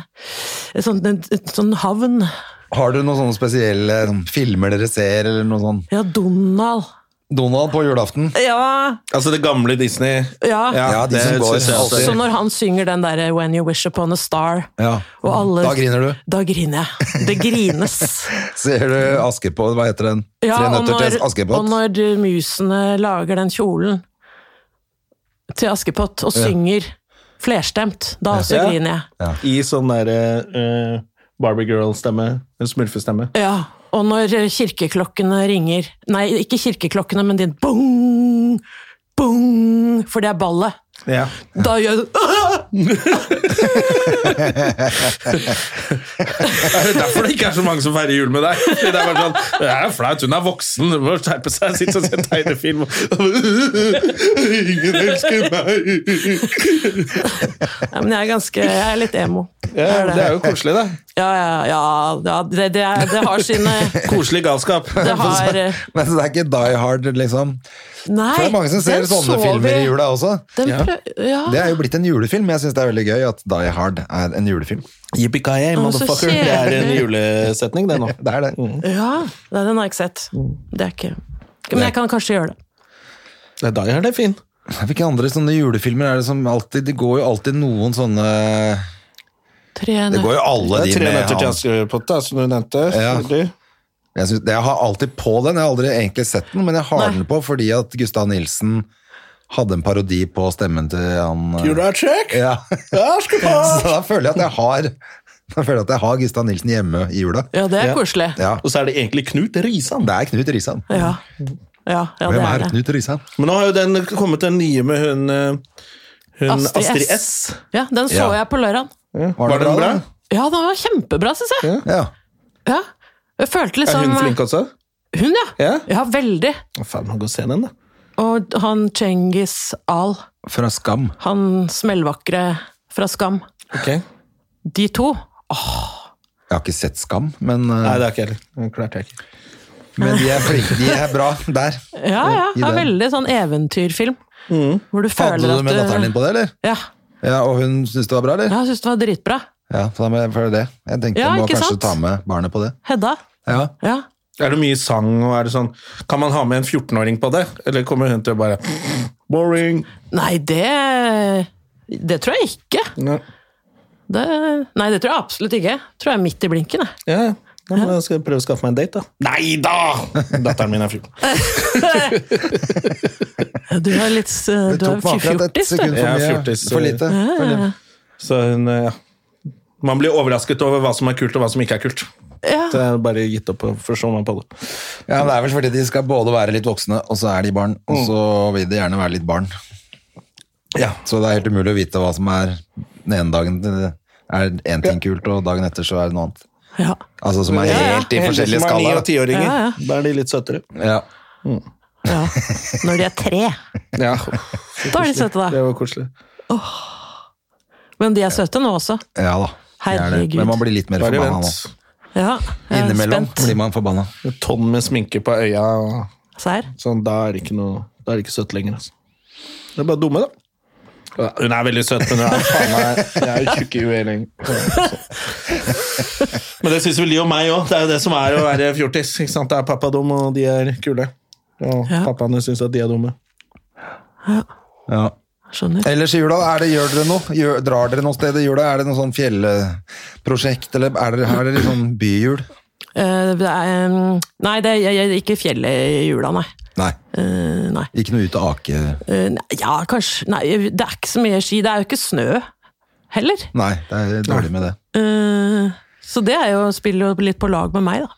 Speaker 3: en sånn, en, en sånn havn.
Speaker 2: Har du noen sånne spesielle sånn, filmer dere ser, eller noe sånn
Speaker 3: Ja, Donald.
Speaker 2: Donald på julaften?
Speaker 3: Ja,
Speaker 1: Altså det gamle Disney.
Speaker 3: ja.
Speaker 2: Ja, de
Speaker 1: det
Speaker 2: som går
Speaker 1: synes jeg også.
Speaker 3: Så
Speaker 2: alltid.
Speaker 3: når han synger den derre 'When you wish upon a star'
Speaker 2: Ja.
Speaker 3: og alle,
Speaker 2: Da griner du.
Speaker 3: Da griner jeg. Det grines.
Speaker 2: Ser du Askepott, hva heter den?
Speaker 3: Ja,
Speaker 2: Tre
Speaker 3: og
Speaker 2: nøtter
Speaker 3: når,
Speaker 2: til Askepott?
Speaker 3: Og når du- musene lager den kjolen til Askepott og synger flerstemt, da også
Speaker 1: Ja.
Speaker 3: griner jeg.
Speaker 1: I sånn derre Barbie Girl-stemme. En smurfestemme.
Speaker 3: Ja, og når kirkeklokkene ringer Nei, ikke kirkeklokkene, men din bong, bong, for det er ballet.
Speaker 1: Ja.
Speaker 3: Da gjør jeg sånn
Speaker 1: Er det derfor det ikke er så mange som feirer jul med deg? Det er bare sånn, det er flaut, hun er voksen, hun må skjerpe seg, sitte og se tegnefilm. Ingen elsker meg!
Speaker 3: ja, Men jeg er ganske Jeg er litt emo.
Speaker 1: Ja, det er jo koselig, da.
Speaker 3: Ja, ja, ja, ja det, det, er- det har sine
Speaker 1: Koselig galskap.
Speaker 3: Det har eh,
Speaker 2: Men så det er ikke Die Hard, liksom.
Speaker 3: Nei!
Speaker 2: For det er mange som ser
Speaker 3: den
Speaker 2: sånne
Speaker 3: så
Speaker 2: filmer
Speaker 3: vi.
Speaker 2: i jula også.
Speaker 3: Den prøv, ja.
Speaker 2: Det er jo blitt en julefilm. Jeg syns det er veldig gøy at Die Hard er en julefilm.
Speaker 1: Yippee-ki-yay, motherfucker. Det er en julesetning, det nå. Mm.
Speaker 2: Det er det.
Speaker 3: Ja, nei, den har jeg ikke sett.
Speaker 2: Mm.
Speaker 3: Det er ikke Men jeg kan kanskje gjøre det.
Speaker 1: Det er da jeg har det fin.
Speaker 2: Hvilke andre sånne julefilmer er det som alltid Det går jo alltid noen sånne
Speaker 3: Tre
Speaker 2: Det går jo alle
Speaker 1: Det er
Speaker 2: de
Speaker 1: tre
Speaker 2: med
Speaker 1: nøtter til
Speaker 2: han-
Speaker 1: Askepott, da, som du nevnte.
Speaker 2: Ja.
Speaker 1: Selvfølgelig.
Speaker 2: Jeg, synes, jeg har alltid på den, jeg har aldri egentlig sett den, men jeg har
Speaker 3: Nei.
Speaker 2: den på fordi at Gustav Nilsen hadde en parodi på stemmen til han eh,
Speaker 1: Gjorde du et sjekk?
Speaker 2: ja. Så
Speaker 1: Askepott!
Speaker 2: da føler jeg at jeg har Da føler jeg at jeg har Gustav Nilsen hjemme i jula.
Speaker 3: Ja, det er
Speaker 1: Ja.
Speaker 3: koselig.
Speaker 2: Ja.
Speaker 1: Og så er det egentlig Knut Risan.
Speaker 2: Det er Knut Risan.
Speaker 3: Ja. Ja, ja det
Speaker 2: Hvem
Speaker 3: er
Speaker 2: er
Speaker 3: det.
Speaker 2: Knut Risan?
Speaker 1: Men nå har jo den kommet den nye med hun, eh, hun
Speaker 3: Astrid S.
Speaker 1: Astrid S.
Speaker 3: Ja, den så
Speaker 2: Ja.
Speaker 3: jeg på lørdag.
Speaker 2: Var, det bra? da?
Speaker 3: Ja, den var kjempebra, syns jeg.
Speaker 2: Ja.
Speaker 3: Ja. Jeg følte
Speaker 1: Er
Speaker 3: liksom
Speaker 1: hun flink også?
Speaker 3: Hun, ja.
Speaker 1: Ja.
Speaker 3: Ja, veldig.
Speaker 1: Å, Faen, man går og se den, da.
Speaker 3: Og han Cengiz Al,
Speaker 2: Fra Skam.
Speaker 3: han smellvakre fra Skam.
Speaker 1: Ok.
Speaker 3: De to.
Speaker 2: Jeg har ikke sett Skam, men eh,
Speaker 1: Nei, det er ikke jeg heller. Den klarte jeg ikke.
Speaker 2: Men de er flinke, de er bra der.
Speaker 3: Ja, ja.
Speaker 2: I
Speaker 3: Det er
Speaker 2: den. Mm.
Speaker 3: veldig sånn eventyrfilm. Hvor du føler
Speaker 2: Hadde
Speaker 3: at
Speaker 2: du med datteren din på det, eller?
Speaker 3: Ja.
Speaker 2: Ja, Og hun syntes det var bra,
Speaker 3: ja,
Speaker 2: eller?
Speaker 3: jeg syns det var dritbra.
Speaker 2: Ja, så da må jeg følge det. Jeg tenkte
Speaker 3: Ja,
Speaker 2: jeg må
Speaker 3: ikke
Speaker 2: kanskje
Speaker 3: sant?
Speaker 2: ta med barnet på det.
Speaker 3: Hedda.
Speaker 2: Ja.
Speaker 3: Ja.
Speaker 1: Er det mye sang, og er det sånn Kan man ha med en 14-åring på det? Eller kommer hun til å bare Boring!
Speaker 3: Nei, det Det tror jeg ikke.
Speaker 1: Ja,
Speaker 3: Det, nei, det tror jeg absolutt ikke. Tror jeg er midt i blinken, jeg.
Speaker 1: ja. Da må jeg skal jeg prøve å skaffe meg en date, da. Nei da! Datteren min er 14.
Speaker 3: Du er litt eh,
Speaker 2: Det
Speaker 3: Du er
Speaker 2: tok meg akkurat et
Speaker 3: fjortis, du.
Speaker 2: sekund for
Speaker 1: Ja,
Speaker 2: mye.
Speaker 1: fjortis,
Speaker 2: for lite. eh, For lite.
Speaker 1: Så hun, eh, ja. Man blir overrasket over hva som er kult, og hva som ikke er kult.
Speaker 3: Ja.
Speaker 1: Så jeg har bare gitt opp å forstå meg på det.
Speaker 2: Ja, men Det er vel fordi de skal både være litt voksne, og så er de barn. Og så vil de gjerne være litt barn.
Speaker 1: Ja.
Speaker 2: Så det er helt umulig å vite hva som er den ene dagen eh, er én ting kult, og dagen etter så er det noe annet.
Speaker 3: Ja.
Speaker 2: Altså som er
Speaker 3: Ja, ja.
Speaker 2: helt i
Speaker 1: Heldigvis
Speaker 2: forskjellige
Speaker 1: som er ni- og
Speaker 2: skalaer.
Speaker 1: tiåringer.
Speaker 3: Ja, ja.
Speaker 1: Da er de litt søtere.
Speaker 2: Ja.
Speaker 3: ja. Når de er tre.
Speaker 1: Ja.
Speaker 3: Da er de søte, da.
Speaker 1: Det var koselig.
Speaker 3: Men de er søte nå også.
Speaker 2: ja da. Det er det.
Speaker 3: Herregud.
Speaker 2: Men man blir litt mer
Speaker 1: Bare
Speaker 2: forbanna nå.
Speaker 1: vent.
Speaker 3: Ja. Jeg er
Speaker 2: Innimellom
Speaker 3: spent.
Speaker 2: blir man forbanna.
Speaker 1: Et tonn med sminke på øya, og
Speaker 3: Serr?
Speaker 1: sånn, da er det ikke noe Da er det ikke søtt lenger, altså. Det er bare dumme, da. Ja, Hun er veldig søt, men hun er faen meg Jeg er jo tjukk i huet lenger. Men det syns vel de og meg òg. Det er jo det som er å være fjortis. ikke sant? Det er pappa dum, og de er kule. Og
Speaker 3: Ja.
Speaker 1: pappaene syns at de er dumme.
Speaker 2: Ja.
Speaker 3: Skjønner.
Speaker 2: Ellers i jula, er det, gjør dere noe? Gjør, drar dere noe sted i jula? Er det noe sånn fjellprosjekt, eller er dere, er dere sånn byjul?
Speaker 3: Eh, det er, eh, nei, det er, jeg, jeg, ikke fjellet i jula, nei.
Speaker 2: Nei.
Speaker 3: Eh, nei.
Speaker 2: Ikke noe ut og ake?
Speaker 3: Eh, nei, ja, kanskje Nei, det er ikke så mye ski. Det er jo ikke snø heller.
Speaker 2: Nei, det er dårlig med det.
Speaker 3: Eh, så det er jo, spiller jo litt på lag med meg, da.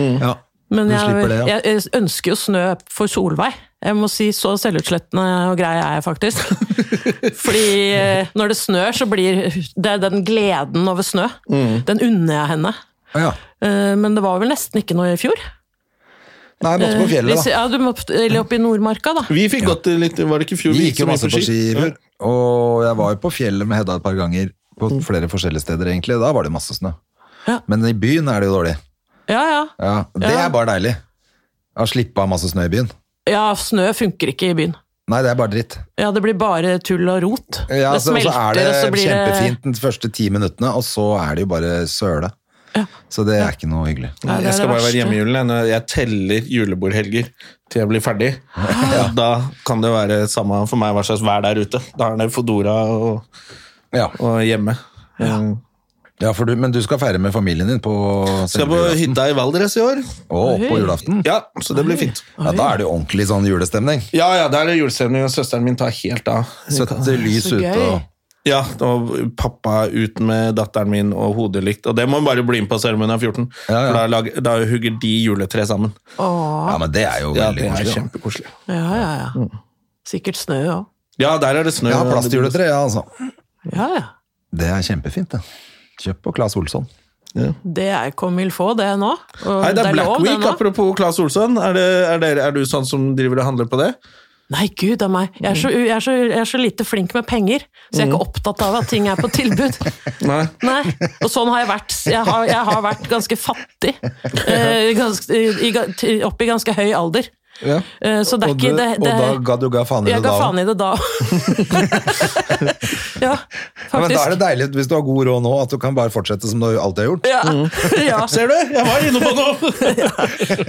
Speaker 2: Ja.
Speaker 3: Mm. Men
Speaker 2: Du
Speaker 3: jeg,
Speaker 2: slipper det, ja.
Speaker 3: jeg, jeg ønsker jo snø for Solveig. Jeg må si så selvutslettende og grei er jeg faktisk. Fordi eh, når det snør, så blir det er den gleden over snø.
Speaker 2: Mm.
Speaker 3: Den unner jeg henne.
Speaker 2: ja.
Speaker 3: Eh, Men det var vel nesten ikke noe i fjor.
Speaker 2: Nei, måtte på
Speaker 3: Eh, Hvis-
Speaker 2: fjellet, da.
Speaker 3: Ja, du må, eller oppe i Nordmarka, da.
Speaker 1: Vi fikk gått litt Var det ikke i fjor
Speaker 2: Vi
Speaker 1: vi
Speaker 2: gikk jo
Speaker 1: så mye
Speaker 2: masse på ski i fjor, og jeg var jo på fjellet med Hedda et par ganger. På flere forskjellige steder, egentlig. Da var det masse snø.
Speaker 3: Mm. Ja.
Speaker 2: Men i byen er det jo dårlig.
Speaker 3: Ja, ja.
Speaker 2: Ja, Det
Speaker 3: Ja.
Speaker 2: er bare deilig. Å slippe av masse snø i byen.
Speaker 3: ja snø funker ikke i byen.
Speaker 2: Nei, det er bare dritt.
Speaker 3: Ja, det blir bare tull og rot.
Speaker 2: Ja,
Speaker 3: det
Speaker 2: så, og så er det
Speaker 3: og så blir
Speaker 2: kjempefint de første ti minuttene, og så er det jo bare søle. Så det er ikke noe hyggelig.
Speaker 3: Ja, det er
Speaker 1: jeg skal
Speaker 3: det
Speaker 1: bare være
Speaker 3: verste.
Speaker 1: hjemme i julen. jeg. Når Jeg teller julebordhelger til jeg blir ferdig. Da kan det være samme for meg hva slags vær det er ute. Da er det Fodora og,
Speaker 2: Ja,
Speaker 1: og hjemme.
Speaker 2: Um,
Speaker 1: Mm.
Speaker 2: ja for du, Men du skal feire med familien din på
Speaker 1: Skal på hytta i Valdres i år.
Speaker 2: Og på julaften?
Speaker 1: Ja, så det blir fint.
Speaker 2: Ja, Da er det jo ordentlig sånn julestemning.
Speaker 1: Ja, ja, da er det julestemning, og søsteren min tar helt av.
Speaker 2: Søtte lys
Speaker 3: Så
Speaker 2: ute
Speaker 3: gøy.
Speaker 2: og
Speaker 1: Ja, og pappa ut med datteren min og hodelykt. Og det må hun bare bli med på selv om hun er 14.
Speaker 2: Ja, ja.
Speaker 1: For da, lag, da hugger de juletre sammen.
Speaker 2: Ja, men det er jo
Speaker 1: Ja,
Speaker 2: veldig
Speaker 1: det er
Speaker 2: koselig. da.
Speaker 1: kjempekoselig.
Speaker 3: Ja, ja, ja.
Speaker 2: Mm.
Speaker 3: Sikkert snø òg.
Speaker 1: Ja, der er det snø.
Speaker 2: Jeg har plass til juletre, ja, altså.
Speaker 3: Ja, ja.
Speaker 2: Det er kjempefint, det. Kjøp på Claes Olsson.
Speaker 3: Det er comme il faut, det nå. Og
Speaker 1: Nei, det er Black
Speaker 3: lov, det
Speaker 1: Week,
Speaker 3: nå.
Speaker 1: apropos Claes Olsson. Er, det, er, dere, er du sånn som driver og handler på det?
Speaker 3: Nei, gud av meg. Jeg er, så, jeg, er så, jeg er så lite flink med penger, så jeg
Speaker 2: Mm.
Speaker 3: er ikke opptatt av at ting er på tilbud.
Speaker 1: Nei.
Speaker 3: Nei, Og sånn har jeg vært. Jeg har, jeg har vært ganske fattig. Eh, ganske, i, ga- opp i ganske høy alder.
Speaker 2: Ja.
Speaker 3: Eh, så det er
Speaker 2: Og, du,
Speaker 3: ikke det,
Speaker 2: og
Speaker 3: det,
Speaker 2: da ga du ga faen i det
Speaker 3: Jeg
Speaker 2: da
Speaker 3: ga faen i det da. ja,
Speaker 2: Ja, men da er det
Speaker 3: faktisk.
Speaker 2: deilig hvis du har god råd nå, at du kan bare fortsette som du alltid har gjort.
Speaker 3: Ja, ja.
Speaker 1: Ser du? Jeg var inne på noe!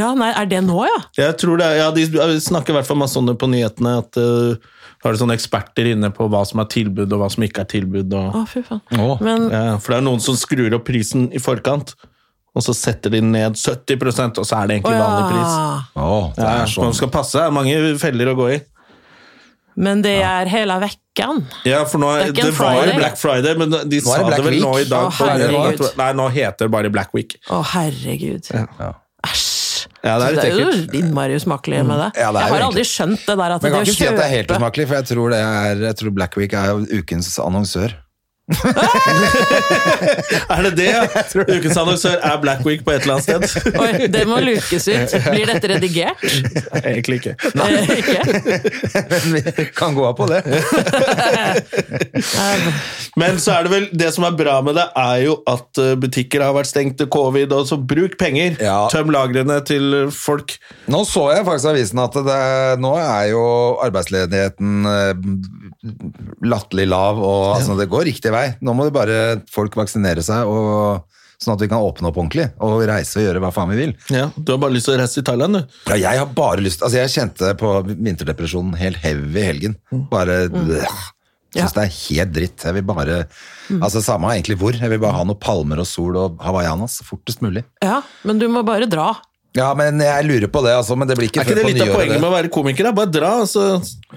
Speaker 3: ja, nei, er det nå, ja?
Speaker 1: Jeg tror det, er- ja, De snakker i hvert fall masse om det på nyhetene. At eh, da er det sånne eksperter inne på hva som er tilbud, og hva som ikke er tilbud. Og,
Speaker 3: Å, fy faen.
Speaker 2: Å.
Speaker 3: Men
Speaker 1: ja, for det er noen som skrur opp prisen i forkant, og så setter de ned 70 og så er det egentlig vanlig pris.
Speaker 3: ja.
Speaker 2: Å, det
Speaker 1: Ja,
Speaker 2: er
Speaker 1: så man
Speaker 2: sånn.
Speaker 1: skal passe. Det er mange feller å gå i.
Speaker 3: Men det er hele vekkan.
Speaker 1: Ja, for nå,
Speaker 3: Det
Speaker 1: det,
Speaker 3: er ikke en
Speaker 1: var jo
Speaker 3: Friday.
Speaker 1: Black Friday, men de sa
Speaker 2: Black
Speaker 1: det vel
Speaker 2: Week.
Speaker 1: nå i dag.
Speaker 3: Å,
Speaker 1: på nyhetene
Speaker 3: herregud.
Speaker 1: at- nei, nå heter det bare Black Week.
Speaker 3: Å, herregud. Æsj.
Speaker 1: Ja, det er litt
Speaker 3: jo
Speaker 1: ekkelt.
Speaker 3: innmari usmakelig med det.
Speaker 2: Ja, det er jo
Speaker 3: jeg har
Speaker 2: egentlig-
Speaker 3: aldri skjønt det der at
Speaker 2: Men jeg
Speaker 3: det
Speaker 2: kan
Speaker 3: å
Speaker 2: ikke si at det er helt
Speaker 3: kjøpe-
Speaker 2: usmakelig, for jeg tror, det er, jeg tror Black Week er jo ukens annonsør.
Speaker 1: Er det det? Ukens annonsør er Black Week på et eller annet sted?
Speaker 3: Oi, det må lukes ut. Blir dette redigert?
Speaker 1: Egentlig ikke.
Speaker 3: Eh, Ikke?
Speaker 2: Vi kan gå av på det.
Speaker 1: Men så er det vel, det som er bra med det, er jo at eh, butikker har vært stengt til covid. og så Bruk penger.
Speaker 2: Ja.
Speaker 1: Tøm lagrene til eh, folk.
Speaker 2: Nå så jeg faktisk i avisen at det, nå er jo arbeidsledigheten eh, latterlig lav, og altså, det går riktig vei. Nå må det bare folk vaksinere seg, og, sånn at vi kan åpne opp ordentlig og reise og gjøre hva faen vi vil.
Speaker 1: Ja, Du har bare lyst til å reise til Thailand, du.
Speaker 2: Ja, jeg har bare lyst Altså, jeg kjente på vinterdepresjonen helt heavy i helgen.
Speaker 1: Mm.
Speaker 2: Bare øh, Syns det er helt dritt. Jeg vil bare
Speaker 1: Mm.
Speaker 2: Altså, samme egentlig hvor. Jeg vil bare ha noen palmer og sol og hawaiianas fortest mulig.
Speaker 3: Ja, men du må bare dra.
Speaker 2: Ja, men jeg lurer på det, altså. Men det blir ikke
Speaker 1: Er ikke
Speaker 2: før
Speaker 1: det
Speaker 2: på
Speaker 1: litt av
Speaker 2: nyåret.
Speaker 1: poenget
Speaker 2: det.
Speaker 1: med å være komiker? da? Bare dra og så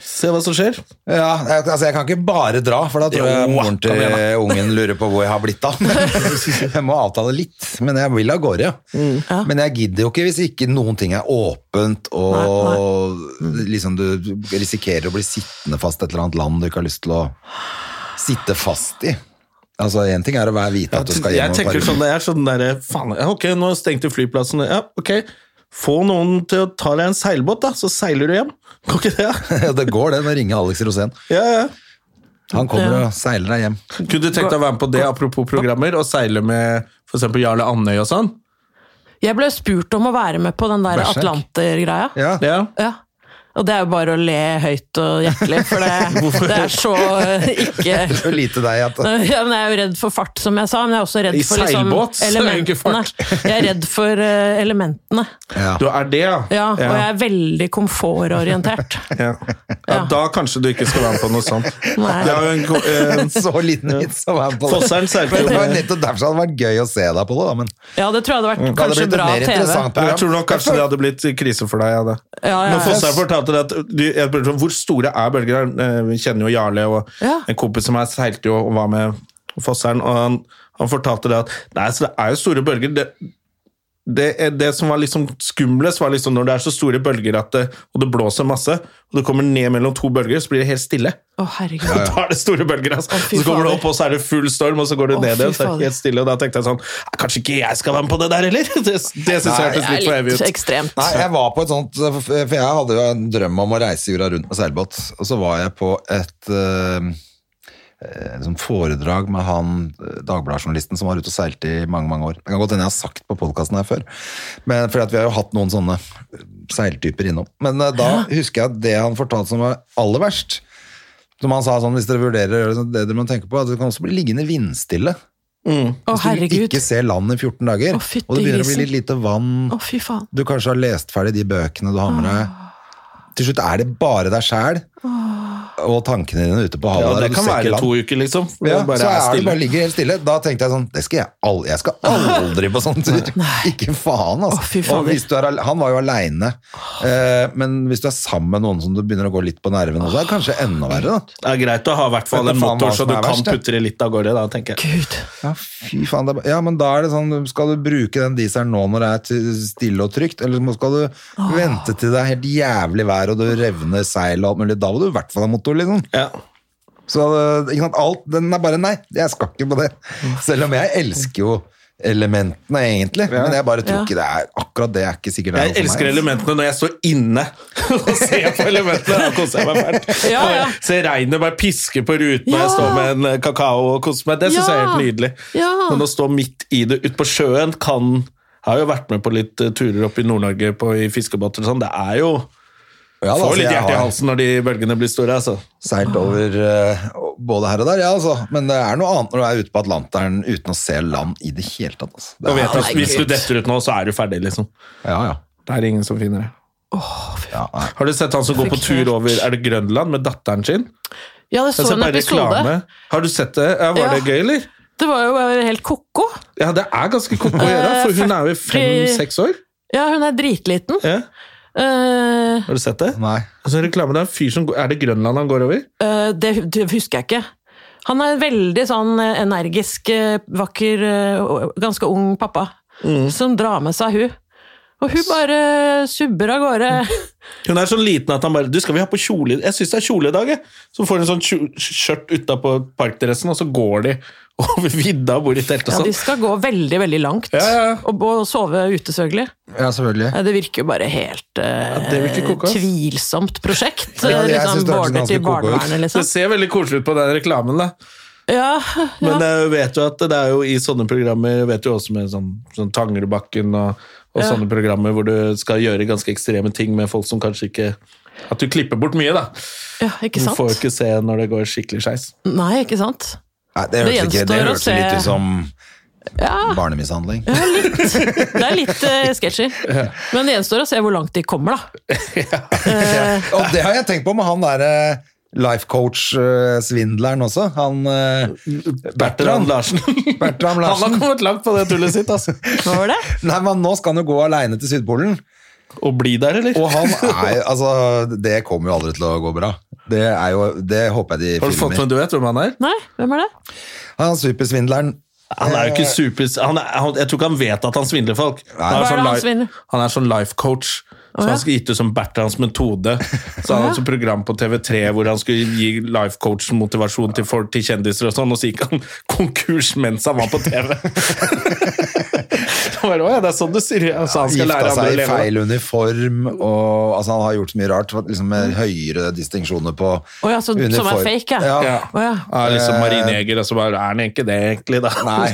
Speaker 1: se hva som skjer.
Speaker 2: Ja, jeg, altså, jeg kan ikke bare dra, for da tror jeg
Speaker 1: Jo,
Speaker 2: moren til
Speaker 1: kom igjen,
Speaker 2: ungen lurer på hvor jeg har blitt av. jeg må avtale litt, men jeg vil av gårde. Ja. Men jeg gidder jo ikke hvis ikke noen ting er åpent, og liksom du du risikerer å bli sittende fast et eller annet land du ikke har lyst til å sitte fast i. Altså, én ting er å være vite at du skal
Speaker 1: Jeg
Speaker 2: hjem om
Speaker 1: tenker
Speaker 2: et par
Speaker 1: sånn,
Speaker 2: uker.
Speaker 1: jeg er sånn derre Faen, ja, ok, nå stengte flyplassen. Ja, ok. Få noen til å ta deg en seilbåt, da, så seiler du hjem. Går ikke det? da?
Speaker 2: Ja, det går, det. Nå ringer Alex Rosén.
Speaker 1: Ja, ja.
Speaker 2: Han kommer og seiler deg hjem.
Speaker 1: Kunne du tenkt deg å være med på det, apropos programmer, og seile med f.eks. Jarle Andøy og sånn?
Speaker 3: Jeg ble spurt om å være med på den der
Speaker 2: Berserk.
Speaker 3: Atlanter-greia.
Speaker 2: Ja.
Speaker 1: Ja.
Speaker 3: Ja. Og det er jo bare å le høyt og hjertelig, for det, det er så eh, ikke
Speaker 2: Det er jo lite deg at
Speaker 3: ja, men Jeg er jo redd for fart, som jeg sa. Men jeg er også redd
Speaker 1: I
Speaker 3: for liksom,
Speaker 1: seilbåt så er det jo ikke
Speaker 3: elementene.
Speaker 1: fart.
Speaker 3: Jeg er redd for eh, elementene.
Speaker 2: ja.
Speaker 1: Du er det, ja?
Speaker 3: Ja, og jeg er veldig komfortorientert.
Speaker 1: Ja. ja, da kanskje du ikke skal være med på noe sånt.
Speaker 3: Nei.
Speaker 1: Det er jo en, ko- eh,
Speaker 2: En så liten vits å være med på det.
Speaker 1: Fosseren seilte jo
Speaker 2: Men Det var
Speaker 1: med
Speaker 2: nettopp derfor det hadde vært gøy å se deg på det, da. Men
Speaker 3: Ja, det tror jeg hadde vært
Speaker 2: det Mm. hadde
Speaker 3: kanskje
Speaker 2: blitt et
Speaker 3: bra
Speaker 2: mer
Speaker 3: TV.
Speaker 2: interessant
Speaker 1: Ja,
Speaker 2: program.
Speaker 1: Jeg tror nok kanskje det hadde blitt krise for deg. Ja, da.
Speaker 3: Ja, ja,
Speaker 1: Når
Speaker 3: ja.
Speaker 1: Fossheim fortalte det at du, jeg spurte sånn, Hvor store er bølger? Eh, Vi kjenner jo Jarle, og
Speaker 3: Ja.
Speaker 1: en kompis som jeg seilte jo og var med Fossheim, og han, han fortalte det at Nei, så det er jo store bølger. Det, det, er- det som var liksom skumlest, var liksom når det er så store bølger at det, og det blåser masse, og det kommer ned mellom to bølger, så blir det helt stille.
Speaker 3: Å, herregud.
Speaker 1: Og da er det store bølger, altså.
Speaker 3: Å, fy
Speaker 1: så kommer det
Speaker 3: fader.
Speaker 1: opp, og så er det full storm, og så går det
Speaker 3: Å,
Speaker 1: ned
Speaker 3: fy
Speaker 1: igjen. Så er
Speaker 3: fader.
Speaker 1: det helt stille, og da tenkte jeg sånn Kanskje ikke jeg skal være med på det der heller? Det, det syns jeg
Speaker 2: Nei,
Speaker 1: hørtes litt for evig
Speaker 3: litt
Speaker 1: ut.
Speaker 3: ekstremt.
Speaker 2: Nei, jeg var på et sånt For jeg hadde jo en drøm om å reise jorda rundt med seilbåt. Og så var jeg på et eh, eh, sånn foredrag med han eh, Dagbladet-journalisten som var ute og seilte i mange mange år. Det kan godt hende jeg har sagt på podkasten her før, men fordi at vi har jo hatt noen sånne seiltyper innom. Men eh, da husker jeg at det han fortalte som var aller verst. Som han sa sånn, hvis dere vurderer å gjøre det, sånn, det dere må tenke på, er at det kan også bli liggende vindstille.
Speaker 3: Å,
Speaker 2: Hvis du
Speaker 3: herregud.
Speaker 2: ikke ser land i 14 dager,
Speaker 3: Å, fytti
Speaker 2: og det begynner å bli
Speaker 3: grisen.
Speaker 2: litt lite vann
Speaker 3: Å, fy faen.
Speaker 2: du kanskje har lest ferdig de bøkene du har med deg. Til slutt er det bare deg sjæl og tankene dine ute på
Speaker 1: Ja,
Speaker 2: havet. der,
Speaker 1: det
Speaker 2: og du
Speaker 1: kan
Speaker 2: ser ikke
Speaker 1: være
Speaker 2: land.
Speaker 1: to uker, liksom. Det
Speaker 2: Ja,
Speaker 1: bare
Speaker 2: så
Speaker 1: er
Speaker 2: er det
Speaker 1: stille.
Speaker 2: bare ligger helt stille. Da tenkte jeg sånn det skal jeg, al- jeg skal aldri på sånn tur! Ikke faen, altså.
Speaker 3: Å, fy faen.
Speaker 2: og hvis du er, al- han var jo aleine, eh, men hvis du er sammen med noen som du begynner å gå litt på nervene med, så er det kanskje enda verre, da.
Speaker 1: Det er greit å ha i hvert fall
Speaker 2: Vet
Speaker 1: en
Speaker 2: du faen
Speaker 1: motor,
Speaker 2: hva
Speaker 1: så
Speaker 2: som
Speaker 1: du
Speaker 2: er
Speaker 1: kan
Speaker 2: verst, det?
Speaker 1: putte det litt av gårde, da, tenker jeg.
Speaker 3: Gud.
Speaker 2: Ja, fy faen. Det er, bare- ja, men da er det sånn, skal du bruke den dieselen nå når det er til- stille og trygt, eller må- skal du vente til det er helt jævlig vær og du revner seil og alt mulig, da må du i hvert fall ha motor, liksom.
Speaker 1: Ja.
Speaker 2: Så øh, ikke sant, alt, den er bare nei, jeg skal ikke på det. Selv om jeg elsker jo elementene egentlig, men jeg bare tror ikke det er, akkurat det er ikke sikkert det er
Speaker 1: Jeg
Speaker 2: noe for
Speaker 1: elsker
Speaker 2: meg. altså.
Speaker 1: elementene når jeg står inne og ser på elementene. Da koser jeg meg fælt.
Speaker 3: Ja, ja.
Speaker 1: Og Ser regnet bare piske på ruten, og
Speaker 3: Ja.
Speaker 1: jeg står med en eh, kakao og koser meg. Det syns jeg er helt
Speaker 3: Ja.
Speaker 1: nydelig.
Speaker 3: Ja.
Speaker 1: Men å stå midt i det ute på sjøen kan Jeg har jo vært med på litt eh, turer oppe i Nord-Norge på- i fiskebåter og sånn. Det er jo
Speaker 2: Ja, da,
Speaker 1: Får
Speaker 2: altså,
Speaker 1: litt
Speaker 2: jeg
Speaker 1: hjerte i
Speaker 2: har-
Speaker 1: halsen når de bølgene blir store, altså.
Speaker 2: seilt over eh, både her og der, ja, altså. Men det er noe annet når du er ute på Atlanteren uten å se land i det hele tatt. Altså. Det
Speaker 1: Og vet
Speaker 2: er,
Speaker 1: at hvis du detter ut nå, så er du ferdig, liksom.
Speaker 2: ja, ja.
Speaker 1: Det er ingen som finner det.
Speaker 2: ja nei.
Speaker 1: Har du sett han som går på tur over Er det Grønland med datteren sin?
Speaker 3: Ja, det
Speaker 1: Jeg
Speaker 3: så
Speaker 1: ser
Speaker 3: en
Speaker 1: bare
Speaker 3: episode.
Speaker 1: reklame. Har du sett det? Ja, var
Speaker 3: Ja.
Speaker 1: det gøy, eller?
Speaker 3: Det var jo helt ko-ko.
Speaker 1: Ja, det er ganske kort å gjøre,
Speaker 3: Eh,
Speaker 1: for hun er jo
Speaker 3: 40
Speaker 1: fem-seks år.
Speaker 3: Ja, hun er dritliten.
Speaker 1: Ja.
Speaker 3: Eh,
Speaker 1: Har du sett det?
Speaker 2: nei.
Speaker 1: Og så er reklame, det er Altså, en fyr som går Er det Grønland han går over?
Speaker 3: eh, det, det husker jeg ikke. Han er en veldig sånn
Speaker 2: Mm.
Speaker 3: eh, energisk, eh, vakker, eh, og ganske ung pappa, som drar med seg hun. Og hun bare subber av gårde.
Speaker 1: Hun er sånn liten at han bare Du, skal vi ha på kjole Jeg syns det er kjole i dag, jeg. Så får hun sånn kjo- skjørt utapå parkdressen, og så går de over vidda og bor i telt og
Speaker 3: Ja,
Speaker 2: Altså-
Speaker 1: sånn.
Speaker 3: de skal gå veldig, veldig langt.
Speaker 1: Ja, ja, ja.
Speaker 3: Og, og sove ute, selvfølgelig.
Speaker 2: Ja, selvfølgelig.
Speaker 3: Nei, Det virker jo bare helt eh,
Speaker 1: det virker koko.
Speaker 3: tvilsomt prosjekt.
Speaker 2: Ja, det- jeg synes
Speaker 3: liksom,
Speaker 2: det høres
Speaker 3: Barne til
Speaker 2: ganske koko ut.
Speaker 3: barnevernet,
Speaker 1: Det
Speaker 3: liksom.
Speaker 1: ser veldig koselig ut på den reklamen, da.
Speaker 3: Ja, ja.
Speaker 1: Men jeg vet jo at det er jo i sånne programmer vet jo også med sånn, sånn Tangerudbakken og, og
Speaker 3: Ja.
Speaker 1: sånne programmer hvor du skal gjøre ganske ekstreme ting med folk som kanskje ikke At du klipper bort mye, da.
Speaker 3: ja ikke
Speaker 1: Du
Speaker 3: sant?
Speaker 1: får jo ikke se når det går skikkelig skeis.
Speaker 3: Nei, ikke sant?
Speaker 2: Nei, det
Speaker 3: Det
Speaker 2: hørtes ikke, det
Speaker 3: gjenstår å
Speaker 2: hørtes litt
Speaker 3: se.
Speaker 2: ut som barnemishandling.
Speaker 3: Det er litt eh, sketchy. Men det gjenstår å se hvor langt de kommer, da.
Speaker 2: Og det har jeg tenkt på med han derre life coach-svindleren også. Han eh,
Speaker 1: Bertrand Larsen.
Speaker 2: Bertram
Speaker 1: Han har
Speaker 2: Larsen.
Speaker 1: kommet langt på det tullet sitt, altså.
Speaker 3: Hva var det?
Speaker 2: Nei, men nå skal han jo gå aleine til Sydpolen.
Speaker 1: Å bli der, eller?
Speaker 2: Og han er Altså, det kommer jo aldri til å gå bra. Det er jo Det håper jeg de
Speaker 1: Har du fått
Speaker 2: filmer.
Speaker 1: med du vet hvem han er?
Speaker 3: Nei, hvem er det?
Speaker 2: Han supersvindleren
Speaker 1: Han er jo ikke super... Han er, han, jeg tror ikke han vet at han svindler folk. Han
Speaker 3: Hva er det han
Speaker 1: li-
Speaker 3: svindler?
Speaker 1: han er sånn life coach. Så
Speaker 3: ja.
Speaker 1: han skulle gitt ut som Bertrands metode. Så han hadde et program på TV3 hvor han skulle gi life coach motivasjon til, folk, til kjendiser og sånn, og så gikk han konkurs mens han var på TV. Så bare, «Åja, det er sånn du sier det». altså, han skal
Speaker 2: gifta
Speaker 1: lære andre
Speaker 2: seg
Speaker 1: å
Speaker 2: i
Speaker 1: leve.
Speaker 2: feil uniform, og altså, han har gjort så mye rart. Liksom, med høyere distinksjoner på
Speaker 3: Å ja, så- som er
Speaker 2: uniform.
Speaker 3: fake, ja.
Speaker 2: ja.
Speaker 1: Ja.
Speaker 3: Å ja.
Speaker 1: Er liksom marinejeger, og så bare er han ikke det, egentlig, da.
Speaker 2: Nei.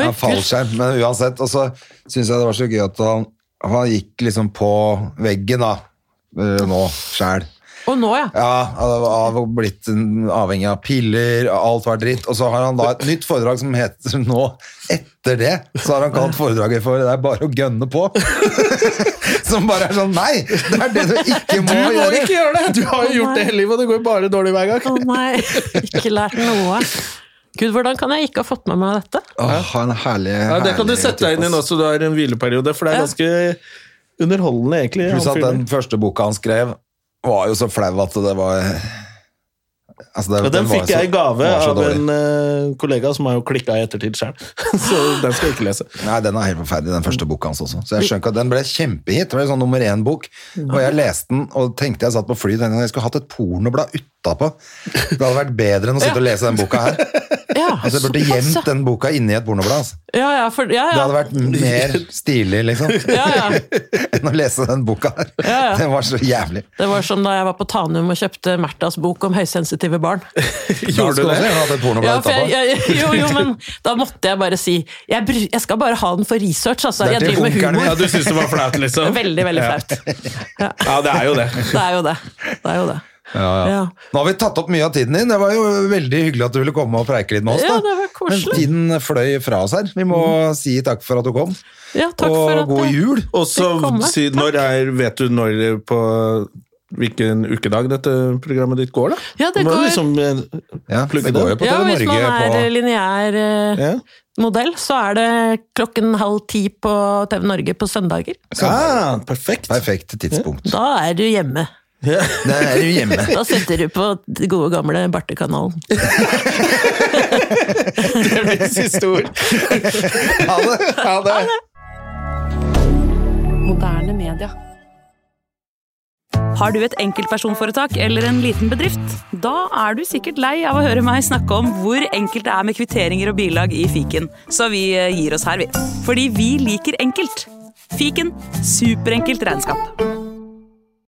Speaker 2: Han fallskjerm, men uansett. Og så syns jeg det var så gøy at han, han gikk liksom på veggen, da. eh, Nå sjæl.
Speaker 3: Og nå, ja.
Speaker 2: Ja, han har blitt en- avhengig av piller, alt var dritt. Og så har han da et nytt foredrag som heter nå Etter det, så har han kalt foredraget for Det er bare å gønne på. som bare er sånn Nei! Det er det du ikke må,
Speaker 1: Du må
Speaker 2: gjøre.
Speaker 1: ikke gjøre det! Du har jo gjort det hele livet, og det går jo bare dårlig hver gang.
Speaker 3: Å nei, ikke lært noe. Gud, hvordan kan jeg ikke ha fått med meg dette?
Speaker 2: Åh, ha en herlig,
Speaker 1: Ja, det kan du
Speaker 2: herlig
Speaker 1: sette deg inn i
Speaker 2: type,
Speaker 1: nå
Speaker 2: ass.
Speaker 1: så du har en hvileperiode, for det er
Speaker 3: Ja.
Speaker 1: ganske underholdende, egentlig.
Speaker 2: Pluss
Speaker 1: han
Speaker 2: at
Speaker 1: fyren.
Speaker 2: den første boka han skrev, var jo så flau at det var altså, det-
Speaker 1: Ja, den
Speaker 2: var
Speaker 1: fikk
Speaker 2: så-
Speaker 1: jeg i gave
Speaker 2: var så
Speaker 1: av
Speaker 2: dårlig.
Speaker 1: en eh, kollega som har jo klikka i ettertid sjøl, så den skal jeg ikke lese.
Speaker 2: Nei, den er helt forferdelig, den
Speaker 1: Mm.
Speaker 2: første boka hans også. Så jeg skjønner ikke at den ble kjempehit. Det var jo sånn nummer én-bok. Og jeg leste den og tenkte jeg satt på flyet tenkte jeg, jeg skulle hatt et pornoblad utapå. Det hadde vært bedre enn å sitte og lese den boka her.
Speaker 3: Ja,
Speaker 2: Altså, jeg burde
Speaker 3: såpass, ja.
Speaker 2: gjemt den boka inni et pornoblad. Altså.
Speaker 3: Ja, ja, for, ja,
Speaker 2: Det
Speaker 3: ja.
Speaker 2: hadde vært mer stilig, liksom,
Speaker 3: ja, ja.
Speaker 2: enn å lese den boka her.
Speaker 3: Ja, ja.
Speaker 2: Den var så jævlig.
Speaker 3: Det var som da jeg var på Tanum og kjøpte Märthas bok om høysensitive barn.
Speaker 1: Gjorde du
Speaker 2: Da skulle
Speaker 1: det?
Speaker 2: jeg hatt et pornoblad
Speaker 3: Ja, for
Speaker 2: utapå.
Speaker 3: jeg, jeg, jo, jo, men da måtte jeg bare si jeg, bry- jeg skal bare ha den for research, altså.
Speaker 2: Det er
Speaker 3: Jeg
Speaker 2: til
Speaker 3: driver med
Speaker 2: bunkeren min,
Speaker 1: Ja,
Speaker 3: humor.
Speaker 1: du syns det var flaut, liksom?
Speaker 3: Veldig, veldig
Speaker 1: Ja.
Speaker 3: flaut.
Speaker 1: Ja, det er jo det.
Speaker 3: Det er jo det. Det er jo det. Ja.
Speaker 2: Nå har vi tatt opp mye av tiden din. Det var jo veldig hyggelig at du ville komme og preike litt med oss.
Speaker 3: Ja,
Speaker 2: da.
Speaker 3: det var koselig.
Speaker 2: Men tiden fløy fra oss her. Vi må si takk for at du kom.
Speaker 3: Ja, takk
Speaker 2: og
Speaker 3: for at eh,
Speaker 2: god
Speaker 3: jeg-
Speaker 2: jul.
Speaker 1: Og så
Speaker 3: Velkommen.
Speaker 1: si, når er Vet du når på hvilken ukedag dette programmet ditt går, da?
Speaker 3: Ja, det
Speaker 1: Må du
Speaker 3: går-
Speaker 1: Liksom, eh,
Speaker 2: Ja,
Speaker 1: plugge
Speaker 2: det går jo på
Speaker 3: Ja,
Speaker 2: TV
Speaker 3: hvis man
Speaker 2: Norge
Speaker 3: er
Speaker 2: på
Speaker 3: lineær eh,
Speaker 1: ja.
Speaker 3: modell, så er det klokken halv ti på TV Norge på søndager.
Speaker 1: Ah, perfekt.
Speaker 2: perfekt tidspunkt.
Speaker 3: Da er du hjemme.
Speaker 2: Det er jo hjemme.
Speaker 3: Da setter du på den gode gamle Bartekanalen.
Speaker 1: Det blir siste ord.
Speaker 2: Ha det!
Speaker 1: Ha det.
Speaker 4: Moderne media.
Speaker 5: Har du et enkeltpersonforetak eller en liten bedrift? Da er du sikkert lei av å høre meg snakke om hvor enkelt det er med kvitteringer og bilag i fiken, så vi eh, gir oss her, vi. Fordi vi liker enkelt. Fiken superenkelt regnskap.